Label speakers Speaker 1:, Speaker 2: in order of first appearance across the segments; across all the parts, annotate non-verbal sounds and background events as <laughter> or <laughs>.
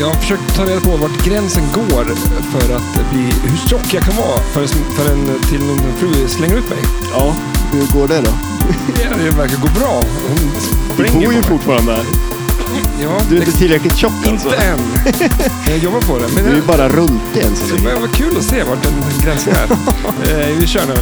Speaker 1: Jag har försökt ta reda på vart gränsen går för att bli, hur tjock jag kan vara förrän, förrän till min fru slänger ut mig.
Speaker 2: Ja, hur går det då?
Speaker 1: Det- Det verkar gå bra. Hon
Speaker 2: Du
Speaker 1: spränger
Speaker 2: bor ju
Speaker 1: på mig.
Speaker 2: fortfarande här.
Speaker 1: Ja,
Speaker 2: Du är inte tillräckligt tjock alltså.
Speaker 1: inte än. Jag jobbar på det. Men
Speaker 2: Du är
Speaker 1: det,
Speaker 2: ju bara runt än så
Speaker 1: det
Speaker 2: länge.
Speaker 1: börjar vara kul att se vart den gränsen
Speaker 3: <laughs>
Speaker 1: är. Eh, Vi kör nu.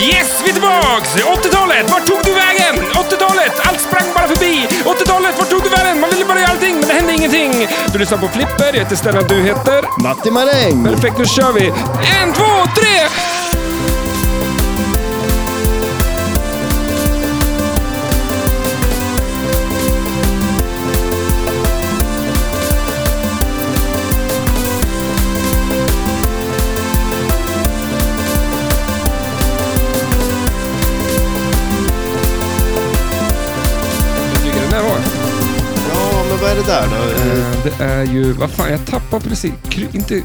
Speaker 3: Yes, vi är tillbaks! 80-talet, vart tog du vägen? 80-talet, allt sprang bara förbi. 80-talet, vart tog du vägen? Man ville bara göra allting, men det hände ingenting. Du lyssnar på Flipper, jag heter Stellan, du heter?
Speaker 2: Matti Maräng!
Speaker 3: Perfekt, nu kör vi! En, två, tre!
Speaker 1: Jag tycker den där var.
Speaker 2: Ja, men vad är det där då? Eh,
Speaker 1: Eh, Det är ju, vad fan, jag tappar precis. Kry- Inte,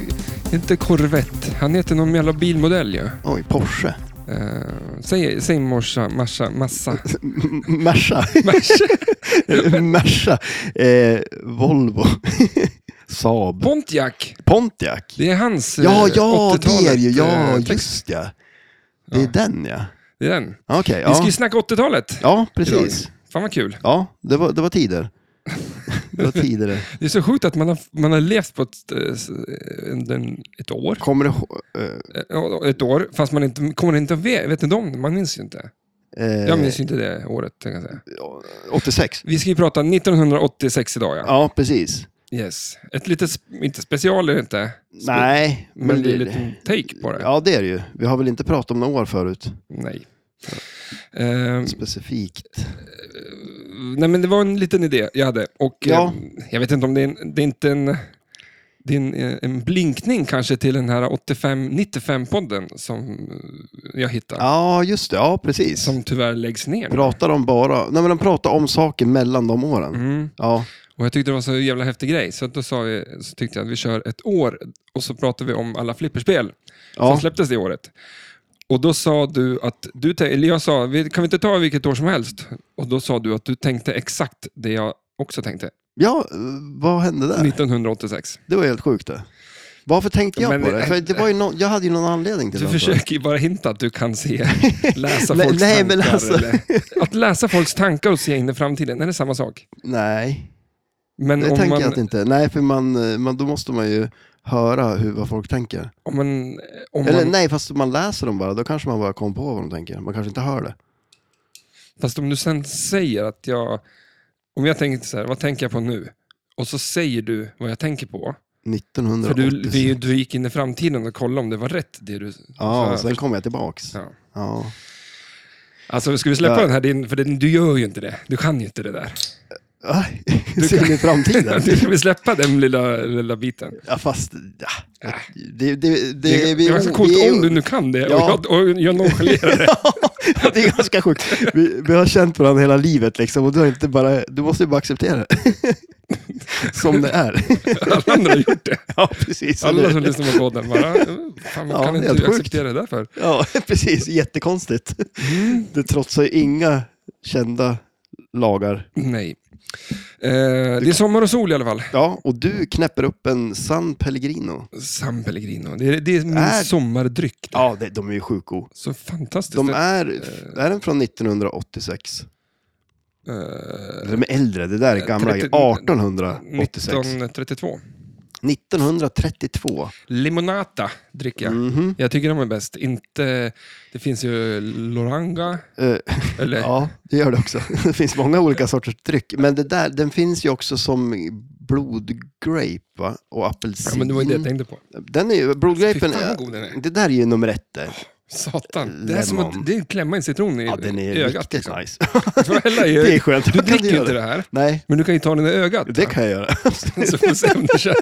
Speaker 1: inte Corvette. Han heter någon jävla bilmodell ju.
Speaker 2: Oj, Porsche.
Speaker 1: Eh, Säg, säg morsa, massa,
Speaker 2: <laughs>
Speaker 1: massa.
Speaker 2: M- Merca. <laughs>
Speaker 1: Merca.
Speaker 2: Merca. Eh, Volvo. <laughs> Saab.
Speaker 1: Pontiac.
Speaker 2: Pontiac.
Speaker 1: Det är hans eh,
Speaker 2: Ja, ja, det
Speaker 1: 80-talet.
Speaker 2: är ju. Ja,
Speaker 1: eh, text.
Speaker 2: just ja. Det är den ja.
Speaker 1: Det är den.
Speaker 2: Okej,
Speaker 1: Vi ska
Speaker 2: ja.
Speaker 1: ju snacka 80-talet.
Speaker 2: Ja, precis.
Speaker 1: Fan vad kul.
Speaker 2: Ja, det var, det var tider.
Speaker 1: <laughs>
Speaker 2: Det var tider det.
Speaker 1: Det är så sjukt att man har, man har levt på ett, eh, s- en, en, ett år.
Speaker 2: Kommer du ihå- eh,
Speaker 1: Eh, ja, Ett år, fast man inte, kommer inte att ve- vet inte om det. Man minns ju inte.
Speaker 2: eh,
Speaker 1: Jag minns ju inte det året. Kan jag säga.
Speaker 2: 86?
Speaker 1: Vi ska ju prata 1986 idag. Ja.
Speaker 2: Ja, precis.
Speaker 1: Yes. Ett litet, sp- inte special är det inte,
Speaker 2: Nej,
Speaker 1: men, det är en liten take på det.
Speaker 2: Ja, det är det ju. Vi har väl inte pratat om några år förut,
Speaker 1: Nej. Ehm,
Speaker 2: specifikt.
Speaker 1: nej, men det var en liten idé jag hade. Och,
Speaker 2: Ja.
Speaker 1: eh, jag vet inte om det är, en, det är inte en, det är en, eh, en blinkning kanske till den här 85-95-podden som eh, jag hittade.
Speaker 2: Ja, just det. Ja, precis.
Speaker 1: Som tyvärr läggs ner.
Speaker 2: Pratar de bara... Nej, men de pratar om saker mellan de åren.
Speaker 1: Mm.
Speaker 2: Ja,
Speaker 1: Och jag tyckte det var så jävla häftig grej, så att då sa vi, så tyckte jag att vi kör ett år och så pratar vi om alla flipperspel
Speaker 2: Ja.
Speaker 1: som släpptes det året. Och då sa du att, du, tän- eller jag sa, "Vi- kan vi inte ta vilket år som helst? Och då sa du att du tänkte exakt det jag också tänkte,
Speaker 2: ja eh, vad hände där?
Speaker 1: 1986.
Speaker 2: Det var helt sjukt det. Varför tänkte jag
Speaker 1: Men-
Speaker 2: på det? För det var ju no... Jag hade ju någon anledning till
Speaker 1: Du
Speaker 2: det.
Speaker 1: försöker ju bara hinta att du kan
Speaker 2: <laughs>
Speaker 1: se, läsa
Speaker 2: Nej,
Speaker 1: folks
Speaker 2: nej,
Speaker 1: tankar.
Speaker 2: men alltså-
Speaker 1: Eller, att läsa folks tankar och se in i framtiden, är det samma sak?
Speaker 2: Nej,
Speaker 1: Men
Speaker 2: det
Speaker 1: Mm, om
Speaker 2: tänker
Speaker 1: man,
Speaker 2: jag att inte. Nej, för man, eh, man, då måste man ju höra hur, vad folk tänker.
Speaker 1: Om man, om
Speaker 2: Eller
Speaker 1: man,
Speaker 2: nej, fast om man läser dem bara, då kanske man bara kommer på vad de tänker. Man kanske inte hör det.
Speaker 1: Fast om du sen säger att jag... Om jag tänker så här, vad tänker jag på nu? Och så säger du vad jag tänker på. För
Speaker 2: 1986.
Speaker 1: du, vi, du gick in i framtiden och kollade om det var rätt det du...
Speaker 2: Ja, alltså-
Speaker 1: sa.
Speaker 2: och sen kommer jag tillbaks.
Speaker 1: Ja.
Speaker 2: Ja.
Speaker 1: Alltså ska vi släppa
Speaker 2: Ja.
Speaker 1: den här? Din, för den, du gör ju inte det. Du kan ju inte det där.
Speaker 2: Aj, <laughs> Ser
Speaker 1: <laughs>
Speaker 2: ni framtiden?
Speaker 1: Ska vi släppa den lilla, lilla biten?
Speaker 2: Ja, fast... Ja. Det, det, det,
Speaker 1: Det,
Speaker 2: vi-
Speaker 1: det var så coolt
Speaker 2: vi är-
Speaker 1: om du nu kan det
Speaker 2: Ja.
Speaker 1: och jag, och jag nonchalerar det.
Speaker 2: <laughs> det är ganska sjukt. Vi, vi har känt varandra hela livet liksom, och du, har inte bara, du måste ju bara acceptera det. <laughs> Som
Speaker 1: <laughs>
Speaker 2: det är.
Speaker 1: Alla andra har gjort det.
Speaker 2: Ja, precis. eller
Speaker 1: Alla
Speaker 2: hur?
Speaker 1: som lyssnar på podden bara, fan
Speaker 2: Ja,
Speaker 1: vad kan inte
Speaker 2: helt
Speaker 1: du
Speaker 2: sjukt.
Speaker 1: acceptera det där för?
Speaker 2: Ja, <laughs> precis. Jättekonstigt.
Speaker 1: Mm.
Speaker 2: Det trotsar ju inga kända lagar.
Speaker 1: Nej. Eh, det är sommar och sol i alla fall.
Speaker 2: Ja, och du knäpper upp en San Pellegrino.
Speaker 1: San Pellegrino. Det är, det är min
Speaker 2: Är-
Speaker 1: sommardryck. Då.
Speaker 2: Ja, det, de är ju sjuko.
Speaker 1: Så fantastiskt.
Speaker 2: De
Speaker 1: Det-
Speaker 2: är, är den från 1986?
Speaker 1: eh,
Speaker 2: De är äldre, det där är gamla.
Speaker 1: 30
Speaker 2: 1886.
Speaker 1: 1932.
Speaker 2: 1932.
Speaker 1: Limonata dricker jag.
Speaker 2: Mhm.
Speaker 1: Jag tycker de är bäst. Inte, det finns ju Loranga.
Speaker 2: Eh,
Speaker 1: Eller,
Speaker 2: Ja, det gör det också. <laughs> Det finns många olika sorters dryck. Men det där, den finns ju också som blodgrape va? och apelsin.
Speaker 1: ja, men det var ju det
Speaker 2: Mm.
Speaker 1: jag tänkte på.
Speaker 2: Den är ju, blodgrapen,
Speaker 1: Fy fan vad god den är.
Speaker 2: det där är ju nummer ett där.
Speaker 1: Satan. Det är som
Speaker 2: Lemon.
Speaker 1: att det är att klämma in citron i
Speaker 2: Ja, den är
Speaker 1: ögat.
Speaker 2: riktigt
Speaker 1: Liksom.
Speaker 2: nice.
Speaker 1: <laughs> Du får hälla i
Speaker 2: <laughs> Det är
Speaker 1: ögat.
Speaker 2: skönt.
Speaker 1: Du
Speaker 2: Kan
Speaker 1: dricker ju
Speaker 2: göra
Speaker 1: inte det här.
Speaker 2: Nej,
Speaker 1: Men du kan ju ta den i ögat.
Speaker 2: det
Speaker 1: va?
Speaker 2: kan jag göra.
Speaker 1: <laughs> Så får du se om det känns.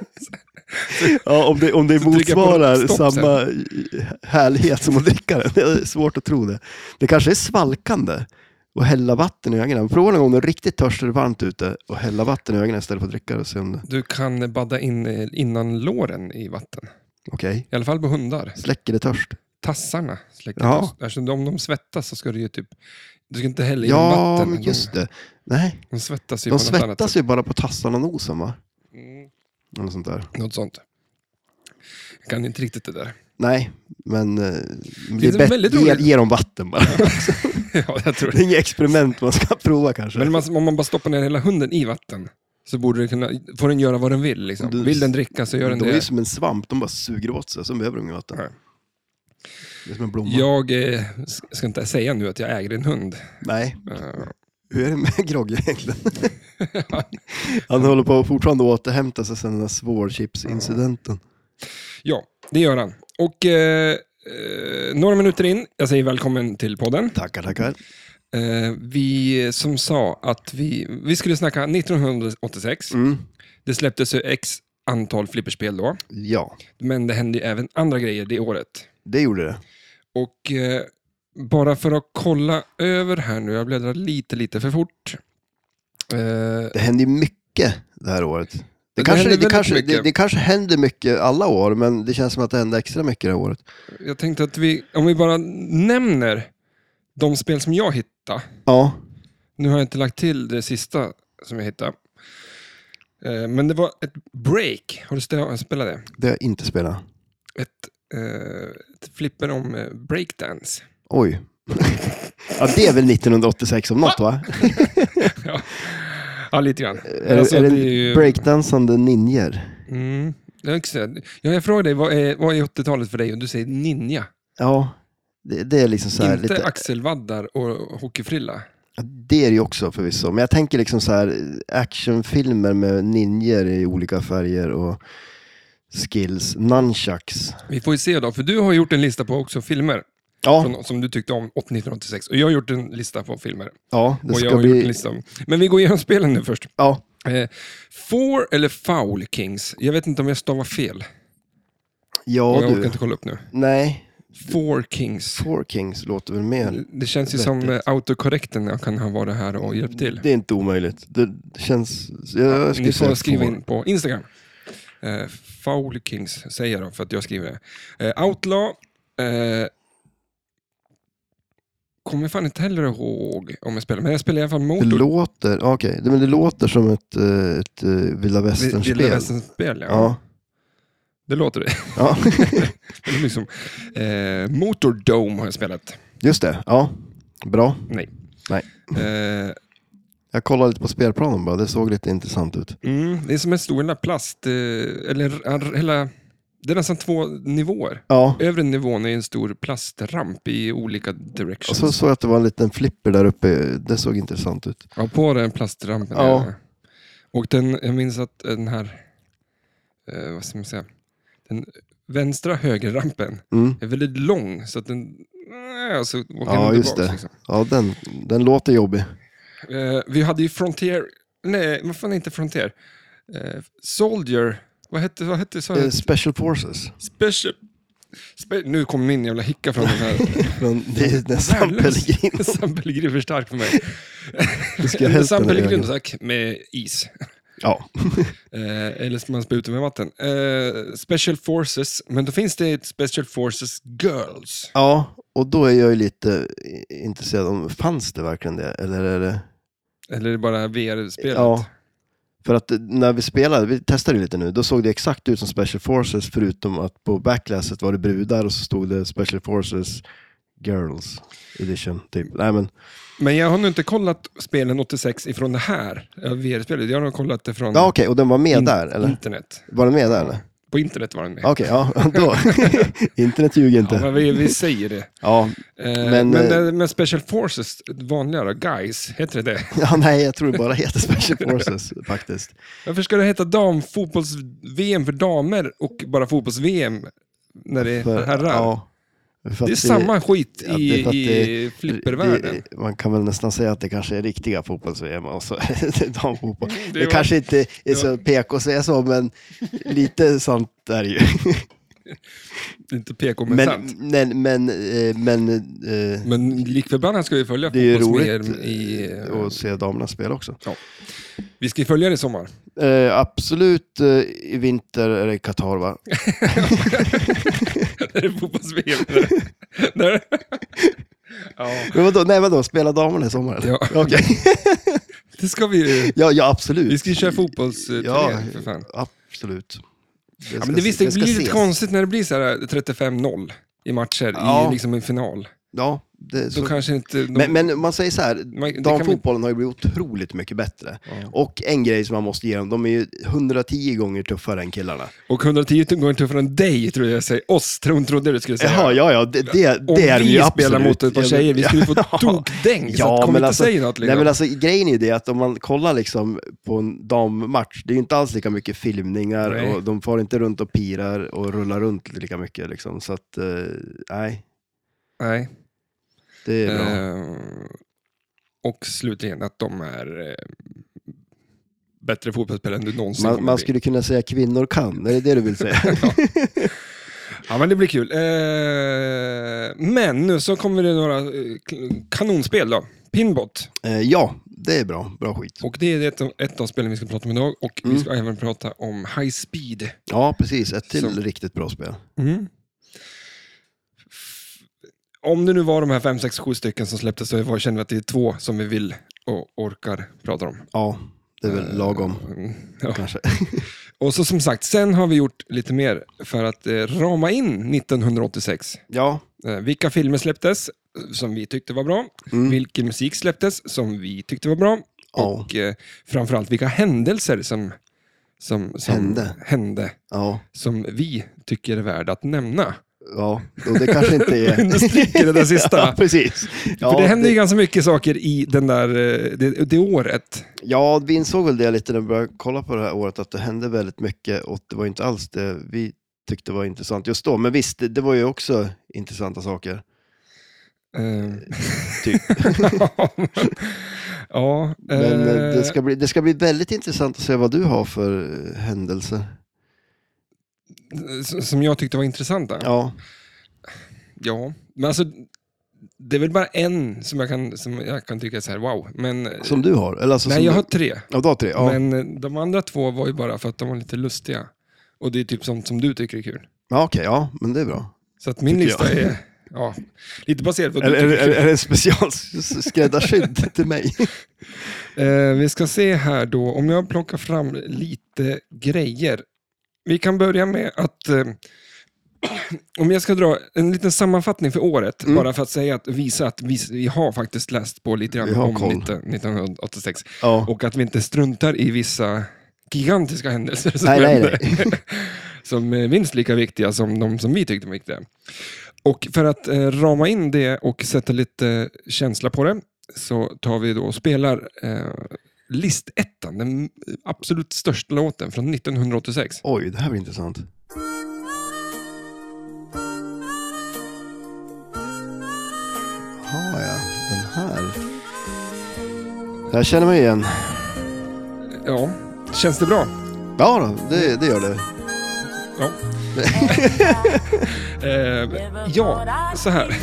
Speaker 2: Ja, om det, om det
Speaker 1: Så trycker jag på
Speaker 2: motsvarar
Speaker 1: stopp sen.
Speaker 2: samma härlighet som att dricka den. Det är svårt att tro det. Det kanske är svalkande och hälla vatten i ögonen. Prova någon gång när du är riktigt törstig och varmt ute och hälla vatten i ögonen istället för att dricka det. och se om det-
Speaker 1: Du kan badda in eh, innan låren i vatten.
Speaker 2: Okej,
Speaker 1: I alla fall på hundar.
Speaker 2: släcker det törst.
Speaker 1: tassarna släcker
Speaker 2: Ja.
Speaker 1: törst. Eftersom de- om de svettas så ska du ju typ... Du ska inte hälla i dem
Speaker 2: Ja,
Speaker 1: vatten.
Speaker 2: men just det. Nej,
Speaker 1: De, de svettas ju
Speaker 2: de
Speaker 1: på något annat
Speaker 2: svettas ju bara på tassarna och nosen va?
Speaker 1: sätt. Mm.
Speaker 2: eller något sånt där.
Speaker 1: Något sånt. Jag kan inte riktigt det där. <laughs>
Speaker 2: Nej, men eh, det
Speaker 1: är
Speaker 2: är bättre,
Speaker 1: väldigt
Speaker 2: ge,
Speaker 1: roligt.
Speaker 2: ge dem vatten
Speaker 1: <laughs>
Speaker 2: bara.
Speaker 1: ja, jag tror
Speaker 2: Det är inget experiment man ska prova kanske.
Speaker 1: Men man, om man bara stoppar ner hela hunden i vatten så borde det kunna, får den göra vad den vill. Liksom.
Speaker 2: Du-
Speaker 1: Vill den dricka så gör den
Speaker 2: de är ju
Speaker 1: det.
Speaker 2: som en svamp, de bara suger åt sig, sen behöver de inget vatten.
Speaker 1: Nej.
Speaker 2: Det är som en blomma.
Speaker 1: Jag eh, s- ska inte säga nu att jag äger en hund.
Speaker 2: Nej,
Speaker 1: Eh, <laughs>
Speaker 2: hur är det med <laughs> Grogge egentligen? Han håller på att fortfarande återhämta sig sedan den där svårchipsincidenten.
Speaker 1: Ja, det gör han. Och eh, eh, några minuter in, jag säger välkommen till podden.
Speaker 2: Tackar, tackar.
Speaker 1: Eh, vi som sa att vi, vi skulle snacka 1986.
Speaker 2: Mm.
Speaker 1: Det släpptes ju x antal flipperspel då,
Speaker 2: Ja,
Speaker 1: men det hände ju även andra grejer det året.
Speaker 2: det gjorde det.
Speaker 1: Och eh, bara för att kolla över här nu, jag bläddrar lite, lite för fort. Eh,
Speaker 2: Det hände ju mycket det här året. Det,
Speaker 1: Det
Speaker 2: kanske,
Speaker 1: hände
Speaker 2: det,
Speaker 1: väldigt
Speaker 2: kanske, det,
Speaker 1: mycket.
Speaker 2: det kanske händer mycket alla år, men det känns som att det hände extra mycket det här året.
Speaker 1: jag tänkte att vi, om vi bara nämner de spel som jag hittade.
Speaker 2: Ja,
Speaker 1: Nu har jag inte lagt till det sista som jag hittade. Eh, Men det var ett break. Har du stä- spelat det?
Speaker 2: det har jag inte spelat.
Speaker 1: Ett, eh, ett flipper om eh, breakdance. <laughs>
Speaker 2: Oj. <laughs> ja, det är väl 1986 om något va?
Speaker 1: Ja, lite grann.
Speaker 2: Eh, Är,
Speaker 1: Alltså,
Speaker 2: är det,
Speaker 1: det är ju-
Speaker 2: breakdansande ninjer?
Speaker 1: Mm. Jag, också, ja, jag frågar dig, vad är, vad är 80-talet för dig? Och du säger ninja.
Speaker 2: Ja, det, det är liksom så här
Speaker 1: inte
Speaker 2: lite...
Speaker 1: axelvaddar och hockeyfrilla.
Speaker 2: Ja, Det är det ju också förvisso, men jag tänker liksom så här actionfilmer med ninjer i olika färger och skills, nunchucks.
Speaker 1: Vi får ju se då, för du har gjort en lista på också filmer
Speaker 2: Ja,
Speaker 1: från, som du tyckte om 1986. Och jag har gjort en lista på filmer.
Speaker 2: ja det
Speaker 1: Och jag
Speaker 2: ska
Speaker 1: har gjort en
Speaker 2: bli...
Speaker 1: lista. om- Men vi går igenom <laughs> spelen nu först.
Speaker 2: Ja,
Speaker 1: Eh, four eller Foul Kings? Jag vet inte om jag stavar fel.
Speaker 2: ja
Speaker 1: jag orkar
Speaker 2: du.
Speaker 1: inte kolla upp nu.
Speaker 2: Nej,
Speaker 1: Four Kings.
Speaker 2: Four Kings låter väl mer.
Speaker 1: Det känns ju som eh, autokorrekten jag kan ha varit här och hjälpt till.
Speaker 2: Det är inte omöjligt. Det känns... Jag skulle
Speaker 1: Ni får
Speaker 2: säga
Speaker 1: skriva
Speaker 2: four.
Speaker 1: in på Instagram. Eh, foul Kings säger jag då, för att jag skriver det. Eh, Outlaw. Eh, kommer fan inte heller ihåg om jag spelar, men jag spelar i alla fall
Speaker 2: Det
Speaker 1: Motor.
Speaker 2: låter, ja, okej, det, men det låter som ett, eh, ett eh, vilda
Speaker 1: Det-
Speaker 2: västern-spel.
Speaker 1: det är västernspel, ja.
Speaker 2: Ja.
Speaker 1: Det låter det. <laughs>
Speaker 2: ja, <laughs>
Speaker 1: det är liksom, eh, Motordome har jag spelat.
Speaker 2: just det. Ja, bra.
Speaker 1: Nej.
Speaker 2: Nej.
Speaker 1: Eh,
Speaker 2: Jag kollade lite på spelplanen bara, det såg lite intressant ut.
Speaker 1: Mm, det är som en stor hela plast, eh, eller ar- hela, det är nästan två nivåer.
Speaker 2: Ja,
Speaker 1: Övre nivån är en stor plastramp i olika directions.
Speaker 2: och så såg jag att det var en liten flipper där uppe, det såg intressant ut.
Speaker 1: Ja, på den plastrampen.
Speaker 2: Ja.
Speaker 1: där. Och den, jag minns att den här, eh, vad ska man säga, den vänstra högerrampen
Speaker 2: Mm.
Speaker 1: är väldigt lång så att den, äh, så åker
Speaker 2: Ja,
Speaker 1: den
Speaker 2: just
Speaker 1: tillbaks,
Speaker 2: det.
Speaker 1: Liksom.
Speaker 2: Ja, den, den låter jobbig.
Speaker 1: Eh, vi hade ju Frontier, nej, vad fan är inte Frontier? Eh, Soldier, vad hette, vad hette, sa jag?
Speaker 2: Eh, Special Forces.
Speaker 1: Special... Spe- nu kom min jävla hicka från den
Speaker 2: <laughs>
Speaker 1: här.
Speaker 2: Men det är nästan
Speaker 1: Värdelös. <laughs>
Speaker 2: Pellegrin.
Speaker 1: San Pellegrino är för stark för mig.
Speaker 2: ska jag hälften
Speaker 1: San
Speaker 2: av
Speaker 1: Pellegrino
Speaker 2: ögonen.
Speaker 1: tack, med is.
Speaker 2: Ja,
Speaker 1: Eh, eller ska man spä ut det med vatten. Eh, special Forces, men då finns det ett Special Forces Girls.
Speaker 2: ja och då är jag ju lite i- intresserad om, fanns det verkligen det? Eller är det...
Speaker 1: Eller är det bara VR-spelet?
Speaker 2: Ja. För att eh, när vi spelade, vi testade ju lite nu, då såg det exakt ut som Special Forces förutom att på backlasset var det brudar och så stod det Special Forces Girls Edition. Typ. Nej, men,
Speaker 1: Men jag har nu inte kollat spelen 86 ifrån det här eh, VR-spelet. Jag har nog kollat det från
Speaker 2: ja okej, och den var med
Speaker 1: Mm. in-
Speaker 2: där eller?
Speaker 1: internet.
Speaker 2: Var den med där eller?
Speaker 1: På internet var den med.
Speaker 2: Okej, ja <laughs>
Speaker 1: <laughs>
Speaker 2: då. Internet ljuger
Speaker 1: Ja,
Speaker 2: inte.
Speaker 1: men vi, vi säger det.
Speaker 2: Ja,
Speaker 1: Eh, men,
Speaker 2: <laughs> Men, eh,
Speaker 1: men, men Special Forces, vanligare, guys, heter det det?
Speaker 2: ja, nej jag tror det bara heter Special Forces faktiskt.
Speaker 1: Varför ska det heta damfotbolls-VM för damer och bara fotbolls-VM när det är
Speaker 2: För-
Speaker 1: herrar?
Speaker 2: ja, för
Speaker 1: det är
Speaker 2: att
Speaker 1: samma skit
Speaker 2: ja, det
Speaker 1: i,
Speaker 2: är för att det-
Speaker 1: i flippervärlden.
Speaker 2: Det- Man kan väl nästan säga att det kanske är riktiga fotbolls-VM och så är <laughs> det damfotboll.
Speaker 1: Mm, det
Speaker 2: Det,
Speaker 1: var-
Speaker 2: kanske inte är så PK att säga så, men lite sant är det ju.
Speaker 1: Det är inte PK, <laughs> men,
Speaker 2: Men,
Speaker 1: sant.
Speaker 2: men, men, eh, men eh,
Speaker 1: Men likförbannat ska vi följa
Speaker 2: det är ju
Speaker 1: fotbolls-VM
Speaker 2: roligt
Speaker 1: i... eh,
Speaker 2: eh, att se damerna spela också.
Speaker 1: Vi ska ju följa det i sommar. <laughs>
Speaker 2: Eh, absolut, eh, i vinter är det
Speaker 1: <laughs>
Speaker 2: Qatar va?
Speaker 1: När det är fotbolls-VM. Där-
Speaker 2: <laughs>
Speaker 1: där- ja,
Speaker 2: Men vadå, nej vadå, spela damerna i sommar? eller?
Speaker 1: Ja.
Speaker 2: <laughs> Okej.
Speaker 1: det ska vi ju...
Speaker 2: ja, ja
Speaker 1: Vi
Speaker 2: absolut.
Speaker 1: ska ju köra fotbolls
Speaker 2: Ja,
Speaker 1: för fan.
Speaker 2: ab- absolut. Det,
Speaker 1: Ja,
Speaker 2: ska
Speaker 1: men det,
Speaker 2: se-
Speaker 1: visst, det
Speaker 2: ska
Speaker 1: blir lite
Speaker 2: ses.
Speaker 1: konstigt när det blir så här 35-0 i matcher
Speaker 2: Ja.
Speaker 1: i liksom en final.
Speaker 2: Ja, det, så,
Speaker 1: Då kanske inte... De,
Speaker 2: men, men man säger så här,
Speaker 1: Man- det kan vi-
Speaker 2: damfotbollen har ju blivit otroligt mycket bättre.
Speaker 1: Ja.
Speaker 2: Och en grej som man måste ge dem, de är ju 110 gånger tuffare än killarna.
Speaker 1: Och 110 går inte för en dig, tror jag jag säger. Oss, tror, trodde du skulle säga.
Speaker 2: Jaha, ja, ja, det, det,
Speaker 1: Om
Speaker 2: det är de
Speaker 1: vi
Speaker 2: ju
Speaker 1: spelar
Speaker 2: absolut.
Speaker 1: mot ett par
Speaker 2: Ja,
Speaker 1: tjejer, vi skulle få
Speaker 2: <laughs> ja.
Speaker 1: tokdäng. så
Speaker 2: Ja,
Speaker 1: att kom
Speaker 2: men
Speaker 1: inte
Speaker 2: alltså-
Speaker 1: säga något. Liksom.
Speaker 2: Nej men alltså grejen är ju det att om man kollar liksom på en dammatch, det är ju inte alls lika mycket filmningar
Speaker 1: Nej.
Speaker 2: och de far inte runt och pirar och rullar runt lika mycket liksom. Så att, eh, nej,
Speaker 1: Nej.
Speaker 2: det är bra.
Speaker 1: Eh, och slutligen att de är eh, bättre fotbollsspelare än du någonsin
Speaker 2: Man,
Speaker 1: kommer
Speaker 2: man
Speaker 1: bli.
Speaker 2: skulle kunna säga kvinnor kan, är det det du
Speaker 1: <laughs>
Speaker 2: vill säga?
Speaker 1: Ja, men det blir kul. Eh, men nu så kommer det några eh, k- kanonspel då. Pinbot.
Speaker 2: Eh, ja, det är bra. Bra skit.
Speaker 1: Och det är ett, av- ett av spelen vi ska prata om idag. Och
Speaker 2: Mm.
Speaker 1: vi ska även prata om High Speed.
Speaker 2: Ja, precis. Ett till
Speaker 1: Som-
Speaker 2: riktigt bra spel.
Speaker 1: F- Om det nu var de här fem, sex, sju stycken som släpptes så var- känner vi att det är två som vi vill och orkar prata om.
Speaker 2: Ja, det är väl lagom
Speaker 1: Mm, ja.
Speaker 2: kanske. <laughs>
Speaker 1: Och så som sagt, sen har vi gjort lite mer för att eh, rama in 1986.
Speaker 2: Ja,
Speaker 1: Eh, vilka filmer släpptes eh, som vi tyckte var bra?
Speaker 2: Mm.
Speaker 1: Vilken musik släpptes som vi tyckte var bra?
Speaker 2: Ja.
Speaker 1: Och eh, framförallt vilka händelser som, som, som
Speaker 2: Hände.
Speaker 1: hände
Speaker 2: ja,
Speaker 1: som vi tycker är värda att nämna.
Speaker 2: ja. Och det kanske inte
Speaker 1: <laughs>
Speaker 2: är...
Speaker 1: Understryker det där sista.
Speaker 2: <laughs> ja, precis. Ja,
Speaker 1: För det hände ju
Speaker 2: det-
Speaker 1: ganska mycket saker i den där, eh, det, det året.
Speaker 2: Ja, vi insåg väl det lite när vi började kolla på det här året, att det hände väldigt mycket och det var inte alls det vi tyckte var intressant just då. Men visst, det, det var ju också intressanta saker.
Speaker 1: Eh, <laughs>
Speaker 2: Typ.
Speaker 1: ja,
Speaker 2: Men eh,
Speaker 1: eh,
Speaker 2: det ska, bli, det ska bli väldigt intressant att se vad du har för eh, händelser.
Speaker 1: s- som jag tyckte var intressanta.
Speaker 2: Ja,
Speaker 1: Ja, men alltså det är väl bara en som jag kan, som jag kan tycka så här, wow. Men,
Speaker 2: som du har. Eller alltså,
Speaker 1: nej,
Speaker 2: som
Speaker 1: jag
Speaker 2: du-
Speaker 1: har tre.
Speaker 2: Ja, du har tre. Ja.
Speaker 1: Men eh, de andra två var ju bara för att de var lite lustiga. Och det är typ sånt som du tycker är kul.
Speaker 2: Ja, okej, ja, men det är bra.
Speaker 1: Så att min
Speaker 2: Tycker
Speaker 1: lista är ja, lite baserad på vad
Speaker 2: Eller
Speaker 1: du
Speaker 2: är,
Speaker 1: tycker.
Speaker 2: det- är, det- är det <laughs> specialskräddarsydd till mig?
Speaker 1: Eh, vi ska se här då, om jag plockar fram lite grejer. Vi kan börja med att, eh, <clears throat> om jag ska dra en liten sammanfattning för året,
Speaker 2: Mm.
Speaker 1: bara för att säga att visa att vi, vi har faktiskt läst på lite
Speaker 2: Vi
Speaker 1: grann
Speaker 2: har
Speaker 1: om
Speaker 2: koll.
Speaker 1: 19, 1986
Speaker 2: <laughs> Ja.
Speaker 1: <laughs> och att vi inte struntar i vissa gigantiska händelser som,
Speaker 2: Nej, nej,
Speaker 1: hände, <laughs> som är minst lika viktiga som de som vi tyckte var viktiga. Och för att eh, rama in det och sätta lite eh, känsla på det så tar vi då och spelar eh, listettan, den absolut största låten från 1986.
Speaker 2: Oj, det här blir intressant. Jaha, ja. Den här. Det här känner man ju igen.
Speaker 1: Ja, känns det bra?
Speaker 2: Ja, då, det, det gör det.
Speaker 1: Ja. eh, ja, så här.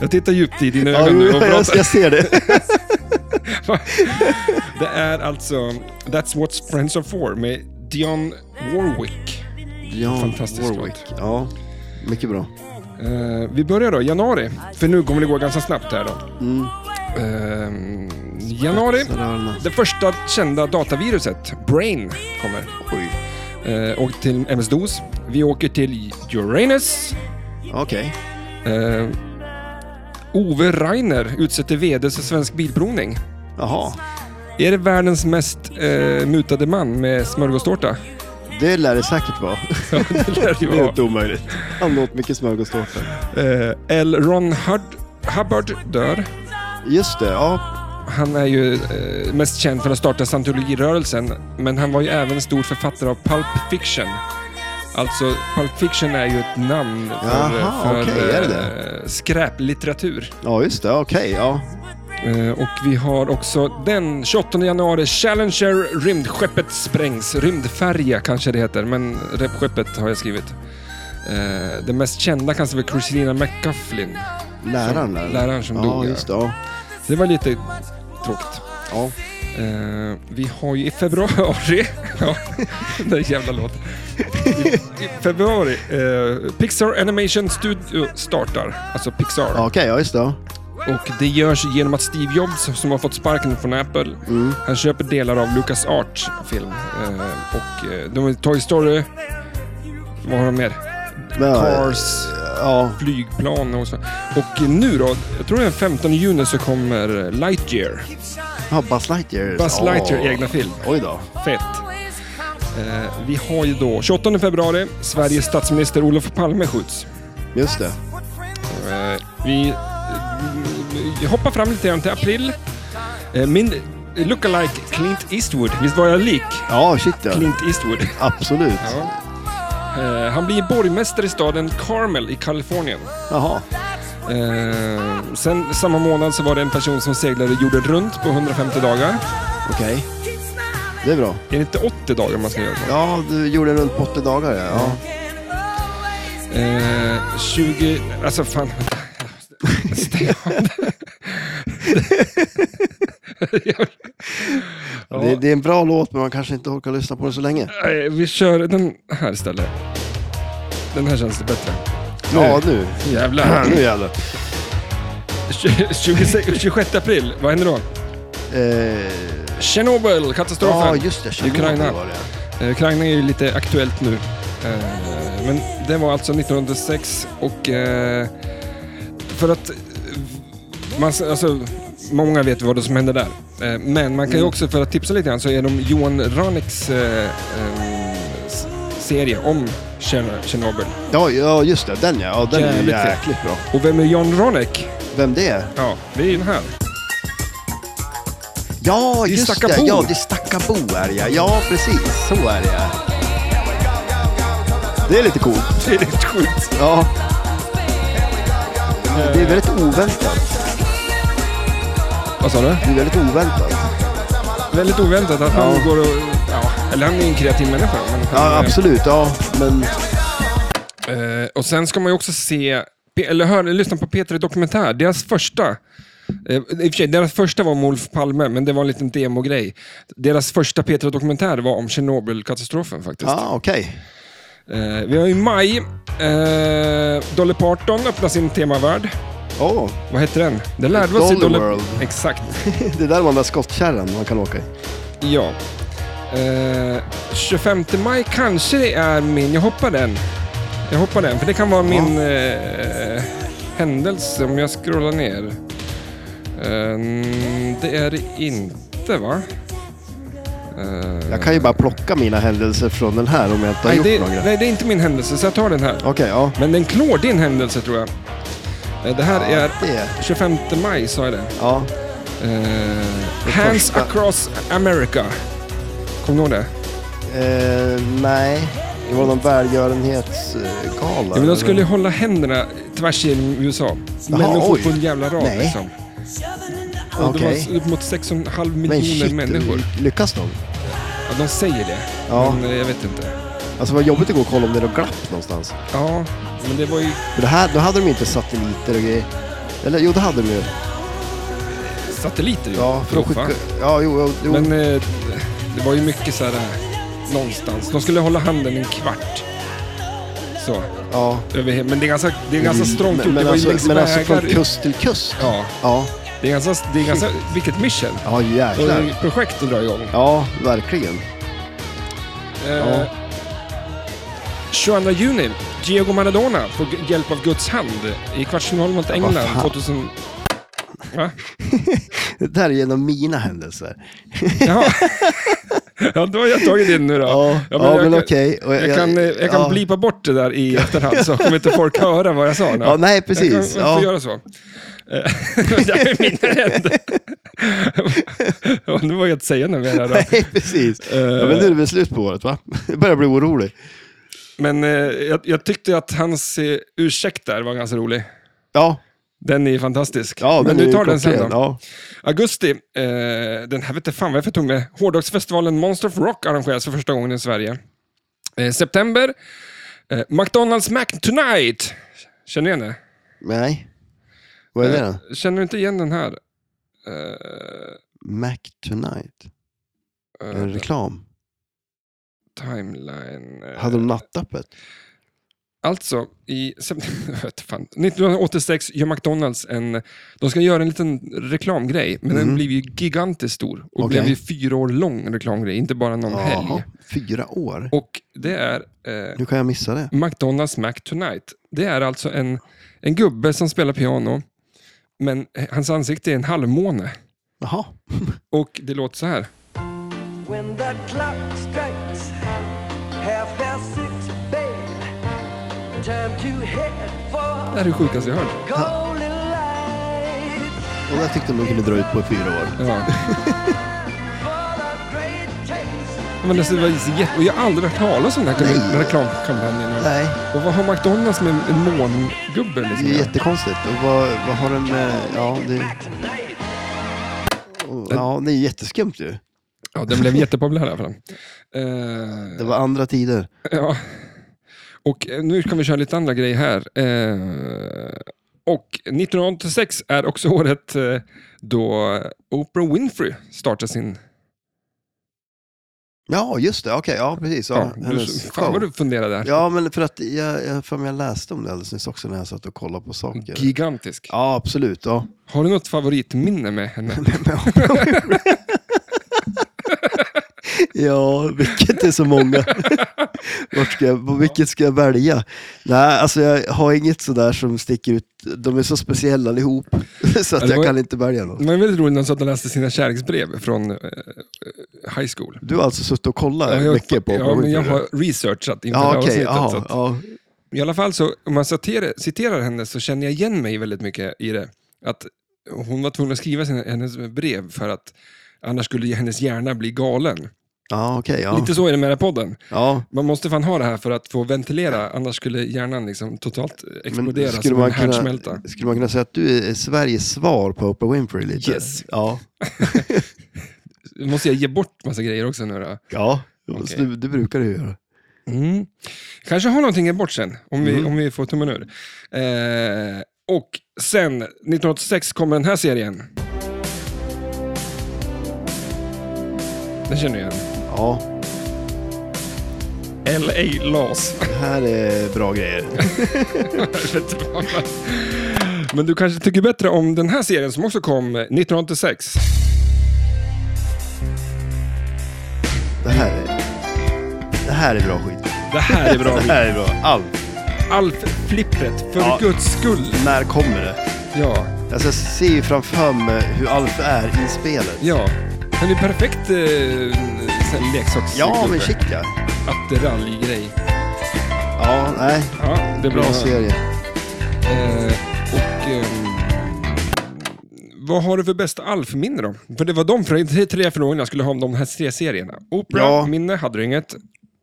Speaker 1: Jag tittar djupt i dina
Speaker 2: Ja,
Speaker 1: ögon
Speaker 2: jo,
Speaker 1: nu och
Speaker 2: jag,
Speaker 1: pratar.
Speaker 2: jag ser det.
Speaker 1: <laughs> Det är alltså That's What Friends Are For med Dionne Warwick.
Speaker 2: Ja,
Speaker 1: Fantastiskt
Speaker 2: Warwick. Ja, mycket bra.
Speaker 1: Eh, vi börjar då, januari. För nu kommer det gå ganska snabbt här då.
Speaker 2: Mm.
Speaker 1: Eh, januari.
Speaker 2: Så rörna.
Speaker 1: Det första kända dataviruset, Brain, kommer.
Speaker 2: Oj.
Speaker 1: Eh, och till MS-DOS. Vi åker till Uranus.
Speaker 2: Okej.
Speaker 1: Eh, Ove Rainer utsätter vd för Svensk Bilprovning.
Speaker 2: Jaha.
Speaker 1: Är det världens mest eh, mutade man med smörgåstårta? <laughs>
Speaker 2: Det lär det säkert vara. <laughs>
Speaker 1: Ja, det lär det ju
Speaker 2: Det är
Speaker 1: vara.
Speaker 2: inte omöjligt. Han åt mycket smörgåstårta.
Speaker 1: Eh, L. Ron Hud- Hubbard dör.
Speaker 2: Just det, ja.
Speaker 1: Han är ju eh, mest känd för att starta scientologirörelsen, men han var ju även stor författare av Pulp Fiction. Alltså, Pulp Fiction är ju ett namn för,
Speaker 2: Jaha,
Speaker 1: för
Speaker 2: okej, är det
Speaker 1: eh, skräplitteratur.
Speaker 2: Ja, just det. Okej, ja.
Speaker 1: Eh, och vi har också den 28 januari Challenger, rymdskeppet sprängs. Rymdfärja kanske det heter, men rymdskeppet har jag skrivit. Eh, den mest kända kanske var Christina McCaughlin.
Speaker 2: Läraren där.
Speaker 1: Läraren som
Speaker 2: ja,
Speaker 1: dog, ja.
Speaker 2: just det. Ja.
Speaker 1: Det var lite tråkigt.
Speaker 2: ja.
Speaker 1: Eh, vi har ju i februari... <laughs> ja, den där jävla låten. I, I februari, eh, Pixar Animation Studio startar. Alltså Pixar.
Speaker 2: Ja, Okej, ja just det. ja.
Speaker 1: Och det görs genom att Steve Jobs, som har fått sparken från Apple,
Speaker 2: Mm.
Speaker 1: han köper delar av Lucas Arts film. Eh, och eh, de har Toy Story, vad har de mer?
Speaker 2: Men, eh,
Speaker 1: Cars,
Speaker 2: Ja,
Speaker 1: flygplan och så. Och nu då, jag tror det är 15 juni så kommer Lightyear.
Speaker 2: ja, Buzz Lightyear.
Speaker 1: Buzz Lightyear
Speaker 2: Åh.
Speaker 1: egna film.
Speaker 2: Oj då.
Speaker 1: Fett. Eh, vi har ju då 28 februari, Sveriges statsminister Olof Palme skjuts.
Speaker 2: Just det.
Speaker 1: Eh, vi eh, hoppar fram lite grann till april. Eh, min lookalike Clint Eastwood, visst var jag lik
Speaker 2: Ja, shit ja.
Speaker 1: Clint Eastwood?
Speaker 2: Absolut.
Speaker 1: Ja. Eh, han blir borgmästare i staden Carmel i Kalifornien.
Speaker 2: Jaha.
Speaker 1: Eh, sen samma månad så var det en person som seglade jorden runt på 150 dagar.
Speaker 2: Okej. Det är bra.
Speaker 1: Är det inte 80 dagar man ska göra så?
Speaker 2: Ja, du gjorde den runt på 80 dagar ja. ja.
Speaker 1: Eh, 20... Alltså fan... Stäng av det. Ja.
Speaker 2: Det, det är en bra låt men man kanske inte orkar lyssna på den så länge.
Speaker 1: Eh, Vi kör den här istället. Den här känns det bättre.
Speaker 2: Ja,
Speaker 1: <clears throat>
Speaker 2: nu.
Speaker 1: Jävlar.
Speaker 2: Nu jävlar.
Speaker 1: 26, 26 april, vad händer då?
Speaker 2: Eh,
Speaker 1: Tjernobyl, katastrofen.
Speaker 2: ja, just det. Tjernobyl
Speaker 1: Ukraina.
Speaker 2: var det.
Speaker 1: Eh, Ukraina är ju lite aktuellt nu. Eh, Men det var alltså 1906 och eh, för att eh, man, alltså, många vet vad det som hände där. Eh, Men man kan ju också, för att tipsa lite grann, så är de Johan Raneks eh, eh, s- serie om Tjern- Tjernobyl.
Speaker 2: Ja, ja, just det. Den ja. ja den är
Speaker 1: Jävligt fet.
Speaker 2: jäkligt bra.
Speaker 1: Och vem är John Ronek?
Speaker 2: Vem det är?
Speaker 1: Ja, det är ju den här.
Speaker 2: Ja,
Speaker 1: Det är
Speaker 2: just
Speaker 1: Stackabo.
Speaker 2: det. Ja, det är Stackabo är jag. Ja, precis. Så är det. Det är lite
Speaker 1: <laughs>
Speaker 2: coolt.
Speaker 1: Det är rätt sjukt.
Speaker 2: Ja. Det är väldigt oväntat.
Speaker 1: Vad sa du?
Speaker 2: Det är väldigt oväntat.
Speaker 1: Väldigt oväntat att han
Speaker 2: Ja.
Speaker 1: går och... Ja, eller han är ju en kreativ människa. Men han,
Speaker 2: Ja, absolut. Ja, men...
Speaker 1: Eh, och sen ska man ju också se, pe- eller hör, lyssna på Peter Dokumentär. Deras första, eh, i och för sig, deras första var om Olof Palme, men det var en liten demogrej. Deras första Peter Dokumentär var om Tjernobylkatastrofen faktiskt.
Speaker 2: Ja, okej.
Speaker 1: Eh, vi har i maj, eh, Dolly Parton öppnar sin temavärld.
Speaker 2: Åh,
Speaker 1: Vad heter den? Det lärde vi oss i
Speaker 2: Dolly
Speaker 1: Dolly...
Speaker 2: World.
Speaker 1: Exakt,
Speaker 2: <laughs> det är där man där skottkärran man kan åka i.
Speaker 1: ja. Eh, 25 maj kanske det är min, jag hoppar den. Jag hoppar den, för det kan vara min eh, händelse om jag scrollar ner. Ehm, det är det inte va? Eh,
Speaker 2: Jag kan ju bara plocka mina händelser från den här om jag inte har
Speaker 1: nej,
Speaker 2: gjort
Speaker 1: det,
Speaker 2: några. Okej,
Speaker 1: nej, det är inte min händelse, så jag tar den här.
Speaker 2: ja.
Speaker 1: Men den klår din händelse tror jag. Eh, det här
Speaker 2: Ja,
Speaker 1: är
Speaker 2: det.
Speaker 1: 25 maj, sa jag det.
Speaker 2: Ja,
Speaker 1: Eh, Hands
Speaker 2: första.
Speaker 1: across America. Kommer du ihåg det?
Speaker 2: eh, nej. Det var någon välgörenhetsgala.
Speaker 1: Ja, men de skulle ju hålla händerna tvärs genom USA. människor
Speaker 2: oj.
Speaker 1: på en jävla rad
Speaker 2: Nej.
Speaker 1: liksom. Och
Speaker 2: Okej.
Speaker 1: Det var upp mot 6,5
Speaker 2: men
Speaker 1: miljoner
Speaker 2: shit,
Speaker 1: människor.
Speaker 2: lyckas de?
Speaker 1: Ja, de säger det.
Speaker 2: Ja.
Speaker 1: Men eh, jag vet inte.
Speaker 2: Alltså vad jobbigt att gå och kolla om det är något glapp någonstans.
Speaker 1: Ja, men det var ju
Speaker 2: För det här, då hade de inte satelliter och grejer. Eller jo, det hade de ju.
Speaker 1: satelliter ju.
Speaker 2: Ja, för de
Speaker 1: Prova.
Speaker 2: skickade... Ja, jo, jo, jo.
Speaker 1: Men eh, det var ju mycket så här eh, någonstans. De skulle hålla handen en kvart. Så,
Speaker 2: ja.
Speaker 1: över he- Men det är ganska, det är ganska strongt
Speaker 2: men,
Speaker 1: gjort. Det
Speaker 2: men,
Speaker 1: var ju
Speaker 2: alltså,
Speaker 1: längs
Speaker 2: men alltså från
Speaker 1: vägar.
Speaker 2: kust till kust?
Speaker 1: Ja,
Speaker 2: Ja,
Speaker 1: det är ganska, det är ganska vilket mission.
Speaker 2: ja
Speaker 1: Och
Speaker 2: jäklar.
Speaker 1: projekt att dra igång.
Speaker 2: Ja, verkligen.
Speaker 1: Eh, 22 juni, Diego Maradona får g- hjälp av Guds hand i kvartsfinal mot England
Speaker 2: fan.
Speaker 1: 2000... Va?
Speaker 2: Det där är genom mina händelser. <laughs>
Speaker 1: Jaha. <laughs> ja, då har jag tagit in nu då.
Speaker 2: Ja, ja,
Speaker 1: jag
Speaker 2: men
Speaker 1: kan-
Speaker 2: okej. Och
Speaker 1: Jag kan, eh, jag kan
Speaker 2: ja.
Speaker 1: blipa bort det där i efterhand så kommer inte folk höra vad jag sa. Nu.
Speaker 2: Ja, nej, precis.
Speaker 1: Jag kan,
Speaker 2: Ja.
Speaker 1: får göra så. Eh, <laughs> det där är mina händer. Ja, nu vågar jag inte säga något mer här då.
Speaker 2: Nej, precis.
Speaker 1: Eh.
Speaker 2: Ja, men nu är det väl slut på året, va? Jag börjar bli orolig.
Speaker 1: Men eh, jag, jag tyckte att hans eh, ursäkt där var ganska rolig.
Speaker 2: Ja,
Speaker 1: Den är fantastisk.
Speaker 2: ja
Speaker 1: Men
Speaker 2: den är
Speaker 1: du
Speaker 2: ju
Speaker 1: tar den sen då.
Speaker 2: klockren. Ja.
Speaker 1: Augusti, eh, den här vet jag fan vad jag för tog med. Hårdrocksfestivalen Monster of Rock arrangeras för första gången i Sverige. Eh, september, eh, McDonalds Mac Tonight. Känner du igen det?
Speaker 2: Nej. Vad är det då?
Speaker 1: Eh, Känner du inte igen den här? Eh,
Speaker 2: Mac Tonight?
Speaker 1: eh,
Speaker 2: En reklam?
Speaker 1: timeline. eh.
Speaker 2: Hade de nattöppet?
Speaker 1: Alltså, i sept- <laughs> jag vet fan, 1986 gör McDonalds en... De ska göra en liten reklamgrej, men den blev ju gigantiskt stor. Och
Speaker 2: Mhm. Okej.
Speaker 1: blev ju fyra år lång reklamgrej, inte bara någon helg.
Speaker 2: Jaha, fyra år?
Speaker 1: Och det är eh,
Speaker 2: Nu kan jag missa det.
Speaker 1: McDonalds Mac Tonight. Det är alltså en, en gubbe som spelar piano, men hans ansikte är en halvmåne.
Speaker 2: Jaha.
Speaker 1: Och det låter så här.
Speaker 4: When the clock strikes half past six, babe, time to head
Speaker 1: Det
Speaker 4: for
Speaker 1: här är det sjukaste jag hört.
Speaker 4: golden light
Speaker 2: <laughs> Och där tyckte de de kunde dra ut på i fyra år.
Speaker 1: Ja.
Speaker 4: for the great chase.
Speaker 1: Men alltså, det var så jätte- och jag har aldrig hört talas om den här reklamkampanjen.
Speaker 2: Nej,
Speaker 1: Och vad har McDonalds med en mångubbe?
Speaker 2: det
Speaker 1: Liksom?
Speaker 2: är ju jättekonstigt. Och vad, vad har den med... Ja, det, och- ja, det är jätteskumt ju.
Speaker 1: Ja, den blev jättepopulär i alla fall. Eh,
Speaker 2: Det var andra tider.
Speaker 1: ja. Och eh, nu kan vi köra lite andra grejer här. Eh, och 1986 är också <laughs> året eh, då Oprah Winfrey startade sin...
Speaker 2: Ja, just det. Okej, ja precis. Ja,
Speaker 1: Ja, du,
Speaker 2: hennes
Speaker 1: fan vad
Speaker 2: show.
Speaker 1: du funderar där.
Speaker 2: Ja, men för att jag, jag, för mig jag läste om det alldeles nyss också när jag satt och kollade på saker.
Speaker 1: Gigantisk.
Speaker 2: ja, absolut. Ja.
Speaker 1: Har du något favoritminne med henne?
Speaker 2: <laughs> ja, vilket är så många. Vart ska jag, på vilket ska jag välja? Nej, alltså jag har inget sådär som sticker ut. De är så speciella allihop, <laughs> så att
Speaker 1: det var-
Speaker 2: jag kan inte välja någon.
Speaker 1: Det var väldigt roligt när hon satt och läste sina kärleksbrev från eh, high school.
Speaker 2: Du har alltså suttit och kollat
Speaker 1: jag,
Speaker 2: mycket på
Speaker 1: ja, men jag har researchat inför det
Speaker 2: Ja,
Speaker 1: här
Speaker 2: okej.
Speaker 1: avsnittet. så
Speaker 2: ja,
Speaker 1: att,
Speaker 2: ja.
Speaker 1: I alla fall, så, om man citerar, citerar henne så känner jag igen mig väldigt mycket i det. Att hon var tvungen att skriva sina, hennes brev för att annars skulle ju hennes hjärna bli galen.
Speaker 2: Ja, okej. ja.
Speaker 1: Lite så är det med den här podden.
Speaker 2: ja.
Speaker 1: Man måste fan ha det här för att få ventilera, annars skulle hjärnan liksom totalt explodera
Speaker 2: skulle
Speaker 1: som
Speaker 2: man
Speaker 1: en
Speaker 2: kunna-
Speaker 1: härdsmälta.
Speaker 2: Skulle man kunna säga att du är Sveriges svar på Oprah Winfrey lite?
Speaker 1: Yes.
Speaker 2: Ja.
Speaker 1: Nu måste jag ge bort massa grejer också nu då.
Speaker 2: Ja,
Speaker 1: Okej.
Speaker 2: du, du brukar du göra.
Speaker 1: Mm. Kanske har någonting bort sen, om vi,
Speaker 2: Mm.
Speaker 1: om vi får tummen ur. Eh, och sen, 1986, kommer den här serien. Den känner du igen.
Speaker 2: Ja,
Speaker 1: L.A. Laws.
Speaker 2: det här är bra grejer.
Speaker 1: Jag vet inte vad man- <laughs> Men du kanske tycker bättre om den här serien som också kom eh, 1986.
Speaker 2: Det här är, det här är bra skit.
Speaker 1: Det här är bra.
Speaker 2: Det <laughs> här är bra. Allt.
Speaker 1: Alf Flippret, för
Speaker 2: Ja.
Speaker 1: guds skull.
Speaker 2: När kommer det?
Speaker 1: Ja,
Speaker 2: Alltså, jag ser ju framför mig hur Alf är i spelet.
Speaker 1: ja. Han är ju perfekt eh, sån här leksaksgubbe.
Speaker 2: Ja, men shit ja.
Speaker 1: Attiralj-grej.
Speaker 2: Ja, nej.
Speaker 1: Ja, det är bra.
Speaker 2: Bra serie.
Speaker 1: Eh, och, ehm, vad har du för bästa Alf-minne då? För det var de tre, tre frågorna jag skulle ha om de här tre serierna.
Speaker 2: Ja.
Speaker 1: Opera-minne hade du inget.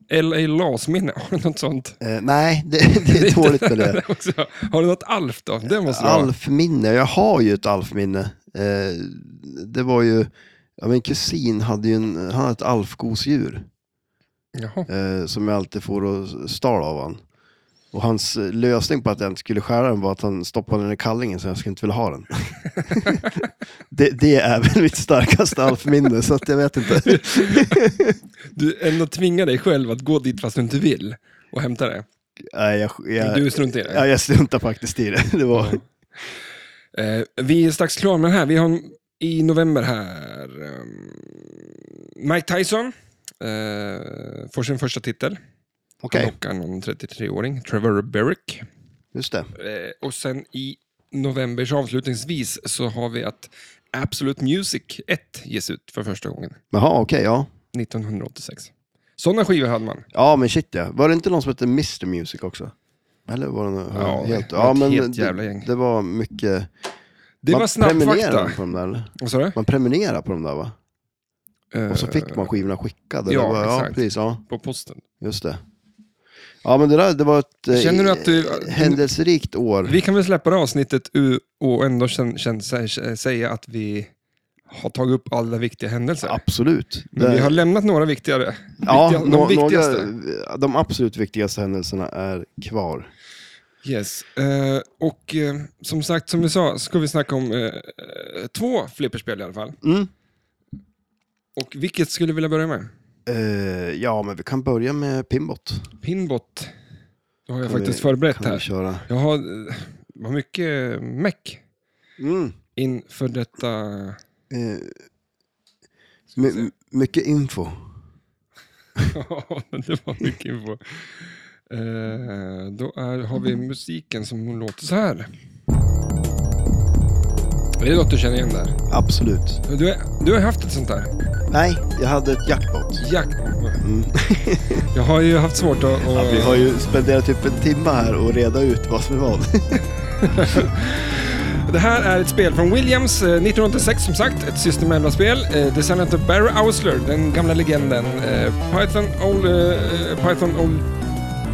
Speaker 1: L.A. Laws-minne, <laughs> har du något sånt?
Speaker 2: Eh, nej, <laughs> det, det är
Speaker 1: <laughs>
Speaker 2: dåligt med det.
Speaker 1: Också. Har du något Alf då? Det måste du ha.
Speaker 2: Alf-minne. Jag har ju ett Alf-minne. Eh, det var ju, ja, min kusin hade ju en, han hade ett Alf-gosedjur.
Speaker 1: Jaha.
Speaker 2: eh, som jag alltid får och stal av han. Och hans eh, lösning på att jag inte skulle skära den var att han stoppade den i kallingen så jag skulle inte vilja
Speaker 1: <laughs>
Speaker 2: ha den. det, det är väl mitt starkaste alfminne så att jag vet inte.
Speaker 1: Du ändå tvingar dig själv att gå dit fast du inte vill och hämta det.
Speaker 2: Nej, jag, jag,
Speaker 1: Du struntar i det.
Speaker 2: jag, jag struntar faktiskt i det. <laughs> det var,
Speaker 1: Eh, vi är strax klara med den här. Vi har en, i november här ehm, Mike Tyson eh, får sin första titel.
Speaker 2: Okej,
Speaker 1: Han knockar någon 33-åring, Trevor Berrick.
Speaker 2: just det.
Speaker 1: Eh, och sen i novembers avslutningsvis så har vi att Absolute Music 1 ges ut för första gången,
Speaker 2: Jaha, okej, ja.
Speaker 1: 1986. Sådana skivor hade man.
Speaker 2: Ja, men shit ja. Var det inte någon som hette Mr Music också? Eller var det någon,
Speaker 1: Ja,
Speaker 2: helt,
Speaker 1: det var ett helt jävla
Speaker 2: det,
Speaker 1: gäng.
Speaker 2: det var mycket...
Speaker 1: Det
Speaker 2: man
Speaker 1: var
Speaker 2: prenumererar
Speaker 1: snabbfakta.
Speaker 2: på dem där, eller?
Speaker 1: Vad sa du?
Speaker 2: Man prenumererar på dem där va? Och så
Speaker 1: Eh,
Speaker 2: fick man skivorna skickade.
Speaker 1: ja,
Speaker 2: det var, ja
Speaker 1: exakt.
Speaker 2: precis. Ja.
Speaker 1: På posten.
Speaker 2: Just det. Ja, men det där det var ett eh,
Speaker 1: Känner du att du-
Speaker 2: händelserikt år.
Speaker 1: Vi kan väl släppa det avsnittet u- och ändå kän, kän, sä- säga att vi har tagit upp alla viktiga händelser.
Speaker 2: Absolut.
Speaker 1: Men
Speaker 2: Det-
Speaker 1: vi har lämnat några viktigare.
Speaker 2: ja,
Speaker 1: viktiga,
Speaker 2: nå-
Speaker 1: de viktigaste.
Speaker 2: Några, de absolut viktigaste händelserna är kvar.
Speaker 1: Yes. Eh, och eh, som sagt, som vi sa, ska vi snacka om eh, två flipperspel i alla fall.
Speaker 2: Mm.
Speaker 1: Och vilket skulle du vilja börja med?
Speaker 2: Eh, ja, men vi kan börja med Pimbot.
Speaker 1: Pinbot. Då har jag
Speaker 2: Kan
Speaker 1: faktiskt
Speaker 2: vi-
Speaker 1: förberett
Speaker 2: Kan vi
Speaker 1: här.
Speaker 2: köra?
Speaker 1: Jag har eh, vad mycket meck
Speaker 2: Mm.
Speaker 1: inför detta.
Speaker 2: Eh, my, mycket info.
Speaker 1: <laughs> Ja, det var mycket info. Eh, då är, har vi musiken som låter så här. Är det något du känner igen där?
Speaker 2: Absolut.
Speaker 1: Du, är, du har haft ett sånt där
Speaker 2: Nej, jag hade ett jackpot.
Speaker 1: jakt... <laughs> Jag har ju haft svårt att...
Speaker 2: Mm. Ja,
Speaker 1: att
Speaker 2: vi har ju spenderat typ en timme här och reda ut vad som är <laughs> vad.
Speaker 1: Det här är ett spel från Williams, eh, 1986 som sagt, ett System 11-spel. eh, Designat av Barry Ausler, den gamla legenden. eh, Python Old, eh, Python Old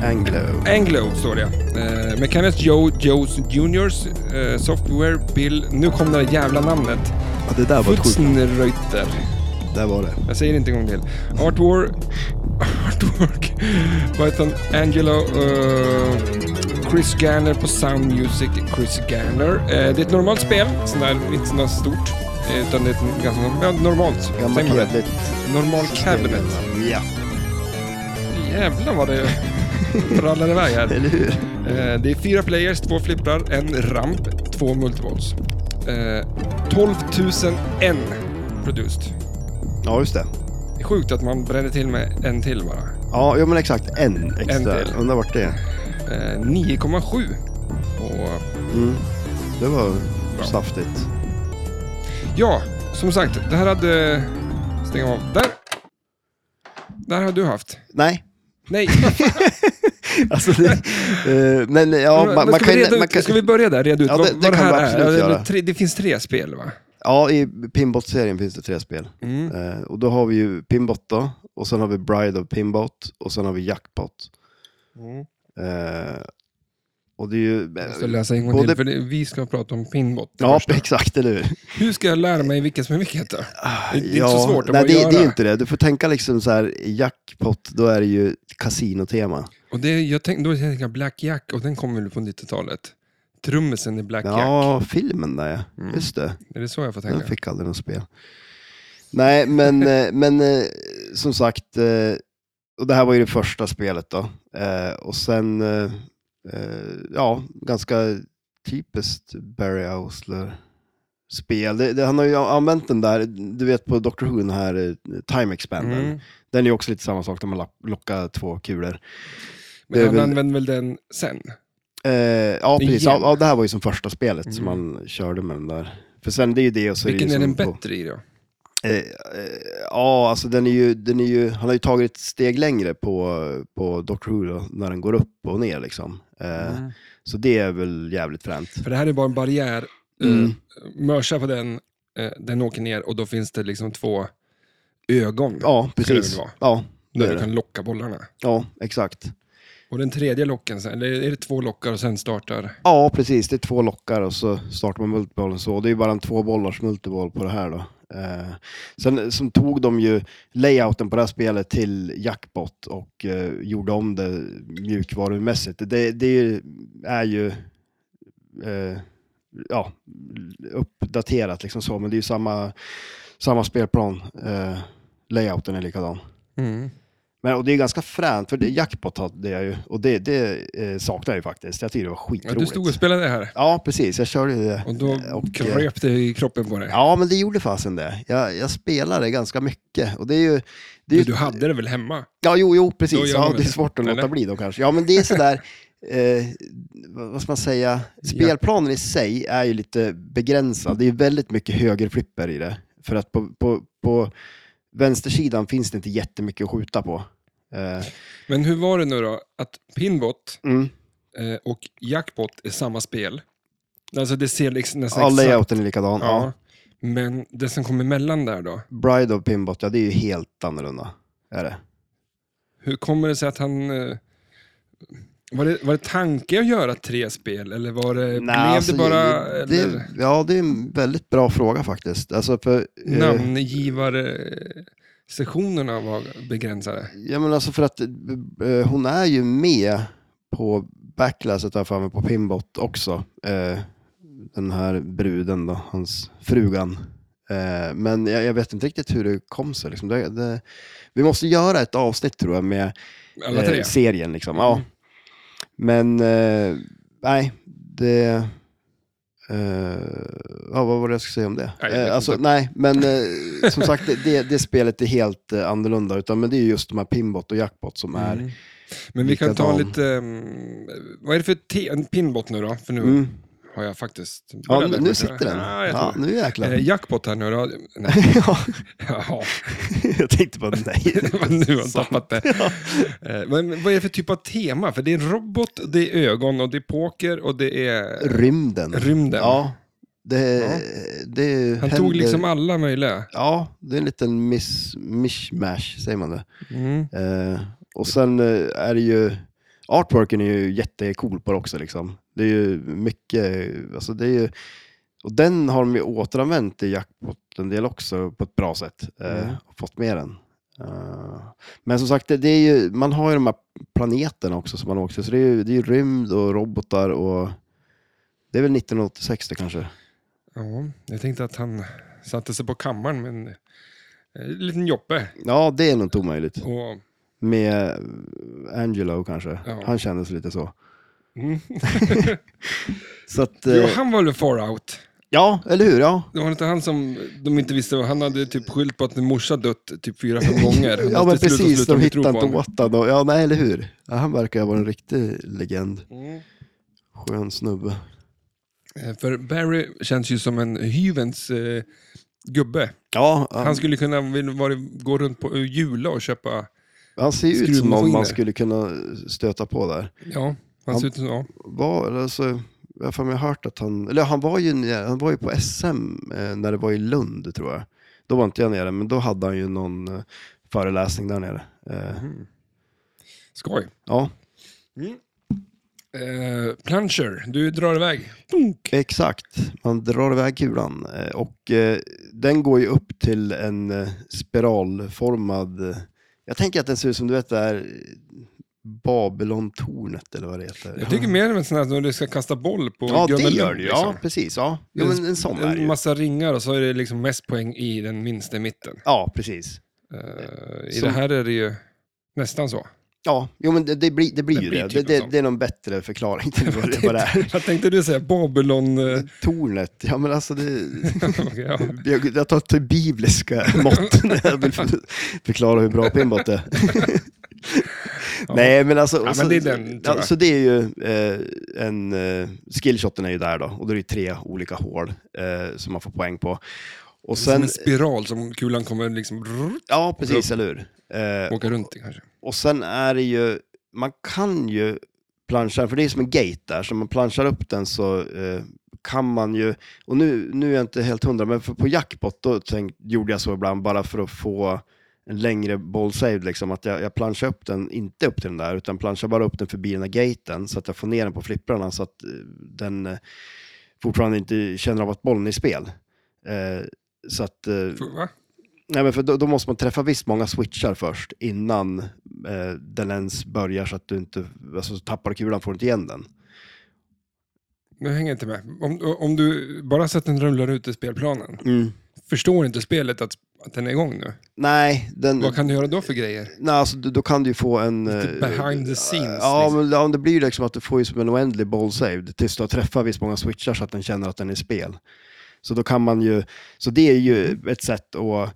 Speaker 2: Anglo.
Speaker 1: Anglo står det. Eh, Mechanics Joe Joes Juniors eh, Software Bill... Nu kom det där jävla namnet.
Speaker 2: Ja, det där var ett sjukt.
Speaker 1: Futzenreuter.
Speaker 2: Där var det.
Speaker 1: Jag säger det inte en gång till. Artwork... Artwork. Python Angelo... eh, Chris Garner på Sound Music. Chris Garner. Eh, det är ett normalt spel. Sån där, inte sånt där stort. eh, Utan det är ett ganska ja, normalt.
Speaker 2: Gammalt
Speaker 1: Säger man det?
Speaker 2: hederligt.
Speaker 1: Normal
Speaker 2: system.
Speaker 1: cabinet.
Speaker 2: Ja,
Speaker 1: Jävlar vad
Speaker 2: <laughs>
Speaker 1: det rallar iväg här.
Speaker 2: eller hur?
Speaker 1: Eh, Det är fyra players, två flipprar, en ramp, två multivolts. Eh, 12 001 produced.
Speaker 2: Ja, just det.
Speaker 1: Det är sjukt att man bränner till med en till bara.
Speaker 2: Ja, ja men exakt. En extra.
Speaker 1: En till.
Speaker 2: Undrar vart det är.
Speaker 1: Eh, 9,7. Och
Speaker 2: Mm. Det var saftigt.
Speaker 1: ja, som sagt, det här hade... Stäng av. Där! Där har du haft.
Speaker 2: Nej, <laughs>
Speaker 1: Nej, <laughs>
Speaker 2: alltså det, eh, men ja,
Speaker 1: men
Speaker 2: man, man
Speaker 1: ska,
Speaker 2: kan,
Speaker 1: vi reda
Speaker 2: ju-
Speaker 1: ut,
Speaker 2: man kan
Speaker 1: ska vi börja där? Reda ut
Speaker 2: Ja,
Speaker 1: vad,
Speaker 2: det- det
Speaker 1: vad det
Speaker 2: kan vi
Speaker 1: här är?
Speaker 2: absolut
Speaker 1: Ja, det-
Speaker 2: göra.
Speaker 1: Tre, det finns tre spel, va?
Speaker 2: Ja, i Pinbot-serien finns det tre spel.
Speaker 1: Mm.
Speaker 2: Eh, och då har vi ju Pinbot då, och sen har vi Bride of Pinbot, och sen har vi Jackpot.
Speaker 1: Mm.
Speaker 2: Eh, och det är ju...
Speaker 1: Jag ska läsa en gång
Speaker 2: Både-
Speaker 1: till, för det, vi ska prata om pinbot. det
Speaker 2: Ja,
Speaker 1: första.
Speaker 2: <laughs> exakt, eller hur?
Speaker 1: Hur ska jag lära mig vilket som är vilket då?
Speaker 2: Ah,
Speaker 1: Det är inte så svårt att
Speaker 2: nej,
Speaker 1: bara
Speaker 2: det,
Speaker 1: göra.
Speaker 2: det är inte det. Du får tänka liksom så här, Jackpot, då är det ju kasinotema.
Speaker 1: Och det, jag tänk, då tänker jag Black Jack och den kom väl på 90-talet? Trummisen i Black Jack.
Speaker 2: Ja, filmen där ja.
Speaker 1: Mm.
Speaker 2: Just det.
Speaker 1: Är det så jag får tänka?
Speaker 2: Jag fick aldrig något spel.
Speaker 1: <laughs>
Speaker 2: Nej, men, eh, men eh, som sagt, eh, och det här var ju det första spelet då. Eh, Och sen, eh, eh, ja, ganska typiskt Barry Ausler spel. Det, det, han har ju använt den där, du vet på Doctor Who, den här eh, Time Expandern.
Speaker 1: Mm.
Speaker 2: Den är ju också lite samma sak, där man lapp- lockar två kulor.
Speaker 1: Men
Speaker 2: Det är
Speaker 1: han
Speaker 2: väl-
Speaker 1: använde väl den sen?
Speaker 2: Eh, ja, precis. Ja,
Speaker 1: Igen.
Speaker 2: ja, det här var ju som första spelet som
Speaker 1: Mm.
Speaker 2: man körde med den där. För sen det är ju det och så
Speaker 1: Vilken
Speaker 2: det
Speaker 1: är
Speaker 2: ju
Speaker 1: den
Speaker 2: som på-
Speaker 1: bättre i då?
Speaker 2: Eh, eh, ja, alltså den är ju, den är ju, han har ju tagit ett steg längre på, på Doctor Who då, när den går upp och ner liksom. Eh,
Speaker 1: Mm.
Speaker 2: Så det är väl jävligt fränt.
Speaker 1: För det här är bara en barriär.
Speaker 2: Mm.
Speaker 1: Mm. Mörsa på den, eh, den åker ner och då finns det liksom två ögon
Speaker 2: Ja,
Speaker 1: det
Speaker 2: precis.
Speaker 1: väl vara.
Speaker 2: Ja, det
Speaker 1: där
Speaker 2: är
Speaker 1: du
Speaker 2: det.
Speaker 1: kan locka bollarna.
Speaker 2: ja, exakt.
Speaker 1: Och den tredje locken, sen, eller är det två lockar och sen startar?
Speaker 2: Ja, precis. Det är två lockar och så startar man multibollen så. Det är ju bara en tvåbollars multiboll på det här då. Eh, sen som tog de ju layouten på det här spelet till jackpot och eh, gjorde om det mjukvarumässigt. Det, det är ju- är ju eh, ja, uppdaterat liksom så, men det är ju samma, samma spelplan. Eh, layouten är likadan.
Speaker 1: Mm.
Speaker 2: Men, och det är ganska fränt, för det, jackpot hade jag ju, och det, det eh, saknar jag ju faktiskt. Jag tyckte det var
Speaker 1: Ja,
Speaker 2: skitroligt.
Speaker 1: du stod och spelade det här
Speaker 2: Ja, precis. Jag körde ju det.
Speaker 1: och då
Speaker 2: Och, eh,
Speaker 1: kröp det i kroppen på dig.
Speaker 2: Ja, men det gjorde fasen det. Jag, jag spelade ganska mycket. Och det är ju, det
Speaker 1: Men
Speaker 2: är ju,
Speaker 1: du hade det väl hemma?
Speaker 2: Ja, jo, jo
Speaker 1: Då
Speaker 2: precis.
Speaker 1: gör man
Speaker 2: Ja,
Speaker 1: väl
Speaker 2: det är
Speaker 1: det,
Speaker 2: svårt att
Speaker 1: eller?
Speaker 2: låta bli då kanske. Ja, men det är sådär, <laughs> eh, vad vad ska man säga, spelplanen i sig är ju lite begränsad. Det är väldigt mycket högerflipper i det. För att på, på, på vänstersidan finns det inte jättemycket att skjuta på. Eh,
Speaker 1: Men hur var det nu då? Att Pinbot
Speaker 2: mm.
Speaker 1: eh, och Jackpot är samma spel. Alltså det ser liksom nästan
Speaker 2: Ja,
Speaker 1: exakt-
Speaker 2: layouten är likadan. Ja.
Speaker 1: Ja. Men det som kommer emellan där då?
Speaker 2: Bride of Pinbot, ja det är ju helt annorlunda. Är det.
Speaker 1: Hur kommer det sig att han... eh, Var det, var det tanke att göra tre spel eller var det, blev
Speaker 2: alltså,
Speaker 1: det bara
Speaker 2: det- det- eh.
Speaker 1: eller,
Speaker 2: Ja, det är en väldigt bra fråga faktiskt. Alltså för, eh,
Speaker 1: namngivarsessionerna var begränsade?
Speaker 2: Ja, men alltså för att eh, hon är ju med på backlasset där framme på Pimbot också. Eh, den här bruden då, hans frugan. Eh, men jag, jag vet inte riktigt hur det kom sig. Liksom. Det, det, vi måste göra ett avsnitt tror jag med
Speaker 1: Alla tre?
Speaker 2: eh, serien. Liksom. Eh, Ja. Men eh, nej, det... eh, ja, vad var det jag skulle säga om det?
Speaker 1: Nej, jag vet
Speaker 2: Eh, alltså,
Speaker 1: inte.
Speaker 2: nej, men eh, som sagt, det- det, det spelet är helt eh, annorlunda. Utan, men det är just de här pinbot och jackpot som är...
Speaker 1: Mm. Men vi kan ta
Speaker 2: Likadan.
Speaker 1: lite... ehm, vad är det för te- en pinbot nu då? För nu
Speaker 2: Mm.
Speaker 1: har jag faktiskt...
Speaker 2: Ja,
Speaker 1: Började-
Speaker 2: nu sitter den.
Speaker 1: Ja, jag
Speaker 2: Ja,
Speaker 1: tror
Speaker 2: nu
Speaker 1: det.
Speaker 2: jäklar.
Speaker 1: Eh, jackpot här nu då? Nej,
Speaker 2: <laughs>
Speaker 1: <laughs>
Speaker 2: ja,
Speaker 1: jaha.
Speaker 2: jag tänkte bara nej. det är inte
Speaker 1: Vad nu har jag
Speaker 2: sant.
Speaker 1: tappat
Speaker 2: <laughs>
Speaker 1: det. Eh, Men vad är det för typ av tema? För det är robot, det är ögon och det är poker och det är
Speaker 2: Rymden.
Speaker 1: rymden.
Speaker 2: Mm. Ja, det,
Speaker 1: Ja.
Speaker 2: det
Speaker 1: Han tog
Speaker 2: händer-
Speaker 1: liksom alla möjliga.
Speaker 2: Ja, det är en liten miss, mishmash, säger man det.
Speaker 1: Mm.
Speaker 2: Eh, och sen eh, är det ju, artworken är ju jättecool på det också. Liksom. Det är ju mycket, alltså det är ju, och den har de ju återanvänt i jackpot en del också på ett bra sätt. eh,
Speaker 1: Mm.
Speaker 2: och fått med den. Eh, men som sagt, det, det är ju, man har ju de här planeterna också som man åker till. Så det är ju det är ju rymd och robotar och det är väl 1986 det kanske.
Speaker 1: Ja, jag tänkte att han satte sig på kammaren med en eh, liten joppe.
Speaker 2: Ja, det är nog inte omöjligt.
Speaker 1: Och,
Speaker 2: Med Angelo kanske.
Speaker 1: Ja.
Speaker 2: Han kändes lite så.
Speaker 1: mm.
Speaker 2: <laughs> så att, eh,
Speaker 1: jo, han var väl far out?
Speaker 2: Ja, eller hur? Ja,
Speaker 1: Det var inte han som de inte visste, vad- han hade typ skylt på att en morsa dött typ fyra,
Speaker 2: <laughs>
Speaker 1: fem gånger.
Speaker 2: ja men
Speaker 1: Till slut så
Speaker 2: precis.
Speaker 1: slutade
Speaker 2: De
Speaker 1: tro
Speaker 2: hittade
Speaker 1: på
Speaker 2: inte
Speaker 1: honom.
Speaker 2: åt honom. Ja, nej, eller hur? Ja, han verkar vara en riktig legend.
Speaker 1: Mm.
Speaker 2: Skön snubbe.
Speaker 1: Eh, För Barry känns ju som en hyvens eh, gubbe.
Speaker 2: Ja, han,
Speaker 1: Han skulle kunna vilja vara- gå runt på Jula och köpa...
Speaker 2: han ser ju ut som någon
Speaker 1: skruvmaskiner.
Speaker 2: man skulle kunna stöta på där.
Speaker 1: Ja, han
Speaker 2: Han-
Speaker 1: ser ut som... Ja.
Speaker 2: Var, eller alltså, jag har för mig hört att han... Eller han var ju, nere- han var ju på SM eh, när det var i Lund, tror jag. Då var inte jag nere, men då hade han ju någon eh, föreläsning där nere. Eh,
Speaker 1: Mm. Skoj.
Speaker 2: Ja,
Speaker 1: Eh, plunger, du drar iväg.
Speaker 2: Exakt, man drar iväg kulan eh, och eh, den går ju upp till en eh, spiralformad, eh, jag tänker att den ser ut som du vet det här eh, Babylontornet eller vad det heter.
Speaker 1: Jag tycker mer om en sån här som du ska kasta boll på
Speaker 2: ja, det
Speaker 1: Gröna
Speaker 2: gör
Speaker 1: Lund,
Speaker 2: det ju.
Speaker 1: liksom.
Speaker 2: Ja, precis. Ja. Jo, men en sån är det
Speaker 1: En
Speaker 2: ju.
Speaker 1: massa ringar och så är det liksom mest poäng i den minsta mitten.
Speaker 2: Ja, precis.
Speaker 1: Eh, I
Speaker 2: Som-
Speaker 1: det här är det ju nästan så.
Speaker 2: Ja, jo, men det, det blir, det blir
Speaker 1: Det
Speaker 2: ju
Speaker 1: blir
Speaker 2: det.
Speaker 1: typ
Speaker 2: det,
Speaker 1: en
Speaker 2: det.
Speaker 1: sån.
Speaker 2: Det är någon bättre
Speaker 1: <laughs>
Speaker 2: förklaring till vad det, vad det är.
Speaker 1: Vad tänkte du säga? Babylon... eh, <laughs>
Speaker 2: Tornet, ja men alltså det...
Speaker 1: okej, ja.
Speaker 2: Jag, jag tar till bibliska mått <laughs> när jag vill förklara hur bra
Speaker 1: <laughs>
Speaker 2: pinbot är. Nej, men alltså...
Speaker 1: men
Speaker 2: så-
Speaker 1: det är den, tror jag.
Speaker 2: ja, så det är ju eh, en... Eh, skillshoten är ju där då, och då är det ju tre olika hål eh, som man får poäng på. Och
Speaker 1: Som
Speaker 2: sen...
Speaker 1: en spiral som kulan kommer liksom brrrt,
Speaker 2: Ja, precis, eller hur? Eh,
Speaker 1: åka runt i kanske.
Speaker 2: och sen är det ju... Man kan ju planscha, för det är som en gate där, så man planschar upp den så... Eh, kan man ju, och nu, nu är jag inte helt hundra, men för på jackpot då tänk, gjorde jag så ibland bara för att få en längre bollsave, liksom, att jag, jag planschar upp den, inte upp till den där, utan planschar bara upp den förbi den här gaten så att jag får ner den på flipprarna så att eh, den eh, fortfarande inte känner av att bollen är i spel. Eh, så att, eh,
Speaker 1: F- Va?
Speaker 2: nej men för då, då måste man träffa visst många switchar först innan eh, den ens börjar så att du inte, alltså så tappar du kulan får du inte igen den.
Speaker 1: Nu hänger jag inte med. Om, om du bara sett den rullar ut i spelplanen, förstår inte spelet att, att den är igång nu?
Speaker 2: Nej, den,
Speaker 1: Vad kan du göra då för grejer?
Speaker 2: Nej, alltså, då, då kan du ju få en...
Speaker 1: Lite
Speaker 2: eh,
Speaker 1: behind the scenes,
Speaker 2: Ja,
Speaker 1: liksom.
Speaker 2: men ja, det blir ju liksom att du får ju som en oändlig ball saved tills du har träffat visst många switchar så att den känner att den är i spel. Så då kan man ju... Så det är ju ett sätt att...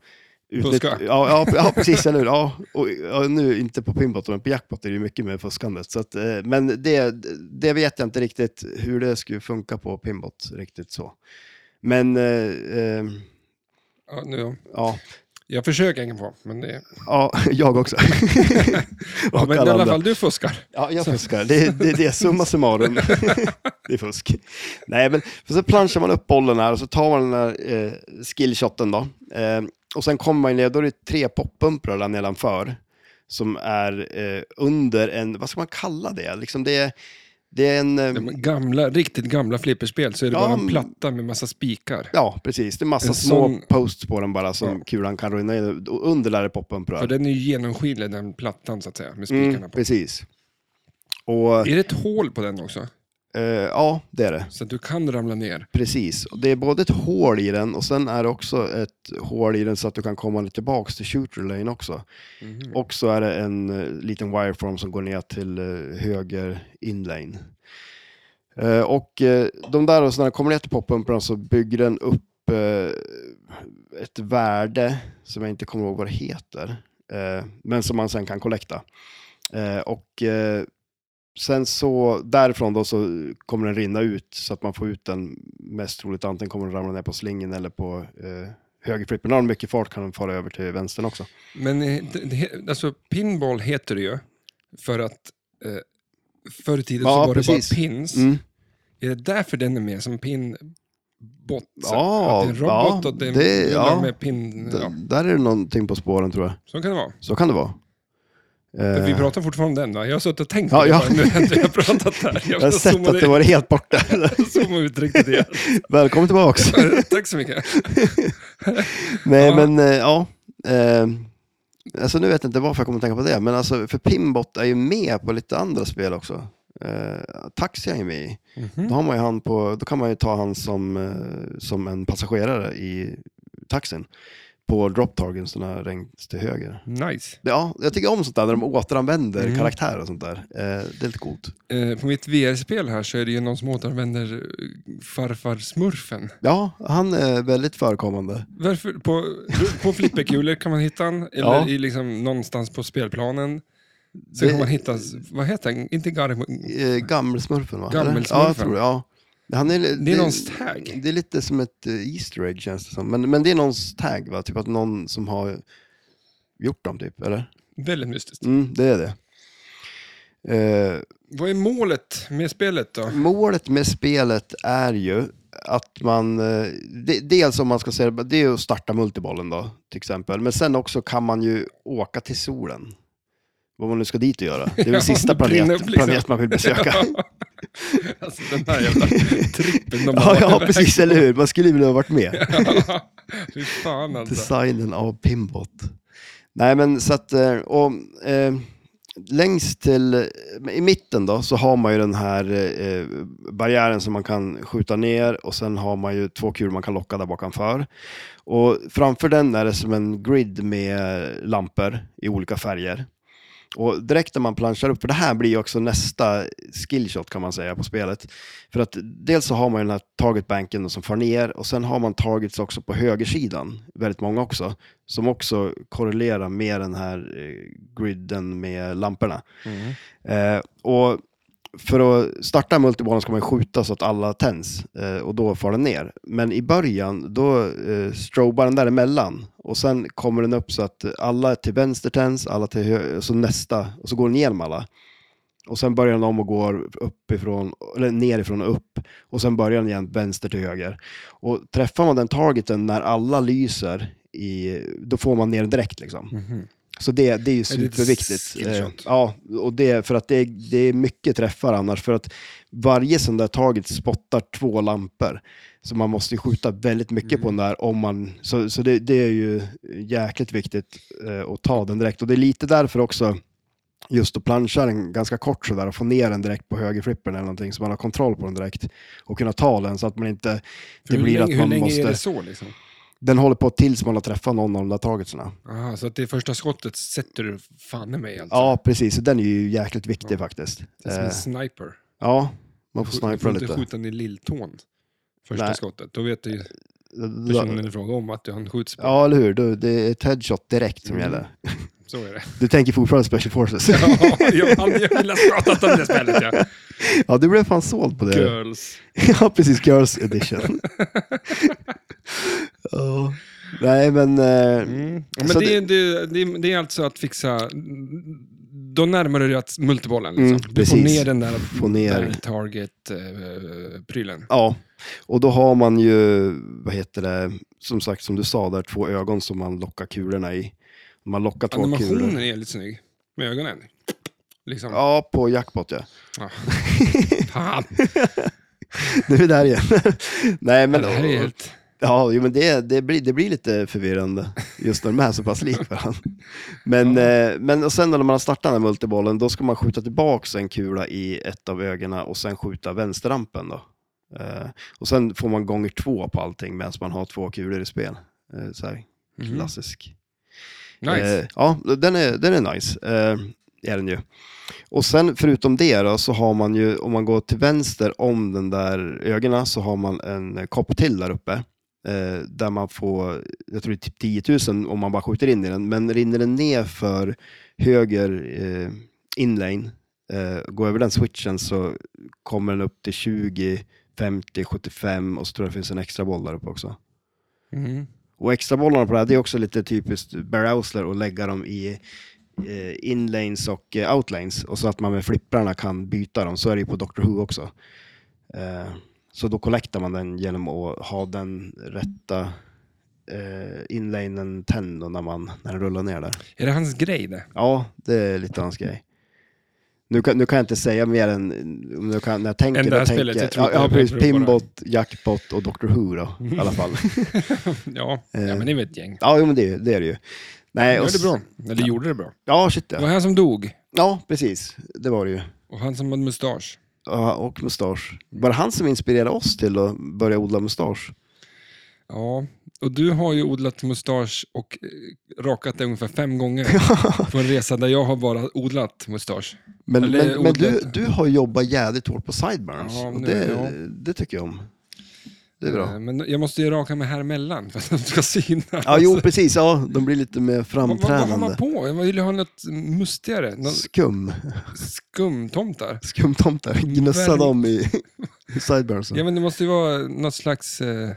Speaker 1: Fuska.
Speaker 2: Ja, ja, ja, precis. Eller hur? Ja, och, ja, nu inte på pinbot, men på jackpot är det ju mycket mer fuskandet. Så att, eh, men det, det vet jag inte riktigt hur det skulle funka på pinbot riktigt så. Men, eh, eh,
Speaker 1: Ja, nu, ja.
Speaker 2: ja,
Speaker 1: jag försöker hänga på, men det...
Speaker 2: ja, <laughs> jag också. Och
Speaker 1: <laughs> Ja, men i
Speaker 2: alla
Speaker 1: alla
Speaker 2: andra.
Speaker 1: fall, du fuskar.
Speaker 2: Ja, jag fuskar. Det är det, är det summa summarum. <laughs> det är fusk. Nej, men för så planchar man upp bollen här och så tar man den här eh, skillshoten då. Eh, och sen kommer man ner, då är det tre poppumprar där nedanför. Som är eh, under en, vad ska man kalla det? Liksom det, är- det är en... Eh,
Speaker 1: De gamla, riktigt gamla flipperspel så är det
Speaker 2: Ja,
Speaker 1: bara en
Speaker 2: men-
Speaker 1: platta med massa spikar.
Speaker 2: ja, precis. Det är massa
Speaker 1: En
Speaker 2: små
Speaker 1: sån-
Speaker 2: posts på den bara som
Speaker 1: Ja.
Speaker 2: kulan kan rinna in. Och under där är poppumprar.
Speaker 1: För den är ju genomskinlig, den plattan så att säga, med spikarna
Speaker 2: Mm,
Speaker 1: på.
Speaker 2: precis. Och,
Speaker 1: Är det ett hål på den också?
Speaker 2: Eh, ja, det är det.
Speaker 1: Så att du kan ramla ner.
Speaker 2: Precis. Och det är både ett hål i den och sen är det också ett hål i den så att du kan komma tillbaks till shooter lane också. Och så är det en eh, liten wireform som går ner till eh, höger inlane. Eh, och eh, de där, och så när den kommer ner till poppumprarna så bygger den upp eh, ett värde som jag inte kommer ihåg vad det heter. Eh, men som man sen kan kollekta. Eh, och eh, sen så därifrån då så kommer den rinna ut så att man får ut den mest troligt. Antingen kommer den ramla ner på slingen eller på eh, högerflippen. Har den mycket fart kan den fara över till vänstern också.
Speaker 1: Men eh, det- det- alltså, pinball heter det ju för att eh, förr i tiden
Speaker 2: Ja,
Speaker 1: så var
Speaker 2: precis.
Speaker 1: det bara pins.
Speaker 2: Mm.
Speaker 1: Är det därför den är med som pinbot? Så
Speaker 2: Ja,
Speaker 1: att det är en robot
Speaker 2: ja,
Speaker 1: och det är
Speaker 2: det- ja.
Speaker 1: med pin...
Speaker 2: D-
Speaker 1: Ja,
Speaker 2: Där är det någonting på spåren tror jag.
Speaker 1: så kan det vara.
Speaker 2: Så kan det vara.
Speaker 1: Men vi
Speaker 2: Eh,
Speaker 1: pratar fortfarande om den va? Jag har suttit och tänkt
Speaker 2: Ja,
Speaker 1: på det
Speaker 2: ja.
Speaker 1: bara nu när vi har pratat
Speaker 2: <laughs>
Speaker 1: där.
Speaker 2: jag har sett att det var helt
Speaker 1: <laughs>
Speaker 2: borta.
Speaker 1: Zooma ut riktigt igen.
Speaker 2: Välkommen tillbaks. <laughs>
Speaker 1: Tack så mycket.
Speaker 2: Nej,
Speaker 1: Ja.
Speaker 2: men eh, ja. Eh, alltså nu vet jag inte varför jag kommer att tänka på det, men alltså för Pimbot är ju med på lite andra spel också. Eh, taxi är ju med i. Då, har man ju han på, då kan man ju ta han som, eh, som en passagerare i taxin på drop targets, den här längst till höger.
Speaker 1: Nice.
Speaker 2: Ja, jag tycker om sånt där när de återanvänder karaktärer och sånt där. Eh, det är lite coolt.
Speaker 1: Eh, på mitt VR-spel här så är det ju någon som återanvänder eh, farfar smurfen.
Speaker 2: Ja, han är väldigt förekommande.
Speaker 1: Varför, på, på flipperkulor kan man hitta den, eller
Speaker 2: Ja.
Speaker 1: i liksom någonstans på spelplanen. Så kan
Speaker 2: Det-
Speaker 1: man hitta, vad heter den? Inte Garm...
Speaker 2: Eh, Gammelsmurfen va?
Speaker 1: Gammelsmurfen.
Speaker 2: Ja, jag tror det. Ja. Han är, det,
Speaker 1: någons tag.
Speaker 2: Det är lite som ett eh, Easter egg känns det som. Men, men det är någons tag va? Typ att någon som har gjort dem typ, eller?
Speaker 1: Väldigt mystiskt.
Speaker 2: Mm, det är det. Eh,
Speaker 1: Vad är målet med spelet då? <laughs>
Speaker 2: målet med spelet är ju att man, eh, de- dels om man ska säga det, det är ju att starta multibollen då, till exempel. Men sen också kan man ju åka till solen. Vad man nu ska dit och göra. Det är
Speaker 1: <laughs>
Speaker 2: väl
Speaker 1: Ja,
Speaker 2: sista
Speaker 1: det brinner upp
Speaker 2: planet,
Speaker 1: liksom.
Speaker 2: planet man vill besöka.
Speaker 1: alltså den här jävla trippen de
Speaker 2: Ja,
Speaker 1: har
Speaker 2: ja
Speaker 1: varit iväg.
Speaker 2: precis, eller hur? Man skulle vilja ha
Speaker 1: <laughs>
Speaker 2: varit med.
Speaker 1: Fy fan alltså.
Speaker 2: Designen av Pimbot. Nej, men så att, eh, och, eh, längst till, eh, i mitten då, så har man ju den här eh, barriären som man kan skjuta ner och sen har man ju två kulor man kan locka där bakanför. Och framför den är det som en grid med lampor i olika färger. Och direkt när man planschar upp, för det här blir ju också nästa skillshot kan man säga på spelet. För att dels så har man ju den här targetbanken då som far ner och sen har man targets också på högersidan, väldigt många också, som också korrelerar med den här eh, griden med lamporna. Eh, och för att starta multibollen ska man ju skjuta så att alla tänds eh, och då far den ner. Men i början, då eh, strobar den däremellan och sen kommer den upp så att alla till vänster tänds, alla till höger, så nästa, och så går den igenom alla. Och sen börjar den om och går uppifrån, eller nerifrån och upp. Och sen börjar den igen vänster till höger. Och träffar man den targeten när alla lyser, i, då får man ner den direkt. Liksom.
Speaker 1: Mhm.
Speaker 2: Så det, det är ju
Speaker 1: Är det ett
Speaker 2: superviktigt.
Speaker 1: skill shot?
Speaker 2: Eh, Ja, och det, för att det, är- det är mycket träffar annars. För att varje sån där target spottar två lampor. Så man måste ju skjuta väldigt mycket på
Speaker 1: Mm.
Speaker 2: den där. Om man, så så det, det är ju jäkligt viktigt eh, att ta den direkt. Och det är lite därför också just att plancha den ganska kort sådär och få ner den direkt på högerflippen eller någonting så man har kontroll på den direkt och kunna ta den så att man inte...
Speaker 1: Hur
Speaker 2: Det blir
Speaker 1: länge,
Speaker 2: att
Speaker 1: hur
Speaker 2: man
Speaker 1: länge är det
Speaker 2: måste...
Speaker 1: så liksom?
Speaker 2: Den håller på tills man har träffat någon av de där targetsarna.
Speaker 1: Aha, så att det första skottet sätter du fan i mig alltså?
Speaker 2: Ja, precis. Så Den är ju jäkligt viktig faktiskt.
Speaker 1: Det är som
Speaker 2: Eh,
Speaker 1: en sniper.
Speaker 2: Ja, man får
Speaker 1: Du
Speaker 2: snipra
Speaker 1: får inte
Speaker 2: lite.
Speaker 1: skjuta den i lilltån. Första
Speaker 2: Nej. Eh,
Speaker 1: skottet. Då vet ju personen i fråga om att han skjuts på.
Speaker 2: Ja, eller hur. Du, det är ett headshot direkt som
Speaker 1: Mm.
Speaker 2: gäller.
Speaker 1: Så är det. <laughs>
Speaker 2: Du tänker fortfarande Special Forces.
Speaker 1: Ja, jag hade ju velat prata om det spelet. Ja.
Speaker 2: Eh. ja, du blev fan såld på det.
Speaker 1: Girls.
Speaker 2: <laughs> ja, precis. Girls
Speaker 1: <laughs>
Speaker 2: edition. ja. Nej, men... eh,
Speaker 1: Mm. Ja, Men
Speaker 2: Så
Speaker 1: det, är- det, det, är- det är alltså att fixa... Då närmar du dig att multibollen. Liksom.
Speaker 2: Mm,
Speaker 1: du får
Speaker 2: precis.
Speaker 1: ner den där eh,
Speaker 2: Få ner-
Speaker 1: target-prylen.
Speaker 2: Ja, och då har man ju, vad heter det, som sagt som du sa där, två ögon som man lockar kulorna i. Man lockar två
Speaker 1: Animationen
Speaker 2: kulor.
Speaker 1: är jävligt snygg. Med ögonen. Liksom.
Speaker 2: Ja, på jackpot ja. <laughs>
Speaker 1: Ah. Fan,
Speaker 2: Nu är vi där igen. <laughs> Nej, <laughs> men...
Speaker 1: det här är helt...
Speaker 2: Ja, jo, men det, det, blir, det blir lite förvirrande just när de är så pass lik varandra. Men, eh, men och sen när man har startat den här multibollen, då ska man skjuta tillbaka en kula i ett av ögonen och sen skjuta vänsterrampen. Då. Eh, och sen får man gånger två på allting medan man har två kulor i spel. Eh, så här,
Speaker 1: Mhm.
Speaker 2: klassisk.
Speaker 1: Mm. Nice.
Speaker 2: Eh, ja, den är, den är nice. Eh, är den ju. Och sen förutom det då, så har man ju, om man går till vänster om den där ögonen så har man en eh, kopp till där uppe. Eh, där man får, jag tror det är typ 10 000 om man bara skjuter in i den, men rinner den ner för höger eh, inlane, eh, går över den switchen så kommer den upp till 20, 50, 75 och så tror jag det finns en extra boll där uppe också.
Speaker 1: Mhm.
Speaker 2: Och extrabollarna på det här, det är också lite typiskt Barry Ausler att lägga dem i eh, inlanes och eh, outlanes. Och så att man med flipprarna kan byta dem. Så är det ju på Doctor Who också. Eh, så då collectar man den genom att ha den rätta eh, inlanen tänd då när, man, när den rullar ner där.
Speaker 1: Är det hans grej det?
Speaker 2: Ja, det är lite hans grej. Nu kan, nu kan jag inte säga mer än om jag kan, när jag tänker.
Speaker 1: Än det här
Speaker 2: jag tänker,
Speaker 1: spelet, jag tror
Speaker 2: ja,
Speaker 1: inte
Speaker 2: ja,
Speaker 1: jag
Speaker 2: precis.
Speaker 1: behöver prova det.
Speaker 2: Pinbot, Jackpot och Doctor Who då, i alla fall.
Speaker 1: Ja,
Speaker 2: Eh.
Speaker 1: ja men det är väl ett gäng.
Speaker 2: Ja, jo, men det, är- det är det ju. Nej,
Speaker 1: Gör
Speaker 2: och
Speaker 1: det
Speaker 2: s-
Speaker 1: bra. Eller gjorde det bra.
Speaker 2: Ja, shit
Speaker 1: Det
Speaker 2: ja.
Speaker 1: var han som dog.
Speaker 2: Ja, precis. Det var det ju.
Speaker 1: Och han som hade mustasch.
Speaker 2: Ja, och mustasch. Var det han som inspirerade oss till att börja odla mustasch?
Speaker 1: Ja, och du har ju odlat mustasch och eh, rakat det ungefär fem
Speaker 2: <laughs>
Speaker 1: gånger på en resa där jag har bara odlat mustasch.
Speaker 2: Men,
Speaker 1: Eller
Speaker 2: men, men du,
Speaker 1: odlat.
Speaker 2: du har jobbat jävligt hårt på sideburns.
Speaker 1: Ja,
Speaker 2: och
Speaker 1: nu-
Speaker 2: det,
Speaker 1: ja.
Speaker 2: det tycker jag om. Det är bra.
Speaker 1: Eh, Men jag måste ju raka mig här emellan för att de ska synas. Alltså,
Speaker 2: Ja, jo, precis. Ja, de blir lite mer
Speaker 1: Vad, vad, vad har man
Speaker 2: framträdande.
Speaker 1: på? Jag vill ju ha något mustigare. Något
Speaker 2: Skum.
Speaker 1: skumtomtar.
Speaker 2: Skumtomtar. Gnussa
Speaker 1: Verk-
Speaker 2: dem i, i sideburns.
Speaker 1: Mm, Ja, men det måste ju vara något slags... Eh,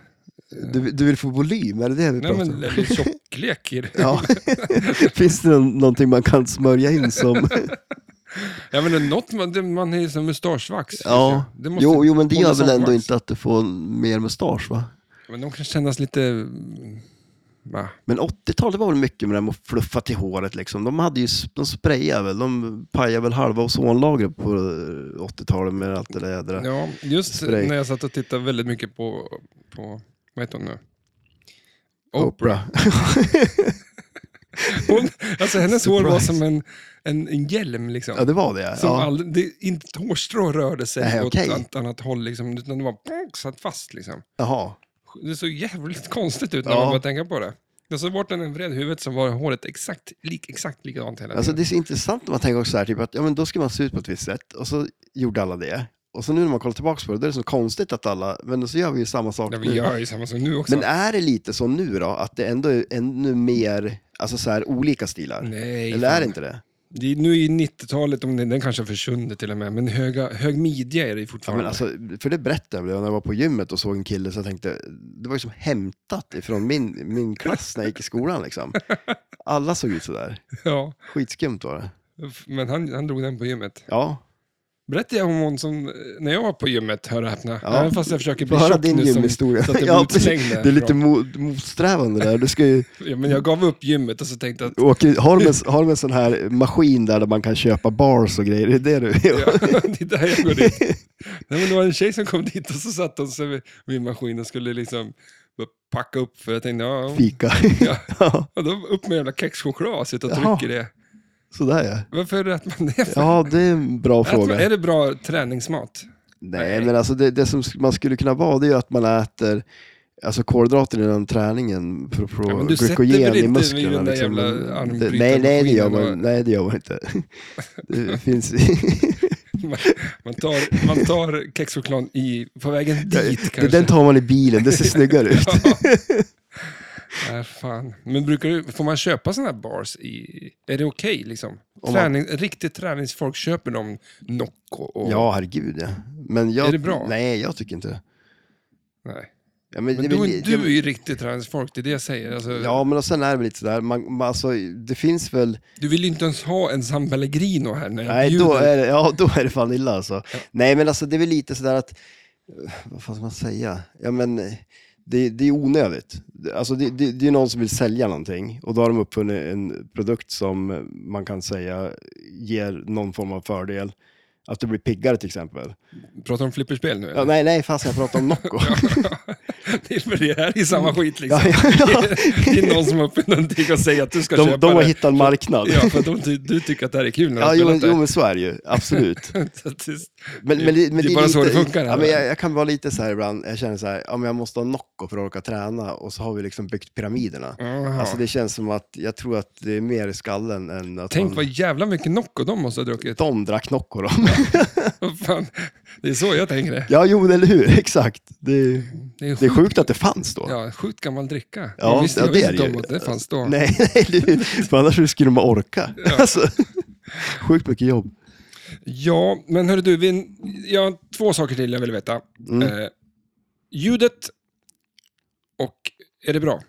Speaker 2: Du, du vill få volym, är det det
Speaker 1: nej,
Speaker 2: vi pratar
Speaker 1: men
Speaker 2: om?
Speaker 1: eller tjocklek i det.
Speaker 2: Ja. <laughs> Finns det någon, någonting man kan smörja in som...
Speaker 1: Ja, men något, man, det- man är ju som mustaschvax.
Speaker 2: Ja,
Speaker 1: Det måste-
Speaker 2: jo, jo, men det
Speaker 1: håller
Speaker 2: gör väl
Speaker 1: som
Speaker 2: ändå
Speaker 1: vax.
Speaker 2: inte att du får mer mustasch va?
Speaker 1: Men de kan kännas lite... mm, Va?
Speaker 2: Men 80-talet var väl mycket med det här med att fluffa till håret liksom. De hade ju, de sprayade väl, de pajade väl halva ozonlagret på eh, 80-talet med allt det där jädra.
Speaker 1: Ja, just
Speaker 2: Spray.
Speaker 1: när jag satt och tittade väldigt mycket på, på vad heter hon nu?
Speaker 2: Oprah.
Speaker 1: <laughs>
Speaker 2: <laughs>
Speaker 1: Hon, alltså hennes hår var
Speaker 2: Surprise.
Speaker 1: som en, en, en hjälm liksom.
Speaker 2: Ja, det var det ja.
Speaker 1: Som
Speaker 2: ja.
Speaker 1: aldrig, det, inte ett hårstrå rörde sig
Speaker 2: Nej,
Speaker 1: åt
Speaker 2: okej.
Speaker 1: ett annat håll, liksom, utan det var pong, satt fast. Liksom.
Speaker 2: Jaha.
Speaker 1: Det såg jävligt konstigt ut när
Speaker 2: Ja.
Speaker 1: man började tänka på det. Och så vart den en vred huvudet så var håret exakt, lik, exakt likadant hela
Speaker 2: Alltså
Speaker 1: tiden.
Speaker 2: det är så intressant när man tänker också så här, typ att ja, men då ska man se ut på ett visst sätt och så gjorde alla det. Och så nu när man kollar tillbaka på det, då är det så konstigt att alla, men så gör vi ju samma sak
Speaker 1: Ja,
Speaker 2: nu.
Speaker 1: vi gör ju samma som nu också.
Speaker 2: Men är det lite så nu då, att det ändå är ännu mer, alltså så här olika stilar?
Speaker 1: Nej,
Speaker 2: Eller är
Speaker 1: fan.
Speaker 2: det inte det?
Speaker 1: Det är, nu är ju 90-talet, om den, den kanske har försvunnit till och med, men höga, hög midja är det ju
Speaker 2: Ja,
Speaker 1: fortfarande.
Speaker 2: men alltså, för det berättade jag väl när jag var på gymmet och såg en kille så jag tänkte, det var ju som hämtat ifrån min, min klass när jag gick i skolan liksom. Alla såg ut sådär.
Speaker 1: <laughs> ja,
Speaker 2: Skitskumt var det.
Speaker 1: men han, han drog den på gymmet.
Speaker 2: Ja,
Speaker 1: Berättade jag om hon som, eh, när jag var på gymmet, hör och häpna,
Speaker 2: Ja.
Speaker 1: även fast jag försöker
Speaker 2: få
Speaker 1: bli
Speaker 2: höra
Speaker 1: tjock
Speaker 2: din
Speaker 1: nu som, så
Speaker 2: gymhistoria.
Speaker 1: att
Speaker 2: <laughs>
Speaker 1: jag
Speaker 2: Ja,
Speaker 1: blir
Speaker 2: precis.
Speaker 1: utslängd
Speaker 2: det är lite
Speaker 1: därifrån.
Speaker 2: mo- motsträvande där. Du ska ju
Speaker 1: ja, men jag gav upp gymmet och så tänkte jag att <laughs>
Speaker 2: åka, har, de en, har de en sån här maskin där, där man kan köpa bars och grejer? Är det det du
Speaker 1: Ja, det är där
Speaker 2: <laughs>
Speaker 1: jag går dit. Nej, men det var en tjej som kom dit och så satt hon sig vid, vid maskinen och skulle liksom bara packa upp för jag tänkte, ja,
Speaker 2: <laughs> Fika?
Speaker 1: Ja.
Speaker 2: Ja,
Speaker 1: och då upp med jävla kexchoklad och sitta och
Speaker 2: Jaha.
Speaker 1: trycker det.
Speaker 2: sådär ja.
Speaker 1: Varför rätt man det för?
Speaker 2: Ja, det är en bra
Speaker 1: Att man-
Speaker 2: fråga.
Speaker 1: Är det bra träningsmat?
Speaker 2: Nej, men alltså det, det som man skulle kunna vara det är ju att man äter alltså kolhydrater innan träningen för att få
Speaker 1: Ja, men du sätter väl
Speaker 2: glykogen i
Speaker 1: inte vid
Speaker 2: musklerna.
Speaker 1: den där
Speaker 2: liksom.
Speaker 1: jävla
Speaker 2: det,
Speaker 1: armbrytarmaskinen
Speaker 2: nej, nej, det gör
Speaker 1: och-
Speaker 2: man, nej, det gör
Speaker 1: <laughs>
Speaker 2: man inte. Det finns...
Speaker 1: Man, man tar, man tar kexchokladen i, på vägen dit kanske.
Speaker 2: det, den tar man i bilen, det ser
Speaker 1: <laughs>
Speaker 2: snyggare ut.
Speaker 1: Nej, fan. Men brukar du, får man köpa sådana här bars? I, är det okej liksom?
Speaker 2: Om man-
Speaker 1: Träning, Riktigt träningsfolk köper de Nocco och...
Speaker 2: Ja, herregud ja. Men jag,
Speaker 1: Är det bra?
Speaker 2: Nej, jag tycker inte det.
Speaker 1: Nej.
Speaker 2: ja,
Speaker 1: Men
Speaker 2: det-
Speaker 1: du,
Speaker 2: det-
Speaker 1: du är ju riktigt träningsfolk, det är det jag säger. Alltså,
Speaker 2: Ja, men och sen är det väl lite sådär, man, man, alltså, det finns väl...
Speaker 1: Du vill ju inte ens ha en San Pellegrino här när jag
Speaker 2: Nej,
Speaker 1: bjuder.
Speaker 2: då är, det, ja, då är det fan illa alltså. Nej, men alltså det är väl lite sådär att, vad fan ska man säga? Ja, men eh, det, det är onödigt. Alltså det, det, det är någon som vill sälja någonting och då har de uppfunnit en produkt som eh, man kan säga ger någon form av fördel. Att du blir piggare till exempel.
Speaker 1: Pratar om flipperspel nu?
Speaker 2: Ja,
Speaker 1: eller? <laughs>
Speaker 2: nej, nej, fan ska jag prata om Nocco?
Speaker 1: Det är i samma skit liksom.
Speaker 2: Mm. Ja, ja, ja.
Speaker 1: <laughs> Det är någon som har uppfunnit någonting och säger att du ska köpa
Speaker 2: De, de har
Speaker 1: det.
Speaker 2: hittat en marknad.
Speaker 1: Ja, för att de, ty- du tycker att det här är kul när de
Speaker 2: Ja,
Speaker 1: har spelat
Speaker 2: jo, men- jo,
Speaker 1: det.
Speaker 2: men så är det ju. Absolut.
Speaker 1: Så att det-
Speaker 2: Men,
Speaker 1: Det-
Speaker 2: men,
Speaker 1: det är bara så det funkar,
Speaker 2: Ja,
Speaker 1: eller?
Speaker 2: men jag, jag kan vara lite så här ibland, jag känner så här, ja, men jag måste ha Nocco för att orka träna och så har vi liksom byggt pyramiderna.
Speaker 1: Jaha.
Speaker 2: Alltså det känns som att jag tror att det är mer i skallen än att
Speaker 1: Tänk
Speaker 2: man,
Speaker 1: vad jävla mycket Nocco de måste ha druckit.
Speaker 2: de drack Nocco då. <laughs>
Speaker 1: Vad Fan, det är så jag tänker det.
Speaker 2: ja, jo, eller hur, <laughs> exakt. Det,
Speaker 1: Det är
Speaker 2: det är
Speaker 1: sjukt,
Speaker 2: sjukt att det fanns då.
Speaker 1: ja, sjukt gammal dricka.
Speaker 2: Ja,
Speaker 1: jag visste,
Speaker 2: ja,
Speaker 1: jag
Speaker 2: det
Speaker 1: visste
Speaker 2: är
Speaker 1: inte
Speaker 2: det
Speaker 1: om
Speaker 2: ju.
Speaker 1: att det fanns då.
Speaker 2: <laughs> Nej, nej, eller hur? för annars skulle man orka. Alltså, <laughs> sjukt mycket jobb.
Speaker 1: Ja, men hörru du, vi, jag har två saker till jag vill veta.
Speaker 2: Mm.
Speaker 1: Eh, ljudet och är det bra?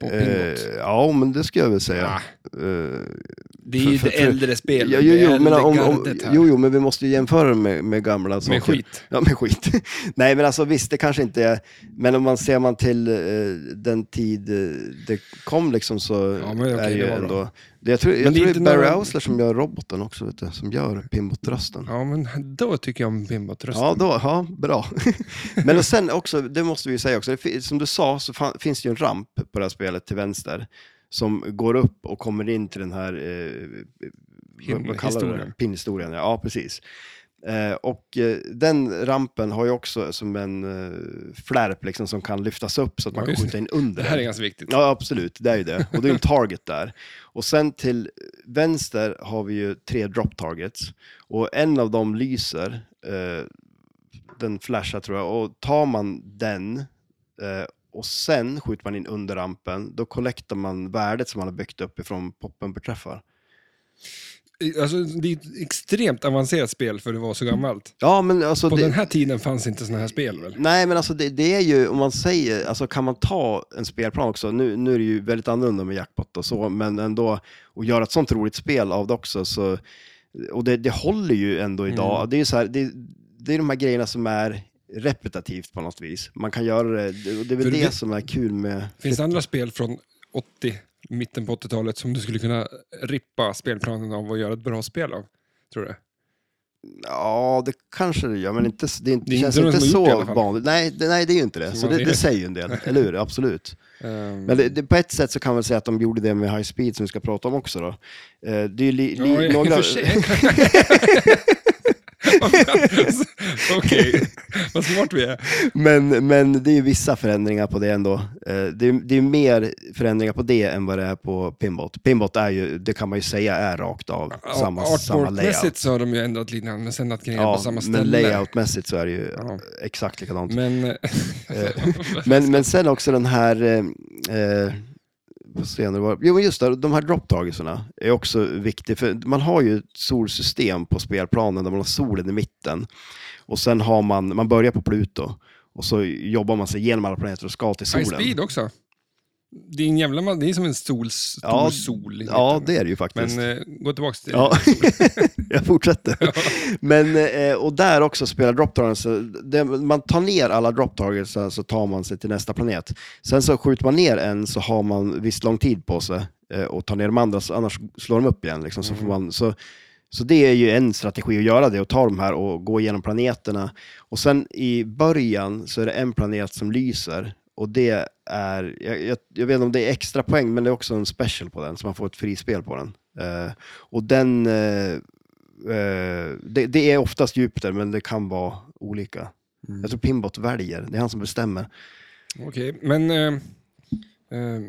Speaker 1: På
Speaker 2: Eh,
Speaker 1: Pinbot.
Speaker 2: ja, men det skulle jag väl säga.
Speaker 1: Ah,
Speaker 2: Eh,
Speaker 1: det är ju
Speaker 2: för-
Speaker 1: det
Speaker 2: för- för-
Speaker 1: äldre spelet,
Speaker 2: Ja, jo,
Speaker 1: det
Speaker 2: jo, men,
Speaker 1: äldre
Speaker 2: om, om,
Speaker 1: gardet här.
Speaker 2: jo, jo, men vi måste ju jämföra det med, med gamla saker.
Speaker 1: med skit.
Speaker 2: Ja, med skit. <laughs> Nej, men alltså visst, det kanske inte är... Men om man ser man till eh, den tid eh, det kom liksom så
Speaker 1: Ja, men okej,
Speaker 2: är det ju
Speaker 1: det var bra.
Speaker 2: ändå... Det, jag tror,
Speaker 1: Men
Speaker 2: jag
Speaker 1: det är
Speaker 2: tror det
Speaker 1: inte
Speaker 2: är Barry
Speaker 1: några-
Speaker 2: Ausler som gör roboten också, vet du, som gör pinbotrösten. Ja.
Speaker 1: Ja, men då tycker jag om Pinbot-rösten.
Speaker 2: Ja, då, ja, bra. <laughs> Men och sen också, det måste vi ju säga också, det fi- som du sa så fan, finns det ju en ramp på det här spelet till vänster som går upp och kommer in till den här eh,
Speaker 1: Pin-
Speaker 2: vad kallar du det?
Speaker 1: historien.
Speaker 2: Pinnhistorien, ja, ja precis. Eh, och eh, den rampen har ju också som en eh, flärp liksom, som kan lyftas upp så att
Speaker 1: Ja,
Speaker 2: man kan
Speaker 1: just
Speaker 2: skjuta in under.
Speaker 1: Det här är
Speaker 2: den.
Speaker 1: ganska viktigt.
Speaker 2: Ja, absolut, det är ju det. Och det är ju en target där. Och sen till vänster har vi ju tre drop targets. Och en av dem lyser, eh, den flashar tror jag, och tar man den eh, och sen skjuter man in under rampen, då kollektar man värdet som man har byggt upp ifrån poppen per träffar.
Speaker 1: Alltså, det är ett extremt avancerat spel för det var så gammalt.
Speaker 2: Ja, men alltså...
Speaker 1: På
Speaker 2: det...
Speaker 1: den här tiden fanns inte såna här spel väl?
Speaker 2: Nej, men alltså det, det är ju, om man säger, alltså kan man ta en spelplan också, nu, nu är det ju väldigt annorlunda med jackpot och så, men ändå, och göra ett sånt roligt spel av det också, så, och det, det håller ju ändå idag.
Speaker 1: Mm.
Speaker 2: Det är ju så här, det, det är de här grejerna som är repetitivt på något vis. Man kan göra det, det- och det
Speaker 1: För
Speaker 2: är väl det
Speaker 1: det-
Speaker 2: som är kul med...
Speaker 1: Finns det andra spel från 80, mitten på 80-talet som du skulle kunna rippa spelplanen av och göra ett bra spel av? Tror du?
Speaker 2: Ja, det kanske det gör, men inte, det, är inte-
Speaker 1: Det är
Speaker 2: känns
Speaker 1: inte de
Speaker 2: inte
Speaker 1: som har gjort det i alla
Speaker 2: så
Speaker 1: fall.
Speaker 2: vanligt. Nej, det- nej, det är ju inte det.
Speaker 1: Som
Speaker 2: Så
Speaker 1: man
Speaker 2: det,
Speaker 1: ser.
Speaker 2: det säger ju en del, eller hur? Absolut.
Speaker 1: Ehm,
Speaker 2: Men det, det, på ett sätt så kan man säga att de gjorde det med High Speed som vi ska prata om också. Då. Eh, det är ju li, li,
Speaker 1: ja, i och
Speaker 2: några...
Speaker 1: för
Speaker 2: <laughs>
Speaker 1: sig. Okej, vad smart vi är.
Speaker 2: men, men det är ju vissa förändringar på det ändå. Eh, det, är, det är mer förändringar på det än vad det är på Pinbot. Pinbot är ju, det kan man ju säga, är rakt av samma, samma
Speaker 1: Artworkmässigt
Speaker 2: layout.
Speaker 1: så har de ju ändrat lite grann, men sen att grejerna
Speaker 2: Ja,
Speaker 1: på samma ställe.
Speaker 2: men layoutmässigt så är det ju
Speaker 1: Ja.
Speaker 2: exakt likadant.
Speaker 1: Men, eh, <laughs>
Speaker 2: Men, men sen också den här, eh, eh, vad senare var Jo men just det, de här dropptagelserna är också viktiga. För man har ju ett solsystem på spelplanen där man har solen i mitten. Och sen har man, man börjar på Pluto. Och så jobbar man sig genom alla planeter och ska till
Speaker 1: High
Speaker 2: solen.
Speaker 1: Speed också. Det är, en jävla, ma- det är som en sol, stor
Speaker 2: Ja,
Speaker 1: sol. i
Speaker 2: Ja,
Speaker 1: mitten.
Speaker 2: det är det ju faktiskt.
Speaker 1: Men eh, gå tillbaka till
Speaker 2: Ja, <laughs> jag fortsätter. Men, eh, och där också spelar drop targets, så det, man tar ner alla drop targets så- så tar man sig till nästa planet. Sen så skjuter man ner en så har man visst lång tid på sig eh, och tar ner de andra, så annars slår de upp igen. Liksom, så, får man, så, så det är ju en strategi att göra det, och ta de här och gå igenom planeterna. Och sen i början så är det en planet som lyser. Och det är, jag, jag, jag vet inte om det är extra poäng, men det är också en special på den, så man får ett frispel på den. Eh, och den eh, Eh, det, det är oftast Jupiter, men det kan vara olika.
Speaker 1: Mm.
Speaker 2: Jag tror Pimbot väljer, det är han som bestämmer.
Speaker 1: Okej, men... ehm, ehm,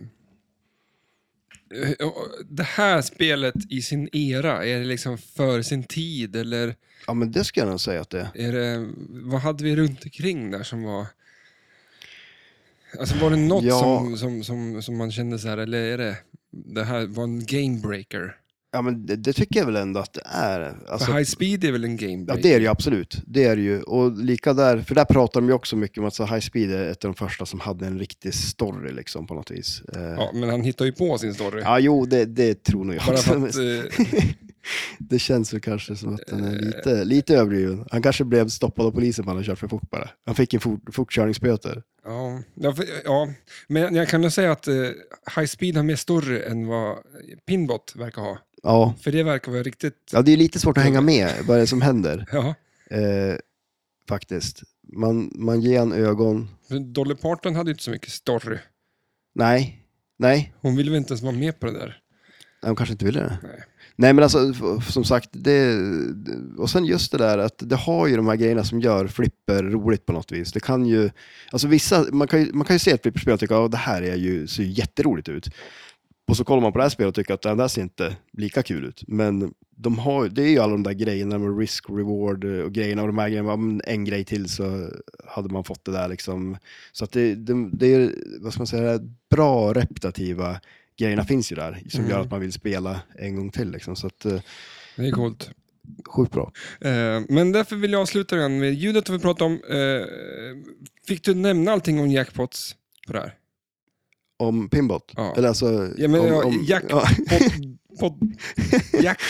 Speaker 1: eh, det här spelet i sin era, är det liksom för sin tid eller
Speaker 2: Ja, men det ska jag nog säga att det är.
Speaker 1: är det, vad hade vi runt omkring där som var... Alltså var det något
Speaker 2: Ja.
Speaker 1: som, som, som, som man kände så här, eller är det, det här var en gamebreaker?
Speaker 2: Ja, men det, det tycker jag väl ändå att det är. Alltså,
Speaker 1: För high speed är väl en
Speaker 2: ja,
Speaker 1: gamebreaker?
Speaker 2: det är det ju absolut. Det är det ju. Och lika där, för där pratar de ju också mycket om att så High Speed är ett av de första som hade en riktig story liksom på något vis. Eh, ja.
Speaker 1: Ja, men han hittar ju på sin story.
Speaker 2: jo, det, det tror nog jag
Speaker 1: Bara
Speaker 2: också.
Speaker 1: för att, eh,
Speaker 2: <laughs> Det känns väl kanske som att den är lite, lite överdriven. Han kanske blev stoppad av polisen för att han hade kört för fort bara. Han fick en fort, fortkörningsböter.
Speaker 1: Ja, ja, för- ja, men jag kan nog säga att eh, High Speed har mer större än vad Pinbot verkar ha.
Speaker 2: Ja,
Speaker 1: För det verkar vara riktigt... eh,
Speaker 2: Ja, det är lite svårt att hänga med vad det är som händer.
Speaker 1: Ja,
Speaker 2: Eh, faktiskt. Man, man ger en ögon.
Speaker 1: Men Dolly Parton hade ju inte så mycket story.
Speaker 2: Nej, nej,
Speaker 1: Hon ville väl inte ens vara med på det där.
Speaker 2: de kanske inte ville det.
Speaker 1: Nej.
Speaker 2: Nej men alltså f- som sagt, det, och sen just det där att det har ju de här grejerna som gör flipper roligt på något vis. Det kan ju, alltså vissa, man kan ju, man kan ju se ett flipperspel och tycka att det här är ju, ser ju jätteroligt ut. Och så kollar man på det här spelet och tycker att det där ser inte lika kul ut. Men de har, det är ju alla de där grejerna med risk, reward och grejerna och de här grejerna. Ja, men En grej till så hade man fått det där liksom. Så att det, det, det är, vad ska man säga, bra repetitiva grejerna finns ju där som gör
Speaker 1: Mm.
Speaker 2: att man vill spela en gång till. Liksom. Så att, eh,
Speaker 1: Det är coolt.
Speaker 2: sjukt bra.
Speaker 1: Eh, Men därför vill jag avsluta den med ljudet vi pratade om. Eh, Fick du nämna allting om jackpots på det här?
Speaker 2: Om Pinbot?
Speaker 1: Ja.
Speaker 2: Eller alltså...
Speaker 1: Ja, men,
Speaker 2: om,
Speaker 1: ja,
Speaker 2: om-
Speaker 1: Jack-
Speaker 2: ja. <laughs>
Speaker 1: Pod, pod, jack.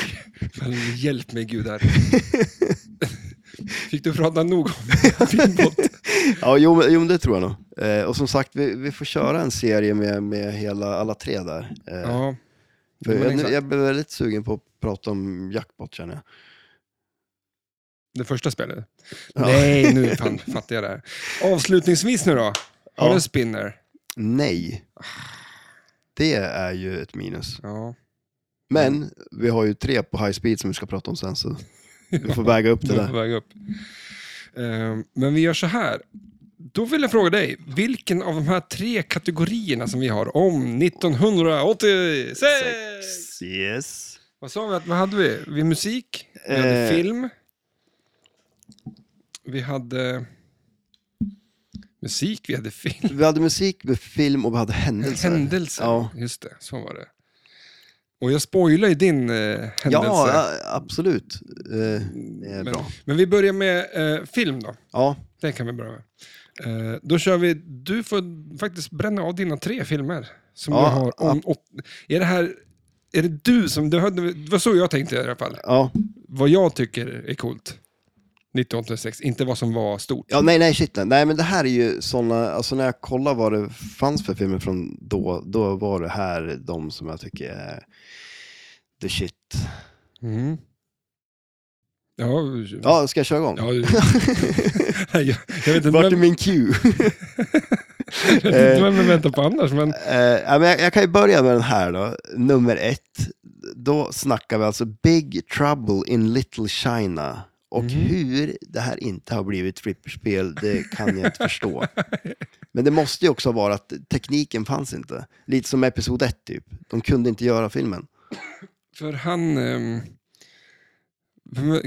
Speaker 1: Fan, hjälp mig
Speaker 2: <laughs>
Speaker 1: gud här. Fick du prata nog om <laughs> Pinbot?
Speaker 2: Ja, jo, men- jo, men det tror jag nog. Eh, och som sagt, vi, vi får köra en serie med, med hela, alla tre där. Eh,
Speaker 1: Ja,
Speaker 2: för
Speaker 1: men
Speaker 2: jag, nu-
Speaker 1: exakt.
Speaker 2: jag blev väldigt sugen på att prata om Jackpot känner jag.
Speaker 1: det första spelet.
Speaker 2: Ja.
Speaker 1: Nej, nu fan, fattar jag det här. Avslutningsvis nu då. Har
Speaker 2: Ja.
Speaker 1: du en spinner?
Speaker 2: Nej. Det är ju ett minus.
Speaker 1: Ja.
Speaker 2: Men vi har ju tre på high speed som vi ska prata om
Speaker 1: <laughs>
Speaker 2: sen, så vi får väga upp det
Speaker 1: Du är på
Speaker 2: där.
Speaker 1: väg upp. Ehm, Men vi gör så här. Då vill jag fråga dig, vilken av de här tre kategorierna som vi har om 1986?
Speaker 2: Yes.
Speaker 1: Vad sa vi att, vad hade vi? Vi musik, vi hade
Speaker 2: Eh.
Speaker 1: film, vi hade musik, vi hade film,
Speaker 2: Vi hade musik, vi hade film och vi hade händelser.
Speaker 1: händelser.
Speaker 2: Ja.
Speaker 1: Just det, så var det. Och jag spoilar ju din eh, händelse.
Speaker 2: Ja, ja, absolut. Eh, det är
Speaker 1: men,
Speaker 2: bra.
Speaker 1: men vi börjar med eh, film då.
Speaker 2: Ja,
Speaker 1: Den kan vi börja med. Eh, då kör vi, du får faktiskt bränna av dina tre filmer. Som
Speaker 2: Ja,
Speaker 1: du har om, åt, är det här, är det du som, det var- det var så jag tänkte i alla fall.
Speaker 2: ja.
Speaker 1: Vad jag tycker är coolt. 1986, inte vad som var stort.
Speaker 2: Ja, nej, nej, shit. nej. Nej, men det här är ju sådana, alltså när jag kollar vad det fanns för filmer från då, då var det här de som jag tycker är the shit.
Speaker 1: Mm. Ja, ja. <laughs>
Speaker 2: Ja, ska jag köra igång?
Speaker 1: jag, jag vet inte
Speaker 2: Vart är
Speaker 1: vem,
Speaker 2: min cue?
Speaker 1: jag vet inte vem jag väntar på annars, men
Speaker 2: Eh, ja, men jag, jag kan ju börja med den här då, nummer ett. Då snackar vi alltså Big Trouble in Little China. Och hur det här inte har blivit flipperspel, det kan jag inte förstå. Men det måste ju också vara att tekniken fanns inte. Lite som Episod 1 typ. De kunde inte göra filmen.
Speaker 1: för han... ehm, vem-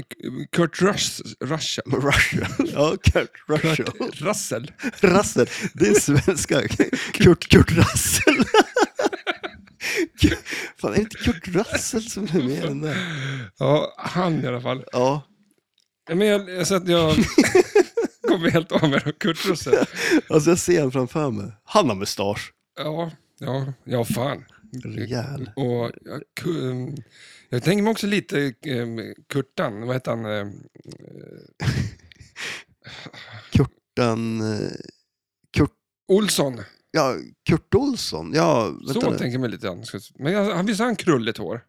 Speaker 1: Kurt Rush, Rush,
Speaker 2: Russia. Ja, Kurt Russia. <laughs>
Speaker 1: Kurt Russell.
Speaker 2: Rassel. Det är svenska. Kurt, Kurt Rassel. Kurt- <laughs> Fan, är det inte Kurt Rassel som är med i den där?
Speaker 1: Ja, han i alla fall.
Speaker 2: Ja.
Speaker 1: Ja, Men jag, jag, så att
Speaker 2: <laughs>
Speaker 1: jag kommer helt av mig av Kurt Russell.
Speaker 2: Alltså jag ser han framför mig. Han har mustasch.
Speaker 1: Ja, ja, ja fan.
Speaker 2: Rejäl.
Speaker 1: Och jag, ku- ehm, jag tänker mig också lite ehm, Kurtan, vad heter han? ehm,
Speaker 2: Kurtan... eh, Kurt...
Speaker 1: Olsson.
Speaker 2: Ja, Kurt Olsson. Ja,
Speaker 1: Så
Speaker 2: vänta nu.
Speaker 1: tänker jag mig lite grann. Men jag, han visst har han krulligt hår?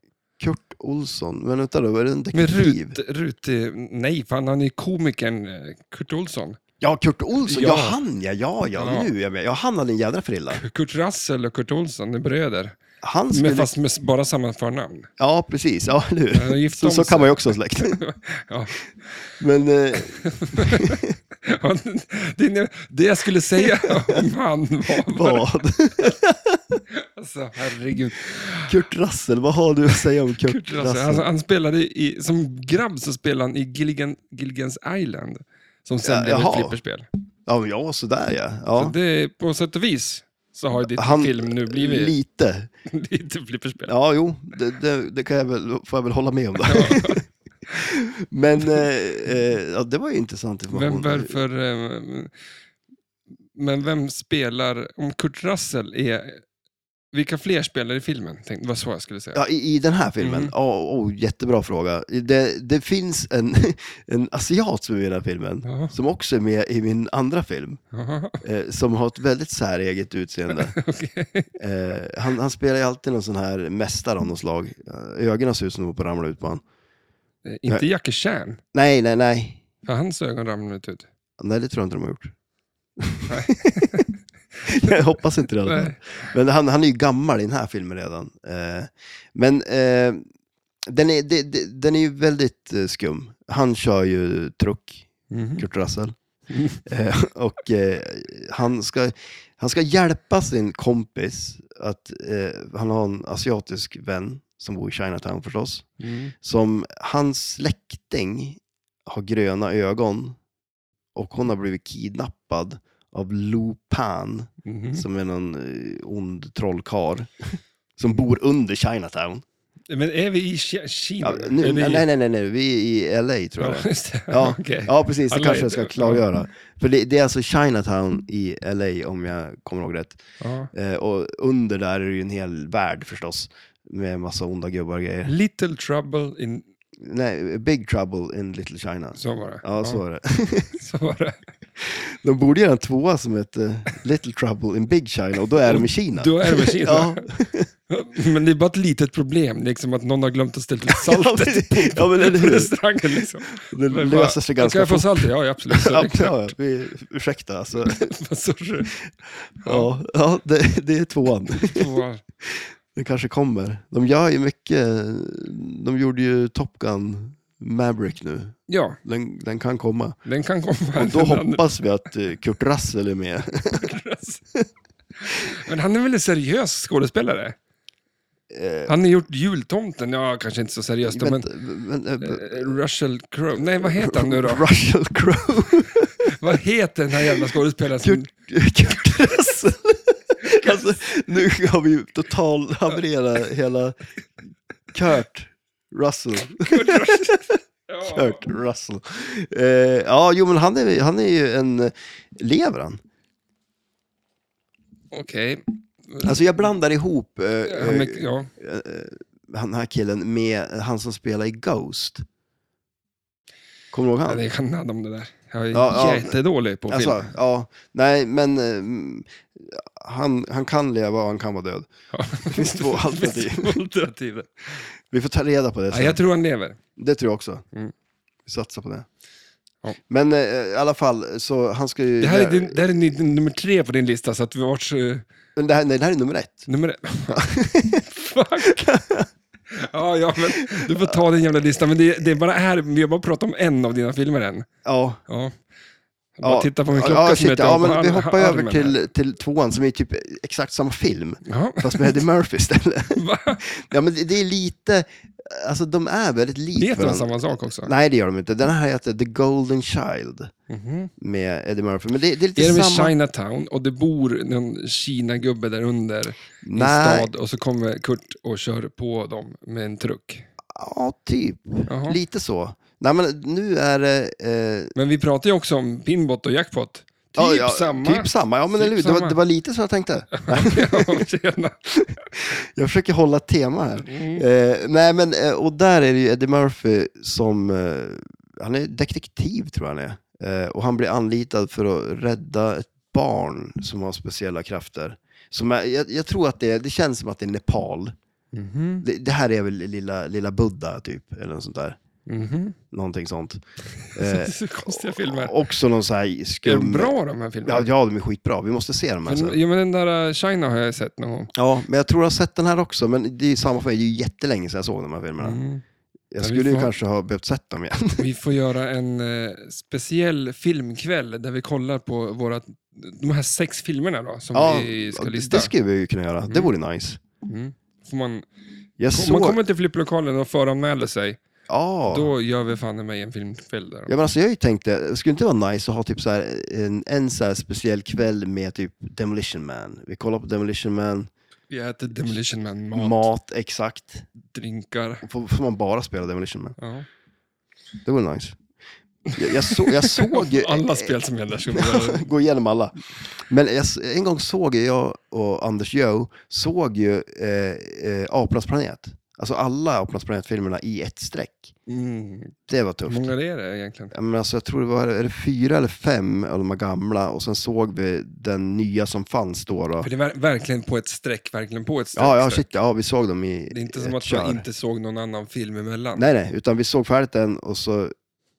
Speaker 2: Kurt Olsson. Men vänta då, är det en
Speaker 1: Med
Speaker 2: detektiv?
Speaker 1: rut, rut, nej, fan han är komikern eh, Kurt Olsson.
Speaker 2: Ja, Kurt Olsson. Ja,
Speaker 1: Ja.
Speaker 2: han ja. Ja, ja,
Speaker 1: Ja.
Speaker 2: nu är jag med. Ja, han hade en jädra frilla.
Speaker 1: Kurt Russell och Kurt Olsson är bröder.
Speaker 2: Han skulle...
Speaker 1: Men fast med s- bara samma förnamn.
Speaker 2: Ja, precis. Ja, nu.
Speaker 1: Ja, gift
Speaker 2: Så,
Speaker 1: om
Speaker 2: så
Speaker 1: sig.
Speaker 2: kan man ju också
Speaker 1: <laughs>
Speaker 2: ha släkt.
Speaker 1: Ja. <laughs>
Speaker 2: Men eh,
Speaker 1: Ja, Det, det jag skulle
Speaker 2: <laughs>
Speaker 1: säga om han var...
Speaker 2: vad? <laughs>
Speaker 1: Alltså, herregud.
Speaker 2: Kurt Rassel, vad har du att säga om Kurt,
Speaker 1: Kurt Russell. Alltså-
Speaker 2: Rassel?
Speaker 1: Han, han spelade i, som grabb så spelade han i Gilligan, Gilligan's Island. Som sen
Speaker 2: Ja,
Speaker 1: blev ett
Speaker 2: jaha.
Speaker 1: flipperspel.
Speaker 2: Ja, men ja, sådär ja.
Speaker 1: Så
Speaker 2: ja.
Speaker 1: det, på sätt och vis så har ju ditt
Speaker 2: Han-
Speaker 1: film nu blivit
Speaker 2: Lite.
Speaker 1: <laughs> lite flipperspel.
Speaker 2: Ja, jo, det, det, det kan jag väl, får jag väl hålla med om. Det.
Speaker 1: <laughs>
Speaker 2: men eh, eh, ja, det var ju intressant
Speaker 1: Vem,
Speaker 2: information.
Speaker 1: varför, eh, men vem spelar, om Kurt Russell är, vilka fler spelar i filmen? Tänk, det var så jag skulle säga.
Speaker 2: Ja, i, I den här filmen?
Speaker 1: Mm.
Speaker 2: Ja, oh, jättebra fråga. Det, det finns en, <laughs> en asiat som är med i den här filmen,
Speaker 1: Jaha.
Speaker 2: som också är med i min andra film,
Speaker 1: Jaha, <laughs>
Speaker 2: eh, som har ett väldigt säreget utseende.
Speaker 1: okej.
Speaker 2: Eh, han, han spelar ju alltid någon sån här mästare av något slag. Eh, Ögonen ser ut som de håller på att ramla ut på honom.
Speaker 1: Inte Jackie Chan,
Speaker 2: Nej, nej, nej.
Speaker 1: för hans ögon ramlade inte ut.
Speaker 2: Nej, det tror jag inte de har gjort. <laughs> jag hoppas inte det. i alla fall.
Speaker 1: Nej.
Speaker 2: Men han, han är ju gammal i den här filmen redan. Eh, men eh, den, är, de, de, den är ju väldigt eh, skum. Han kör ju truck,
Speaker 1: Mhm.
Speaker 2: Kurt Russell. Eh, och eh, han, ska, han ska hjälpa sin kompis, att eh, han har en asiatisk vän som bor i Chinatown förstås,
Speaker 1: Mm.
Speaker 2: som hans släkting har gröna ögon och hon har blivit kidnappad av Lu Pan
Speaker 1: Mhm.
Speaker 2: som är någon eh, ond trollkar som bor under Chinatown.
Speaker 1: Men är vi i Ki- Kina?
Speaker 2: Ja, nu,
Speaker 1: Är vi...
Speaker 2: nej, nej, nej, nej, vi är i LA tror jag. det
Speaker 1: Ja,
Speaker 2: är.
Speaker 1: just det.
Speaker 2: Ja,
Speaker 1: <laughs> Okej.
Speaker 2: ja precis, det
Speaker 1: Alla
Speaker 2: kanske
Speaker 1: är-
Speaker 2: jag ska klargöra. För det, det är alltså Chinatown i LA om jag kommer ihåg rätt.
Speaker 1: Ja.
Speaker 2: Eh, och under där är det ju en hel värld förstås. Med massa onda gubbar och
Speaker 1: Mm.
Speaker 2: grejer.
Speaker 1: Little trouble in...
Speaker 2: Nej, Big Trouble in Little China.
Speaker 1: Så var det.
Speaker 2: Ja, så var det. <laughs>
Speaker 1: <laughs> så var det.
Speaker 2: De borde göra en tvåa som heter Little Trouble in Big China och då är de i
Speaker 1: <laughs>
Speaker 2: Kina.
Speaker 1: Då är det med Kina.
Speaker 2: Ja,
Speaker 1: Men det är bara ett litet problem, liksom att någon har glömt att ställa ut
Speaker 2: <laughs> ja,
Speaker 1: saltet
Speaker 2: precis. <laughs>
Speaker 1: <laughs>
Speaker 2: ja, men eller
Speaker 1: på
Speaker 2: hur?
Speaker 1: restaurangen. Liksom.
Speaker 2: Det
Speaker 1: Men
Speaker 2: löser sig
Speaker 1: bara, Ska
Speaker 2: ganska
Speaker 1: jag få
Speaker 2: fort.
Speaker 1: saltet? Ja, ja, absolut. Så,
Speaker 2: <laughs> Ja,
Speaker 1: det-
Speaker 2: ja, vi,
Speaker 1: <laughs>
Speaker 2: ursäkta alltså.
Speaker 1: Sorry.
Speaker 2: Ja, ja det, det är tvåan.
Speaker 1: Två-
Speaker 2: Det kanske kommer. De gör ju mycket. De gjorde ju Top Gun Maverick nu.
Speaker 1: Ja,
Speaker 2: Den, den
Speaker 1: <laughs>
Speaker 2: kan komma.
Speaker 1: den kan komma.
Speaker 2: Och då
Speaker 1: Den andra.
Speaker 2: hoppas vi att eh, Kurt Russell är med.
Speaker 1: Men han är väl en seriös skådespelare? Han har gjort Jultomten, ja kanske inte så seriöst då, men
Speaker 2: Vänta, Eh. men, eh,
Speaker 1: eh, Russell Crowe, nej vad heter han nu
Speaker 2: <laughs>
Speaker 1: då?
Speaker 2: Russell Crowe.
Speaker 1: <laughs> Vad heter den här jävla skådespelaren? Som...
Speaker 2: Kurt, Kurt Russell. alltså, nu har vi ju total havererat hela Kurt Russell.
Speaker 1: Ja.
Speaker 2: Kurt Russell. Eh, ja, jo men han är, han är ju en... Lever han?
Speaker 1: Okej,
Speaker 2: Alltså jag blandar ihop eh,
Speaker 1: han
Speaker 2: eh,
Speaker 1: är- ja.
Speaker 2: han, den här killen med han som spelar i Ghost. Kommer du ihåg
Speaker 1: Ja, det
Speaker 2: han?
Speaker 1: kan handla om det där. Jag är
Speaker 2: Ja, ja.
Speaker 1: jättedålig på film.
Speaker 2: Alltså, ja, nej men eh, mm, han, han kan leva och han kan vara död.
Speaker 1: Ja.
Speaker 2: Det
Speaker 1: <laughs>
Speaker 2: finns två alternativ.
Speaker 1: Finns två alternativ.
Speaker 2: Vi får ta reda på det
Speaker 1: Ja,
Speaker 2: sen.
Speaker 1: jag tror han lever.
Speaker 2: Det tror jag också.
Speaker 1: Mm.
Speaker 2: Vi satsar på det.
Speaker 1: Ja.
Speaker 2: Men eh, i alla fall, så han ska ju...
Speaker 1: Det här är, din, det här är din, nummer tre på din lista, så att vi vart... eh,
Speaker 2: Men det här, nej, det här är nummer ett.
Speaker 1: Nummer <laughs> ett. Fuck. Ja, ja, men du får ta den jävla listan. Men det, det är bara här, vi har bara pratat om en av dina filmer än.
Speaker 2: Ja.
Speaker 1: Ja. Bara
Speaker 2: Ja.
Speaker 1: titta på min
Speaker 2: Ja,
Speaker 1: klocka
Speaker 2: ja,
Speaker 1: som
Speaker 2: shit,
Speaker 1: heter
Speaker 2: ja, men
Speaker 1: Ar-
Speaker 2: Vi hoppar över
Speaker 1: Armen här.
Speaker 2: till, till tvåan som är typ exakt samma film,
Speaker 1: Ja. <laughs>
Speaker 2: fast med Eddie Murphy istället.
Speaker 1: Va?
Speaker 2: Ja, men det- det är lite, alltså de är väldigt lika
Speaker 1: Heter de
Speaker 2: varandra.
Speaker 1: samma sak också?
Speaker 2: Nej, det gör de inte. Den här heter The Golden Child
Speaker 1: Mhm.
Speaker 2: med Eddie Murphy. Men det, det är lite
Speaker 1: Är de i
Speaker 2: samma...
Speaker 1: Chinatown och det bor någon Kina-gubbe där under i en
Speaker 2: Nej.
Speaker 1: stad och så kommer Kurt och kör på dem med en truck.
Speaker 2: Ja, typ.
Speaker 1: Jaha. Typ
Speaker 2: Lite så. Nej, men nu är det... Eh...
Speaker 1: Men vi pratar ju också om Pinbot och Jackpot. Typ
Speaker 2: ja, ja,
Speaker 1: samma. <laughs>
Speaker 2: Typ samma, ja men
Speaker 1: Typ
Speaker 2: eller hur? Det var,
Speaker 1: samma.
Speaker 2: det var lite så jag tänkte.
Speaker 1: Ja, tjena.
Speaker 2: Jag försöker hålla ett tema här.
Speaker 1: Mm.
Speaker 2: Eh, nej, men, eh, och där är det ju Eddie Murphy som, eh, han är detektiv tror jag han är. Eh, och han blir anlitad för att rädda ett barn som har speciella krafter. Som är, jag, jag tror att det, det känns som att det är Nepal.
Speaker 1: Mhm.
Speaker 2: Det, det här är väl lilla, lilla Buddha typ, eller något sånt där.
Speaker 1: Mhm.
Speaker 2: Någonting sånt. Eh,
Speaker 1: Det är <laughs> så konstiga filmer.
Speaker 2: Också någon sån här
Speaker 1: Är
Speaker 2: skum...
Speaker 1: de bra de här filmerna?
Speaker 2: Ja, ja, de alltså- är skitbra. Vi måste se dem här sen.
Speaker 1: men, ja, men den där eh, China har jag sett någon gång.
Speaker 2: Ja, men jag tror jag har sett den här också. Men det är ju samma för mig. Det är ju jättelänge sedan jag såg de här filmerna.
Speaker 1: Mm.
Speaker 2: Jag
Speaker 1: Ja, vi
Speaker 2: skulle ju
Speaker 1: får-
Speaker 2: kanske ha behövt sett dem igen.
Speaker 1: Vi får göra en eh, speciell filmkväll där vi kollar på våra, de här sex filmerna då, som
Speaker 2: Ja,
Speaker 1: vi ska lista.
Speaker 2: det skulle vi ju kunna göra. Det vore nice.
Speaker 1: Mm. Får man,
Speaker 2: Jag
Speaker 1: om
Speaker 2: såg...
Speaker 1: man kommer till flipplokalen och föranmäler sig,
Speaker 2: Ja.
Speaker 1: då gör vi fan i mig en filmkväll där.
Speaker 2: Ja, men alltså, jag har ju tänkt det. Skulle det inte vara nice att ha typ så här, en, en så här speciell kväll med typ Demolition Man? Vi kollar på Demolition Man,
Speaker 1: Vi äter Demolition Man, mat,
Speaker 2: mat, exakt.
Speaker 1: drinkar.
Speaker 2: Får, får man bara spela Demolition Man?
Speaker 1: Ja.
Speaker 2: Det vore nice. Jag, jag, så, jag såg ju...
Speaker 1: <laughs> Alla spel som gäller ska vi göra.
Speaker 2: <laughs> gå igenom alla. Men jag, s- en gång såg jag och Anders Joe såg ju eh, eh, Apornas planet. Alltså alla Apornas planet-filmerna i ett streck.
Speaker 1: Mm.
Speaker 2: Det var
Speaker 1: Hur
Speaker 2: tufft.
Speaker 1: många är det egentligen?
Speaker 2: Ja, Men alltså, jag tror det var är det fyra eller fem av de här gamla och sen såg vi den nya som fanns då. då.
Speaker 1: För det var verkligen på ett streck, verkligen på ett streck.
Speaker 2: Ja, ja,
Speaker 1: streck.
Speaker 2: shit, ja, vi såg dem i
Speaker 1: Det är inte
Speaker 2: ett
Speaker 1: som att
Speaker 2: kör.
Speaker 1: man inte såg någon annan film emellan.
Speaker 2: Nej, nej, utan vi såg färdigt den och så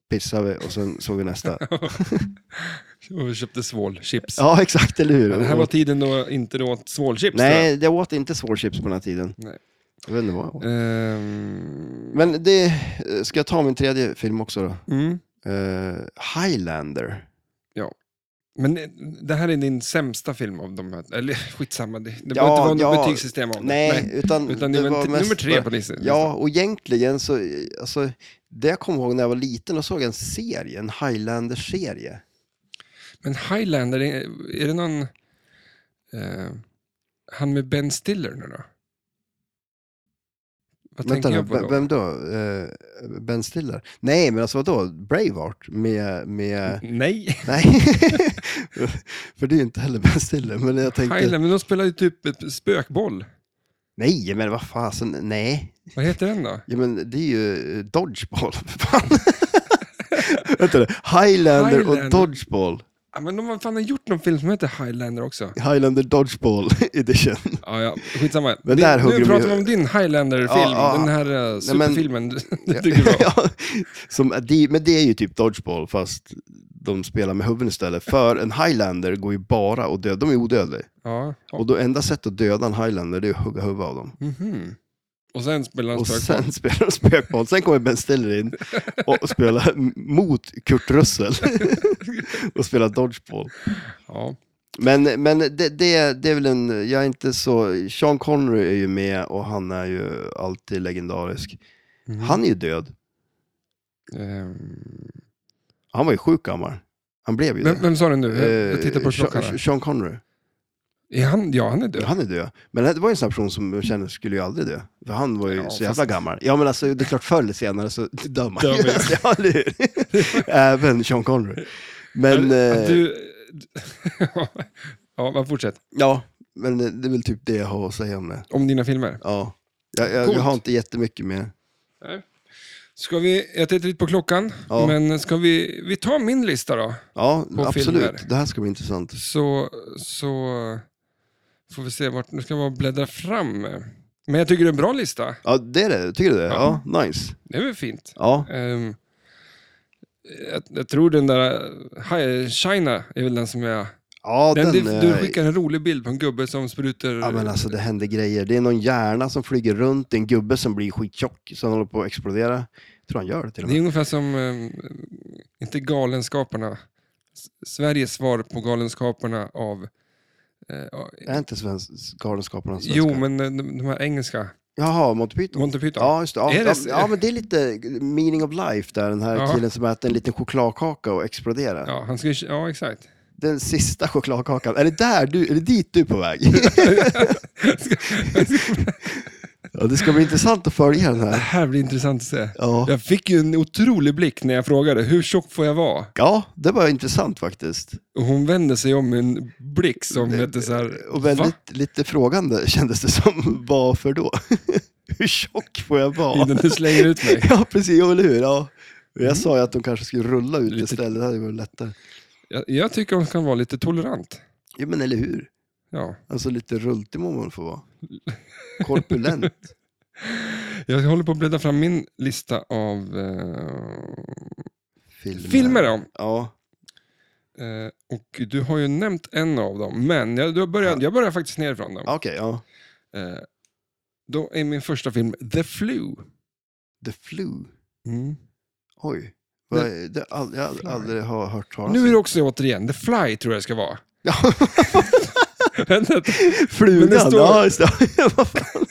Speaker 2: pissade vi och sen såg
Speaker 1: <laughs>
Speaker 2: vi nästa.
Speaker 1: Och vi köpte svålchips.
Speaker 2: Ja, exakt, eller hur?
Speaker 1: Det här var tiden då inte då åt svålchips. tror
Speaker 2: Nej, jag åt inte svårchips på den här tiden.
Speaker 1: Nej. Eh.
Speaker 2: Jag vet inte vad jag åt.
Speaker 1: jag. Ehm,
Speaker 2: Men det, eh, ska jag ta min tredje film också då?
Speaker 1: mm.
Speaker 2: Eh, Highlander.
Speaker 1: Men eh, det här är din sämsta film av de här. Eller <laughs> skitsamma, det, det
Speaker 2: Ja,
Speaker 1: behöver inte vara något
Speaker 2: ja.
Speaker 1: betygssystem av det.
Speaker 2: Nej, utan,
Speaker 1: Utan det, var mest... nummer tre på listan.
Speaker 2: Ja, och egentligen så, eh, alltså, det jag kommer ihåg när jag var liten, då såg jag en serie, en Highlander-serie.
Speaker 1: Men Highlander, är, är det någon... Eh, han med Ben Stiller nu då? Vad tänker
Speaker 2: Vänta nu,
Speaker 1: jag på
Speaker 2: vem,
Speaker 1: då?
Speaker 2: vem då? Eh, ben Stiller? Nej, men alltså vadå? Braveheart
Speaker 1: <laughs>
Speaker 2: med, med
Speaker 1: Nej,
Speaker 2: nej. <laughs> För det är ju inte heller Ben Stiller, men jag tänkte,
Speaker 1: Highlander, men de spelar ju typ ett spökboll.
Speaker 2: nej, men vad fasen, nej.
Speaker 1: Vad heter den då?
Speaker 2: Ja, men det är ju eh, Dodgeball, <laughs> för fan.
Speaker 1: <laughs>
Speaker 2: Vänta nu, Highlander,
Speaker 1: Highlander.
Speaker 2: och Dodgeball.
Speaker 1: Ja, men de har fan gjort någon film som heter Highlander också.
Speaker 2: Highlander Dodgeball <laughs> edition.
Speaker 1: Ja, ja, skitsamma.
Speaker 2: Men
Speaker 1: Din-
Speaker 2: där hugger
Speaker 1: nu
Speaker 2: de
Speaker 1: pratar
Speaker 2: ju-
Speaker 1: vi om din Highlander-film,
Speaker 2: Ja, ja.
Speaker 1: den här eh,
Speaker 2: men- <laughs>
Speaker 1: superfilmen du tycker du om.
Speaker 2: Ja, Som, det- men det är ju typ Dodgeball, fast de spelar med huvuden istället. För en Highlander går ju bara och döda, de är odödliga.
Speaker 1: Ja.
Speaker 2: Och då enda sättet att döda en highlander det är att hugga huvudet av dem.
Speaker 1: Mhm. Och sen spelar han
Speaker 2: Och
Speaker 1: spökboll.
Speaker 2: sen <laughs> spelar de spökboll. Sen kommer Ben Stiller in och spelar m- mot Kurt Russell <laughs> och spelar dodgeball.
Speaker 1: Ja.
Speaker 2: Men, men det, det, det är väl en, jag är inte så, Sean Connery är ju med och han är ju alltid legendarisk.
Speaker 1: Mhm.
Speaker 2: Han är ju död.
Speaker 1: Ehm,
Speaker 2: Han var ju sjuk gammal. Han blev ju
Speaker 1: Vem,
Speaker 2: det.
Speaker 1: vem sa det nu? Jag, jag
Speaker 2: Eh,
Speaker 1: tittar på
Speaker 2: Sean-
Speaker 1: klockan. här.
Speaker 2: Sean Connery.
Speaker 1: Är han, ja, han är död.
Speaker 2: Han är död. Men det var ju en sån här person som jag kände skulle ju aldrig dö. För han var ju
Speaker 1: Ja,
Speaker 2: så jävla
Speaker 1: fast-
Speaker 2: gammal. Ja men alltså det är klart förr eller senare så <laughs> dör man
Speaker 1: Dör man ju.
Speaker 2: <laughs> ja, eller hur? Även Sean Connery. Men,
Speaker 1: Att- att
Speaker 2: eh,
Speaker 1: du... <laughs> ja, men fortsätt.
Speaker 2: ja, men det är väl typ det jag har att säga om det.
Speaker 1: Om dina filmer.
Speaker 2: Ja. Jag, jag,
Speaker 1: Coolt.
Speaker 2: jag har inte jättemycket mer.
Speaker 1: Ska vi, jag tittar lite på klockan,
Speaker 2: Ja.
Speaker 1: men ska vi, vi tar min lista då.
Speaker 2: Ja,
Speaker 1: På
Speaker 2: absolut.
Speaker 1: filmer.
Speaker 2: Det här ska bli intressant.
Speaker 1: Så, så får vi se vart, nu ska jag bara bläddra fram. Men jag tycker det är en bra lista.
Speaker 2: Ja, det är det. Tycker du det?
Speaker 1: Ja.
Speaker 2: Ja, nice.
Speaker 1: Det är väl fint.
Speaker 2: Ja,
Speaker 1: Ehm, jag, jag tror den där Hi- China är väl den som jag...
Speaker 2: ja
Speaker 1: Den,
Speaker 2: den...
Speaker 1: du, du
Speaker 2: eh,
Speaker 1: skickar en rolig bild på en gubbe som sprutar...
Speaker 2: Ja men alltså det händer grejer. Det är någon hjärna som flyger runt, det är en gubbe som blir skittjock, som håller på att explodera. Jag tror han gör det till och
Speaker 1: Det är
Speaker 2: med.
Speaker 1: ungefär som, ehm, inte Galenskaparna, S- Sveriges svar på Galenskaparna av... eh, ja,
Speaker 2: Är inte svens- Galenskaparna svenska?
Speaker 1: jo, men eh, de, de här engelska,
Speaker 2: Jaha, Monty Python?
Speaker 1: Monty Python.
Speaker 2: Ja, just det. Ja,
Speaker 1: Är
Speaker 2: ja,
Speaker 1: det-
Speaker 2: ja, men det är lite meaning of life där, den här
Speaker 1: Ja.
Speaker 2: killen som äter en liten chokladkaka och exploderar.
Speaker 1: Ja, han ska, ju- ja exakt.
Speaker 2: Den sista chokladkakan. Är det, där du, är det dit du är
Speaker 1: <laughs>
Speaker 2: på väg? ja, det ska bli intressant att följa den
Speaker 1: Det
Speaker 2: här.
Speaker 1: här blir intressant att se.
Speaker 2: Ja,
Speaker 1: Jag fick ju en otrolig blick när jag frågade hur tjock får jag vara?
Speaker 2: ja det var intressant faktiskt.
Speaker 1: Och hon vände sig om med en blick som hette så här...
Speaker 2: Och
Speaker 1: "Va?"
Speaker 2: väldigt lite frågande <laughs> kändes det som. Varför då? <laughs> Hur tjock får jag vara?
Speaker 1: Innan du slänger ut
Speaker 2: <laughs>
Speaker 1: mig.
Speaker 2: Ja, precis. Jo, eller hur? Ja. Och Jag sa ju att de kanske skulle rulla ut
Speaker 1: Mm. Lite-
Speaker 2: istället, det hade varit lättare.
Speaker 1: Jag, jag tycker hon kan vara lite tolerant.
Speaker 2: Ja, men eller hur?
Speaker 1: Ja.
Speaker 2: Alltså lite rultig må man få vara.
Speaker 1: <laughs>
Speaker 2: Korpulent.
Speaker 1: Jag håller på att bläddra fram min lista av eh,
Speaker 2: Filmer.
Speaker 1: filmer. Då.
Speaker 2: Ja.
Speaker 1: Eh, och du har ju nämnt en av dem, men jag, du börjar, jag börjar faktiskt nerifrån. Dem.
Speaker 2: Okej, ja.
Speaker 1: Eh, då är min första film The Flu.
Speaker 2: The Flu.
Speaker 1: Mm.
Speaker 2: Oj. Vad är- Det, all, jag har aldrig har hört talas
Speaker 1: Nu
Speaker 2: om.
Speaker 1: är det också återigen The Fly, tror jag det ska vara.
Speaker 2: <laughs>
Speaker 1: <laughs>
Speaker 2: Ja.
Speaker 1: Vänta, men det
Speaker 2: Flugan,
Speaker 1: står-
Speaker 2: ja just det. <laughs> Vad fan.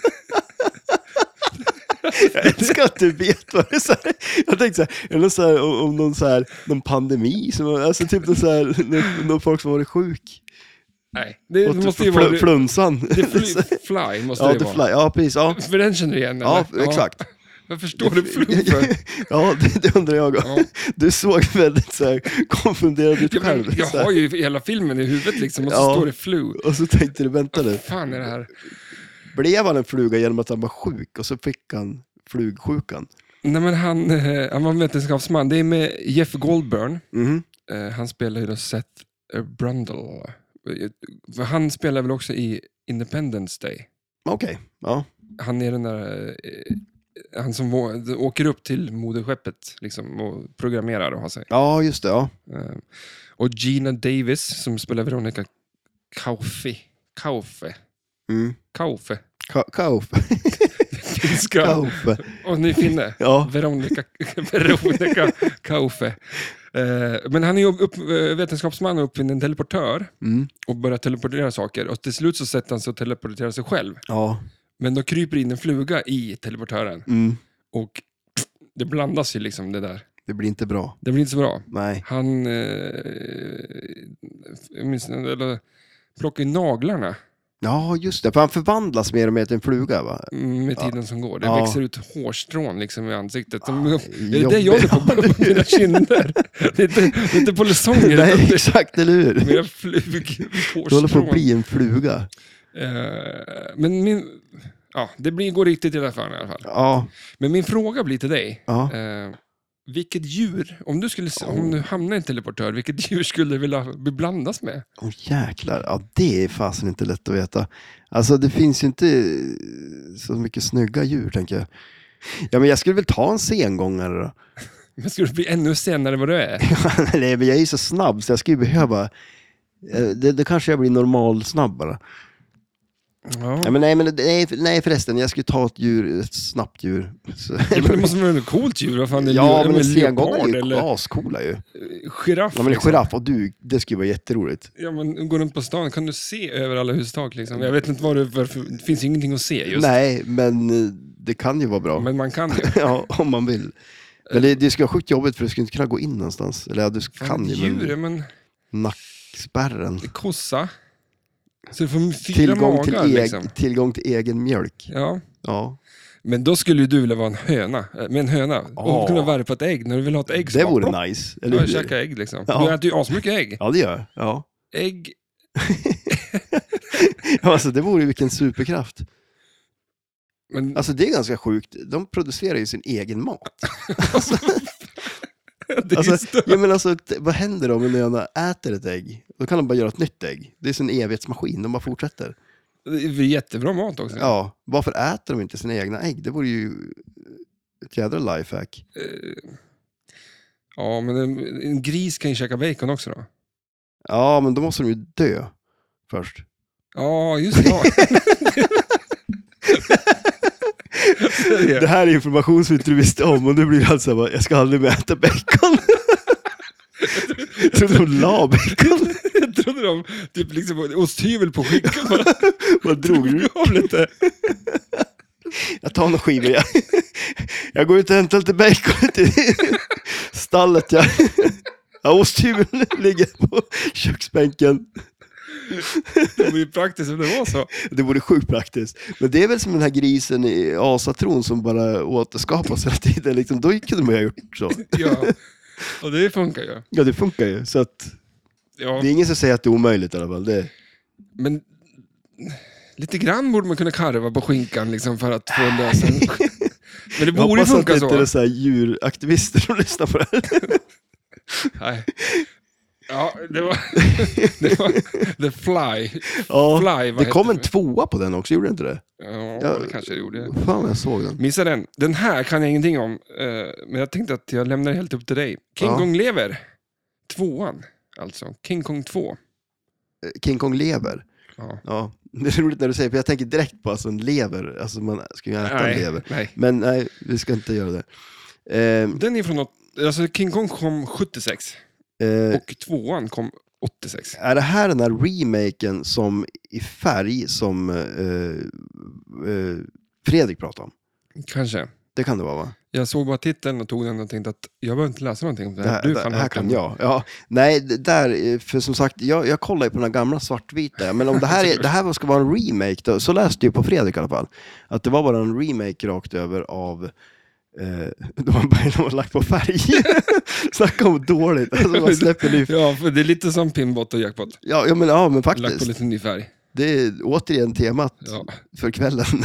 Speaker 2: Jag älskar att du vet vad det är. Så här. Jag tänkte så här, är det någon så här, om, om någon, så här, någon pandemi, som, alltså typ någon, så här, någon, någon folk som varit sjuk.
Speaker 1: nej. Det
Speaker 2: Och typ
Speaker 1: måste ju
Speaker 2: fl-
Speaker 1: vara... The
Speaker 2: flunsan. <laughs>
Speaker 1: Fly, fly måste
Speaker 2: Ja,
Speaker 1: det
Speaker 2: the
Speaker 1: vara.
Speaker 2: fly. ja, precis. Ja,
Speaker 1: För den känner du igen?
Speaker 2: ja
Speaker 1: eller?
Speaker 2: exakt.
Speaker 1: Jag förstår
Speaker 2: <laughs>
Speaker 1: det Flu för.
Speaker 2: ja, det, det undrar jag
Speaker 1: Ja.
Speaker 2: också. Du såg väldigt så här, konfunderad ut
Speaker 1: Jag,
Speaker 2: själv.
Speaker 1: men, jag
Speaker 2: så här.
Speaker 1: har ju hela filmen i huvudet liksom och så
Speaker 2: Ja.
Speaker 1: står det Flu.
Speaker 2: Och så tänkte du, vänta nu,
Speaker 1: Vad fan är det här?
Speaker 2: blev han en fluga genom att han var sjuk och så fick han flugsjukan?
Speaker 1: Nej, men han, eh, han var en vetenskapsman. Det är med Jeff Goldburn.
Speaker 2: Mhm.
Speaker 1: Eh, han spelar ju då Seth eh, Brundle. Eh, för Han spelar väl också i Independence Day.
Speaker 2: Okej, ja.
Speaker 1: Han är den där eh, han som å- åker upp till moderskeppet liksom, och programmerar och har sig.
Speaker 2: Ja, just det. Ja.
Speaker 1: Eh, Och Gina Davis som spelar Veronica Kaufe. Kaufe.
Speaker 2: Mm.
Speaker 1: Kaufe.
Speaker 2: Ka- Kauf.
Speaker 1: Finska.
Speaker 2: <laughs> Kauf.
Speaker 1: Och ny finne.
Speaker 2: Ja.
Speaker 1: Veronica, Veronica Kaufe. Eh, Men han är ju upp, eh, vetenskapsman och uppfinner en teleportör
Speaker 2: Mm.
Speaker 1: och börjar teleportera saker. Och till slut så sätter han sig och teleporterar sig själv.
Speaker 2: Ja.
Speaker 1: Men då kryper in en fluga i teleportören
Speaker 2: Mm.
Speaker 1: och det blandas ju liksom det där.
Speaker 2: Det blir inte bra.
Speaker 1: Det blir inte så bra.
Speaker 2: Nej.
Speaker 1: Han eh, jag minns, eller, plockar ju naglarna
Speaker 2: Ja, just det. För han förvandlas mer och mer till en fluga, va?
Speaker 1: Mm, med tiden som går. Det
Speaker 2: Ja. Ah,
Speaker 1: växer ut hårstrån liksom i ansiktet. De, det är det
Speaker 2: jobbigt.
Speaker 1: jag håller på med på mina kinder. Det är inte, det är inte polisonger, utan
Speaker 2: <laughs> Nej,
Speaker 1: det är
Speaker 2: exakt, eller hur?
Speaker 1: mera flug,
Speaker 2: Du håller på
Speaker 1: hårstrån.
Speaker 2: att bli en fluga.
Speaker 1: Eh, men min, ja, det blir, går riktigt i det här fallet i alla fall.
Speaker 2: Ja,
Speaker 1: Men min fråga blir till dig.
Speaker 2: ja.
Speaker 1: Eh, vilket djur, om du, skulle, om du hamnar i en teleportör, vilket djur skulle du vilja blandas med?
Speaker 2: Åh jäklar, ja, det är fasen inte lätt att veta. Alltså det finns ju inte eh, så mycket snygga djur tänker jag. Ja, men jag skulle väl ta en sengångare då.
Speaker 1: Men skulle du bli ännu senare än vad du är?
Speaker 2: <laughs> Nej, men jag är ju så snabb så jag skulle ju behöva... eh, Det, det kanske jag blir normal snabbare.
Speaker 1: Ja.
Speaker 2: Ja, men nej, men nej, nej förresten, jag skulle ta ett djur, ett snabbt djur. Så- <laughs>
Speaker 1: Ja, men det måste vara ett coolt djur. Vad fan är
Speaker 2: Ja, men en
Speaker 1: leopard
Speaker 2: sengångare är ju
Speaker 1: eller
Speaker 2: ascoola ju.
Speaker 1: giraff?
Speaker 2: Ja, men en
Speaker 1: liksom.
Speaker 2: giraff och du, det skulle vara jätteroligt.
Speaker 1: ja, men går runt på stan kan du se över alla hustak. Liksom. Jag vet inte vad det, varför, det finns ingenting att se just.
Speaker 2: Nej, men eh, det kan ju vara bra.
Speaker 1: Men man kan ju.
Speaker 2: <laughs> ja, om man vill. Men det, det skulle vara sjukt jobbigt för du skulle inte kunna gå in någonstans. Eller ja, du kan
Speaker 1: Fan,
Speaker 2: ju,
Speaker 1: Djur,
Speaker 2: men
Speaker 1: men
Speaker 2: nackspärren.
Speaker 1: kossa. Så du får fyra
Speaker 2: Tillgång till,
Speaker 1: magar
Speaker 2: eg,
Speaker 1: liksom.
Speaker 2: tillgång till egen mjölk.
Speaker 1: Ja.
Speaker 2: Ja,
Speaker 1: Men då skulle ju du vilja vara en höna. eh, Med en höna.
Speaker 2: Ja.
Speaker 1: Och kunna värpa ett ägg. När du vill ha ett ägg så
Speaker 2: det
Speaker 1: bara plopp.
Speaker 2: vore nice. Eller
Speaker 1: Ja,
Speaker 2: hur?
Speaker 1: jag käkar ägg liksom.
Speaker 2: Ja.
Speaker 1: Du äter ju asmycket ägg.
Speaker 2: Ja, det gör jag. Ja.
Speaker 1: Ägg,
Speaker 2: Ja, Alltså, det vore ju vilken superkraft.
Speaker 1: men
Speaker 2: Alltså det är ganska sjukt. De producerar ju sin
Speaker 1: <laughs>
Speaker 2: egen mat.
Speaker 1: det är ju
Speaker 2: <laughs> Alltså,
Speaker 1: stört.
Speaker 2: ja, men alltså, t- vad händer om en höna äter ett ägg? Då kan de bara göra ett nytt ägg. Det är sin evighetsmaskin, de bara fortsätter.
Speaker 1: Det är jättebra mat också.
Speaker 2: Ja, varför äter de inte sina egna ägg? Det vore ju ett jädra lifehack.
Speaker 1: Eh, Ja, men en, en gris kan ju käka bacon också då.
Speaker 2: Ja, men då måste de ju dö först.
Speaker 1: Ja, just
Speaker 2: <laughs>
Speaker 1: det. Ja.
Speaker 2: Det här är information som inte du visste om och nu blir det alltså bara, jag ska aldrig mer
Speaker 1: <laughs>
Speaker 2: äta bacon. Jag trodde de la bacon.
Speaker 1: Jag <laughs> trodde de typ liksom osthyvel på <laughs> skinkan bara
Speaker 2: Vad drog
Speaker 1: <laughs>
Speaker 2: du?
Speaker 1: gav lite.
Speaker 2: <laughs> Jag tar några skivor. Jag, jag går ut och hämtar lite bacon till stallet. Jag, ja, osthyveln ligger på köksbänken.
Speaker 1: Det vore ju praktiskt om det var så.
Speaker 2: Det vore sjukt praktiskt. Men det är väl som den här grisen i asatron som bara återskapas hela tiden. Liksom, då kunde man ju ha gjort så.
Speaker 1: Ja. Och det funkar ju.
Speaker 2: Ja, det funkar ju. Så att,
Speaker 1: Ja,
Speaker 2: det är ingen som säger att det är omöjligt i alla fall. Det,
Speaker 1: men lite grann borde man kunna karva på skinkan liksom för att få en lösen.
Speaker 2: <laughs>
Speaker 1: Men det
Speaker 2: jag
Speaker 1: borde ju
Speaker 2: hoppas att det
Speaker 1: funka så.
Speaker 2: inte är så här djuraktivister som lyssnar på det
Speaker 1: <laughs>
Speaker 2: här.
Speaker 1: Nej. Ja, det var,
Speaker 2: <laughs>
Speaker 1: det var The Fly.
Speaker 2: Ja,
Speaker 1: Fly, vad
Speaker 2: det kom en
Speaker 1: heter
Speaker 2: tvåa på den också, gjorde det inte det?
Speaker 1: Ja,
Speaker 2: Ja.
Speaker 1: det kanske jag gjorde.
Speaker 2: Fan vad jag såg den.
Speaker 1: Missade den. Den här kan jag ingenting om, eh, men jag tänkte att jag lämnar helt upp till dig. King
Speaker 2: Ja.
Speaker 1: Kong lever. Tvåan, alltså. King Kong 2.
Speaker 2: King Kong lever.
Speaker 1: Ja.
Speaker 2: Ja, <laughs> det är roligt när du säger för jag tänker direkt på alltså en lever. Alltså man ska ju äta en lever.
Speaker 1: nej.
Speaker 2: Men nej, vi ska inte göra det. Ehm,
Speaker 1: Den är från något, alltså King Kong kom 76
Speaker 2: eh,
Speaker 1: och tvåan kom 86.
Speaker 2: Är det här den här remaken som i färg som eh, eh, Fredrik pratade om?
Speaker 1: Kanske.
Speaker 2: Det kan det vara va?
Speaker 1: Jag såg bara titeln och tog den och tänkte att jag behöver inte läsa någonting om det
Speaker 2: Det
Speaker 1: här.
Speaker 2: här, det,
Speaker 1: fan
Speaker 2: här kan jag. Ja, nej, det där, eh, för som sagt, jag, jag kollar ju på den här gamla svartvita, men om
Speaker 1: <laughs>
Speaker 2: det här, är, det här ska vara en remake, då, så läste jag på Fredrik i alla fall, att det var bara en remake rakt över av eh, <laughs> de har bara de har lagt på färg. <laughs> Snacka om dåligt. Alltså man släpper ny...
Speaker 1: <laughs> Ja, för det är lite som Pinbot och Jackpot.
Speaker 2: ja, ja, men, ja, men
Speaker 1: Lagt på
Speaker 2: faktiskt.
Speaker 1: lite ny färg.
Speaker 2: Det är återigen temat
Speaker 1: Ja.
Speaker 2: för kvällen. <laughs>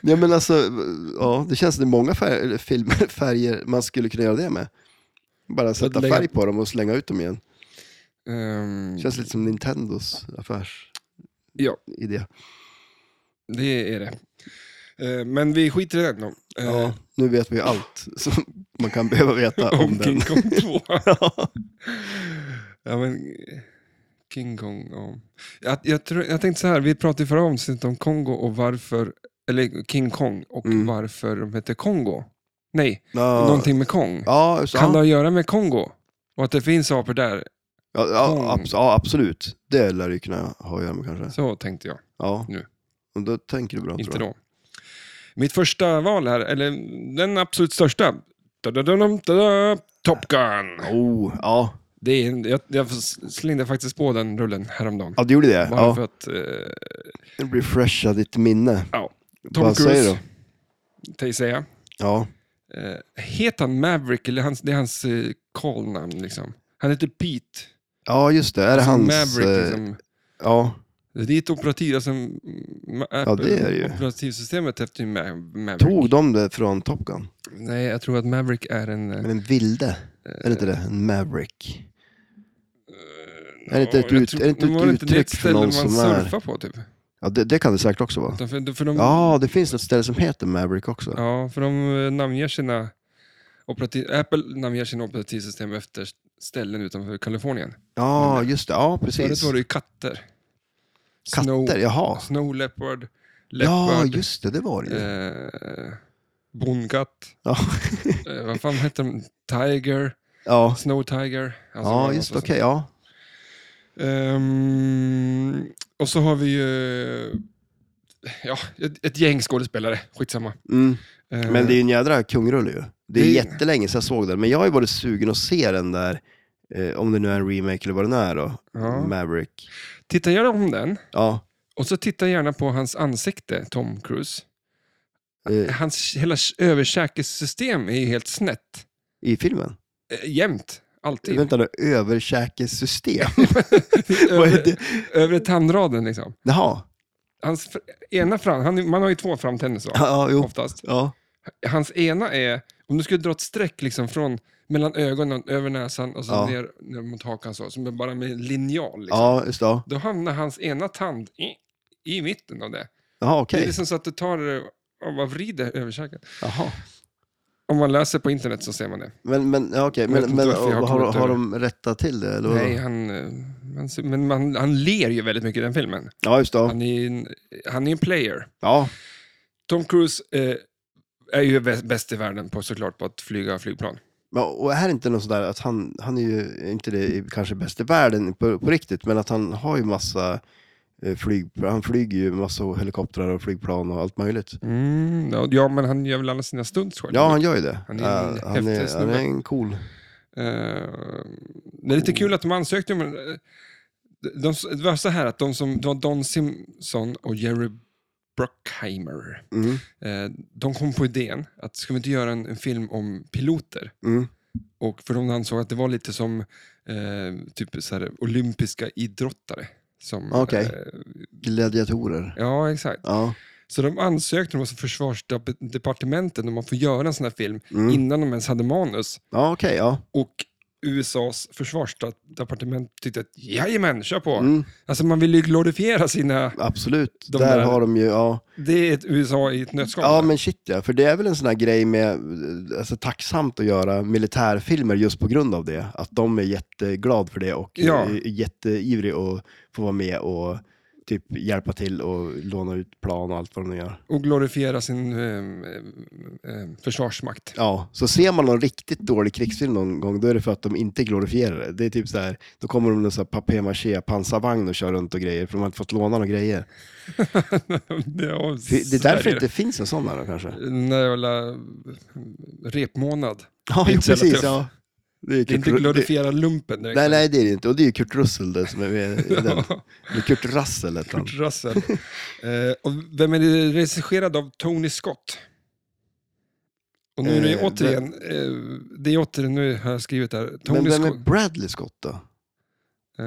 Speaker 2: ja, men alltså, ja, det känns som det är många färger, filmer, <laughs> färger man skulle kunna göra det med. Bara sätta
Speaker 1: lägga-
Speaker 2: färg på dem och slänga ut dem igen.
Speaker 1: Ehm,
Speaker 2: Det känns lite som Nintendos affärsidé.
Speaker 1: Ja. Det är det. Eh, Men vi skiter i den då. Eh,
Speaker 2: Ja, nu vet vi allt som man kan behöva
Speaker 1: <laughs>
Speaker 2: veta om
Speaker 1: Om
Speaker 2: den.
Speaker 1: King Kong
Speaker 2: <laughs>
Speaker 1: 2. ja, men eh, King Kong. Ja. Jag, jag, tror, jag tänkte så här, vi pratade i förra avsnittet om Kongo och varför, eller King Kong och
Speaker 2: Mm.
Speaker 1: varför de heter Kongo. Nej,
Speaker 2: Ja,
Speaker 1: någonting med Kong.
Speaker 2: Ja, så,
Speaker 1: Kan det
Speaker 2: ja,
Speaker 1: ha att göra med Kongo? Och att det finns apor där?
Speaker 2: ja, abs- ja, absolut. Det lär du kunna ha att göra med kanske.
Speaker 1: Så tänkte jag.
Speaker 2: Ja.
Speaker 1: Nu.
Speaker 2: Och då tänker du bra tror
Speaker 1: Inte
Speaker 2: jag.
Speaker 1: då. Mitt första val här, eller den absolut största. Da-da-da-dum, da-da, Top Gun.
Speaker 2: Oh, ja.
Speaker 1: Det är, en- jag, jag slängde faktiskt på den rullen häromdagen.
Speaker 2: ja, du gjorde det.
Speaker 1: Bara för
Speaker 2: Ja.
Speaker 1: att... Eh,
Speaker 2: Det blir fresha ditt minne.
Speaker 1: ja. Tom
Speaker 2: Vad säger du?
Speaker 1: Cruise, säger säga.
Speaker 2: Ja.
Speaker 1: Eh, heter han Maverick, eller hans, det är hans eh, callnamn liksom. Han heter Pete.
Speaker 2: ja, just det. Är det
Speaker 1: Alltså
Speaker 2: hans...
Speaker 1: Maverick,
Speaker 2: eh,
Speaker 1: liksom.
Speaker 2: Ja,
Speaker 1: Det är ett operativ, alltså, mm, ma- Apple-
Speaker 2: det är det ju.
Speaker 1: operativsystemet efter ju Ma- Maverick.
Speaker 2: tog de det från Top Gun?
Speaker 1: Nej, jag tror att Maverick är en... eh,
Speaker 2: Men en vilde? Är det inte det? En Maverick? Är det inte ett,
Speaker 1: Eh, Ja, jag
Speaker 2: ut,
Speaker 1: tror-
Speaker 2: är det inte
Speaker 1: var det
Speaker 2: ett
Speaker 1: inte det ett
Speaker 2: uttryck för
Speaker 1: ställe
Speaker 2: någon
Speaker 1: man
Speaker 2: som är...
Speaker 1: surfar Mm. på typ?
Speaker 2: Ja, det, det kan det säkert också vara.
Speaker 1: Utan För, för de, ja.
Speaker 2: Ja, det finns ett ställe som heter Maverick också.
Speaker 1: för de eh, namnger sina operativ, Apple namnger sina operativsystem efter ställen utanför Kalifornien.
Speaker 2: Ja, just det. Ja,
Speaker 1: Förut
Speaker 2: precis.
Speaker 1: var det ju katter.
Speaker 2: Katter, jaha.
Speaker 1: Snow leopard,
Speaker 2: Ja,
Speaker 1: leopard,
Speaker 2: just det. Det var det ju.
Speaker 1: eh, bonkatt,
Speaker 2: Ja, <laughs>
Speaker 1: eh, vad fan hette de? Tiger,
Speaker 2: ja.
Speaker 1: snow tiger. Alltså, det var
Speaker 2: ja
Speaker 1: en
Speaker 2: just det.
Speaker 1: massa
Speaker 2: Okej, ja.
Speaker 1: Ehm, och så har vi ju ja, ett, ett gäng skådespelare, skitsamma.
Speaker 2: Mm.
Speaker 1: Ehm,
Speaker 2: Men det är ju en jädra kungrulle ju. Det är
Speaker 1: Det-
Speaker 2: jättelänge sedan jag såg den, men jag har ju varit sugen att se den där, eh, om det nu är en remake eller vad den är då,
Speaker 1: Ja.
Speaker 2: Maverick.
Speaker 1: Titta gärna om den,
Speaker 2: Ja,
Speaker 1: och så titta gärna på hans ansikte, Tom Cruise.
Speaker 2: eh,
Speaker 1: Hans hela s- översäkessystem är ju helt snett.
Speaker 2: i filmen.
Speaker 1: Eh, jämt, alltid.
Speaker 2: Vänta nu,
Speaker 1: <laughs>
Speaker 2: överkäkessystem? vad är det?
Speaker 1: Övre tandraden liksom.
Speaker 2: Jaha,
Speaker 1: Hans fr- ena fram, han, man har ju två framtänder så,
Speaker 2: ja, jo.
Speaker 1: oftast.
Speaker 2: Ja.
Speaker 1: Hans ena är, om du skulle dra ett streck liksom från mellan ögonen, över näsan och så
Speaker 2: Ja.
Speaker 1: ner, ner mot hakan så, som är bara med en linjal. Liksom.
Speaker 2: ja, just det. ja.
Speaker 1: Då hamnar hans ena tand i, i mitten av det.
Speaker 2: Jaha,
Speaker 1: Det
Speaker 2: okej.
Speaker 1: är liksom så att du tar eh, och man vrider över käken.
Speaker 2: Jaha.
Speaker 1: Om man läser på internet så ser man det.
Speaker 2: Men, men, ja, okej.
Speaker 1: Jag vet
Speaker 2: men,
Speaker 1: inte
Speaker 2: men
Speaker 1: varför jag har
Speaker 2: har, har,
Speaker 1: kommit över.
Speaker 2: de rättat till det? Eller? vad?
Speaker 1: Nej, han, eh, han, ser- men man, han ler ju väldigt mycket i den filmen.
Speaker 2: Ja, just det. ja.
Speaker 1: Han är ju en, han är en player.
Speaker 2: Ja,
Speaker 1: Tom Cruise eh, är ju bä- bäst i världen på såklart på att flyga flygplan.
Speaker 2: Men, och är det inte något sådär att han, han är ju inte det i- kanske bäst i världen på, på riktigt, men att han har ju massa eh, flyg, han flyger ju massa helikoptrar och flygplan och allt möjligt.
Speaker 1: Mm, ja, ja, men han gör väl alla sina stunts själv.
Speaker 2: Ja, han gör ju det.
Speaker 1: Han är en
Speaker 2: Eh, han,
Speaker 1: häftig
Speaker 2: är, han
Speaker 1: snubbe.
Speaker 2: är en cool.
Speaker 1: Eh, det är lite kul att de ansökte om... eh, De, det var så här att de som, det var Don Simpson och Jerry Bruckheimer.
Speaker 2: Mm,
Speaker 1: Eh, de kom på idén att ska vi inte göra en, en film om piloter?
Speaker 2: mm.
Speaker 1: Och för de ansåg att det var lite som eh, typ så här, olympiska idrottare. Som,
Speaker 2: Okej.
Speaker 1: eh,
Speaker 2: Gladiatorer.
Speaker 1: ja, exakt.
Speaker 2: Ja.
Speaker 1: Så de ansökte hos försvarsdepartementet om att få göra en sån här film
Speaker 2: Mm.
Speaker 1: innan de ens hade manus.
Speaker 2: Ja, okej, ja.
Speaker 1: Och USAs försvarsdepartement tyckte att jajamän, kör på.
Speaker 2: Mm,
Speaker 1: Alltså man vill ju glorifiera sina...
Speaker 2: absolut.
Speaker 1: De
Speaker 2: där,
Speaker 1: där-
Speaker 2: har de ju, ja.
Speaker 1: Det är ett USA i ett nötskal.
Speaker 2: Ja, men shit ja. För det är väl en sån här grej med, eh, alltså tacksamt att göra militärfilmer just på grund av det. Att de är jätteglad för det och eh,
Speaker 1: Ja.
Speaker 2: är jätteivrig att få vara med och typ hjälpa till och låna ut plan och allt vad de nu gör.
Speaker 1: Och glorifiera sin ehm, ehm, ehm, försvarsmakt. <laughs>
Speaker 2: Ja, så ser man någon riktigt dålig krigsfilm någon gång, då är det för att de inte glorifierar det. Det är typ så här, då kommer de med en sån här papier-maché pansarvagn och kör runt och grejer, för de har inte fått låna några grejer.
Speaker 1: det
Speaker 2: För Det är därför det inte finns en sån här då kanske.
Speaker 1: När jag la repmånad.
Speaker 2: Ja,
Speaker 1: Det är
Speaker 2: jo,
Speaker 1: inte så jävla
Speaker 2: precis.
Speaker 1: tufft.
Speaker 2: Ja. är
Speaker 1: Det är inte
Speaker 2: Kurt- det-
Speaker 1: glorifiera lumpen direkt. <laughs>
Speaker 2: Nej, nej, det är det inte. Och det är ju Kurt Russell det som är med i den.
Speaker 1: Ja,
Speaker 2: Eller Kurt Russell hette han.
Speaker 1: Kurt Russell. eh, och vem är det regisserad av? Tony Scott. Och nu är det
Speaker 2: Eh,
Speaker 1: återigen, eh, det är återigen, nu har jag skrivit där,
Speaker 2: Men
Speaker 1: Tony
Speaker 2: vem är
Speaker 1: Scott.
Speaker 2: Bradley Scott då?
Speaker 1: Eh,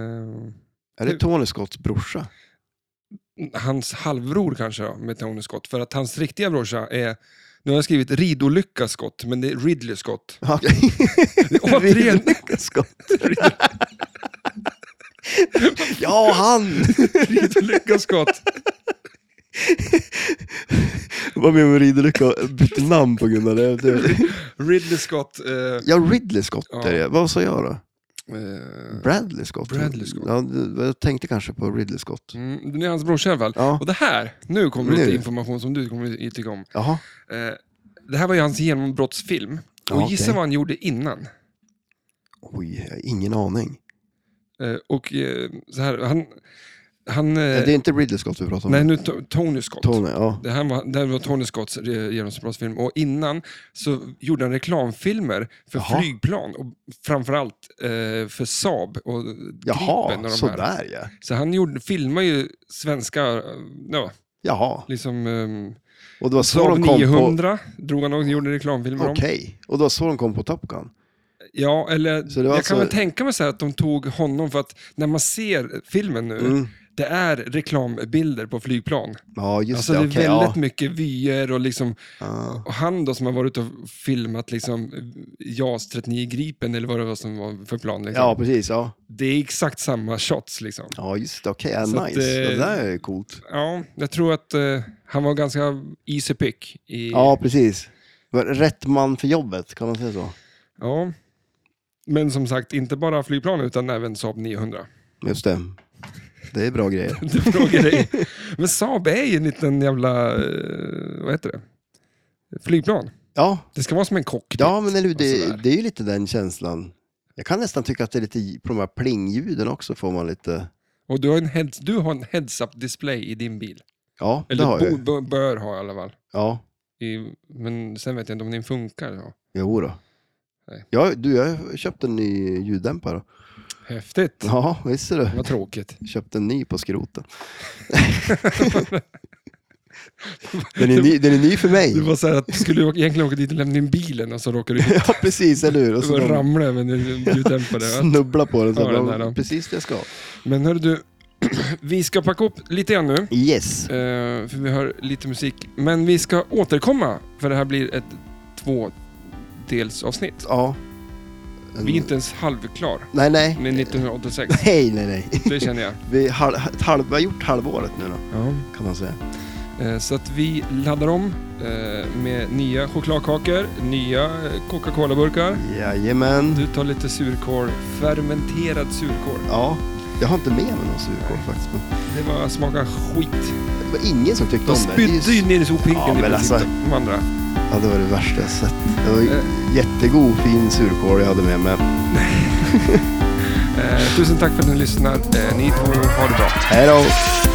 Speaker 2: Är det
Speaker 1: Nu-
Speaker 2: Tony Scotts brorsa?
Speaker 1: hans halvbror kanske då, med Tony Scott. För att hans riktiga brorsa är, nu har jag skrivit ridolycka Scott, men det är Ridley Scott.
Speaker 2: <laughs> Ja, Okej. <laughs>
Speaker 1: Återigen.
Speaker 2: Ridley
Speaker 1: <laughs>
Speaker 2: Scott. Ja, han!
Speaker 1: Ridolycka Scott.
Speaker 2: Vad menar du med ridelucka? Bytte namn på grund av det? det.
Speaker 1: Ridley Scott. Eh,
Speaker 2: Ja, Ridley Scott
Speaker 1: Ja.
Speaker 2: är det. Vad sa jag då?
Speaker 1: eh,
Speaker 2: Bradley Scott?
Speaker 1: Bradley Scott.
Speaker 2: Ja, det- jag tänkte kanske på Ridley Scott.
Speaker 1: mm, det är hans brorsa i alla fall.
Speaker 2: Ja,
Speaker 1: Och det här, nu kommer
Speaker 2: Nu.
Speaker 1: lite information som du kommer att tycka om.
Speaker 2: jaha.
Speaker 1: Eh, det här var ju hans genombrottsfilm. Och
Speaker 2: Ja,
Speaker 1: gissa
Speaker 2: okej.
Speaker 1: vad han gjorde innan.
Speaker 2: Oj, jag har ingen aning.
Speaker 1: Eh, och eh, så här, han... han eh,
Speaker 2: det är inte Ridley Scott vi pratar om.
Speaker 1: nej, nu To- Tony Scott.
Speaker 2: Tony, ja.
Speaker 1: Det här var, det här var Tony Scotts eh, genombrottsfilm och innan så gjorde han reklamfilmer för
Speaker 2: Jaha.
Speaker 1: flygplan och framförallt eh, för Saab och Gripen.
Speaker 2: Jaha,
Speaker 1: Och de här.
Speaker 2: sådär ja.
Speaker 1: Så han gjorde, filmade ju svenska, eh, ja,
Speaker 2: Jaha,
Speaker 1: liksom ehm,
Speaker 2: och det var så
Speaker 1: Saab
Speaker 2: de kom på...
Speaker 1: 900 drog han och gjorde reklamfilmer
Speaker 2: Okej,
Speaker 1: om.
Speaker 2: och det var så de kom på Top Gun.
Speaker 1: Ja, eller
Speaker 2: Så det var
Speaker 1: jag
Speaker 2: alltså-
Speaker 1: kan väl tänka mig så här att de tog honom för att när man ser filmen nu,
Speaker 2: Mm.
Speaker 1: det är reklambilder på flygplan.
Speaker 2: Ja, just
Speaker 1: Alltså det
Speaker 2: det.
Speaker 1: är
Speaker 2: Okej,
Speaker 1: väldigt
Speaker 2: ja.
Speaker 1: mycket vyer och liksom
Speaker 2: Ja.
Speaker 1: Och han då som har varit ute och filmat liksom JAS 39 Gripen eller vad det var som var för plan. Liksom.
Speaker 2: ja, precis. Ja,
Speaker 1: Det är exakt samma shots liksom.
Speaker 2: ja just det. Okej, ja,
Speaker 1: Så att,
Speaker 2: nice.
Speaker 1: eh,
Speaker 2: Det där är coolt.
Speaker 1: Ja, jag tror att eh, han var ganska easy pick. I,
Speaker 2: Ja, precis. Var det Rätt man för jobbet, kan man säga så?
Speaker 1: Ja. Men som sagt, inte bara flygplan utan även Saab 900.
Speaker 2: Just det. Det är bra grejer.
Speaker 1: <laughs> Du frågar dig. Men Saab är ju en liten jävla, eh, vad heter det? Flygplan. <laughs>
Speaker 2: Ja,
Speaker 1: Det ska vara som en cockpit.
Speaker 2: ja men eller, hur,
Speaker 1: och
Speaker 2: det,
Speaker 1: sådär.
Speaker 2: det är ju lite den känslan. Jag kan nästan tycka att det är lite, på de här plingljuden också får man lite...
Speaker 1: Och du har en, heads, du har en heads-up display i din bil.
Speaker 2: Ja, det har
Speaker 1: Eller bo,
Speaker 2: jag.
Speaker 1: bo, bör ha i alla fall.
Speaker 2: Ja,
Speaker 1: I, men sen vet jag inte om den funkar. Ja.
Speaker 2: jo då.
Speaker 1: Nej.
Speaker 2: Ja, du, jag köpte en ny ljuddämpare.
Speaker 1: Häftigt.
Speaker 2: Ja, visst är det.
Speaker 1: Vad tråkigt.
Speaker 2: Köpte en ny
Speaker 1: <laughs>
Speaker 2: på skroten. den, är ny, den är ny för mig.
Speaker 1: Det var så här att du skulle egentligen åka dit och lämna in bilen och så råkade du
Speaker 2: <laughs> Ja, precis, eller hur? Och så
Speaker 1: och
Speaker 2: de
Speaker 1: ramla över en ljuddämpare.
Speaker 2: <laughs>
Speaker 1: va?
Speaker 2: snubbla på den. Så
Speaker 1: Ja,
Speaker 2: de-
Speaker 1: den där då.
Speaker 2: precis det jag ska.
Speaker 1: Men hörru du, <clears throat> vi ska packa upp lite grann nu.
Speaker 2: Yes.
Speaker 1: eh, För vi hör lite musik. Men vi ska återkomma, för det här blir ett tvådelsavsnitt.
Speaker 2: Ja. Mm.
Speaker 1: Vi är inte ens halvklar
Speaker 2: Nej, nej.
Speaker 1: med 1986.
Speaker 2: <laughs> Nej, nej, nej.
Speaker 1: Det känner jag.
Speaker 2: Vi, har, ett halv, vi har gjort halvåret nu då,
Speaker 1: Ja.
Speaker 2: kan man säga.
Speaker 1: Eh, Så att vi laddar om eh, med nya chokladkakor, nya eh, Coca-Cola-burkar.
Speaker 2: Jajamän.
Speaker 1: Du tar lite surkål, fermenterad surkål.
Speaker 2: Ja. Jag har inte med mig någon surkål faktiskt. Men
Speaker 1: Det var smaka skit.
Speaker 2: det var ingen som tyckte
Speaker 1: De
Speaker 2: om det. det. är
Speaker 1: spydde ju
Speaker 2: ju-
Speaker 1: ner i sophinken
Speaker 2: Ja,
Speaker 1: i
Speaker 2: men
Speaker 1: princip,
Speaker 2: alltså.
Speaker 1: de andra.
Speaker 2: Ja, det var det värsta jag sett. Det var ju
Speaker 1: Eh.
Speaker 2: jättegod, fin surkål jag hade med mig.
Speaker 1: Eh, tusen tack för att ni lyssnar. Eh, ni två har det bra.
Speaker 2: Hej då!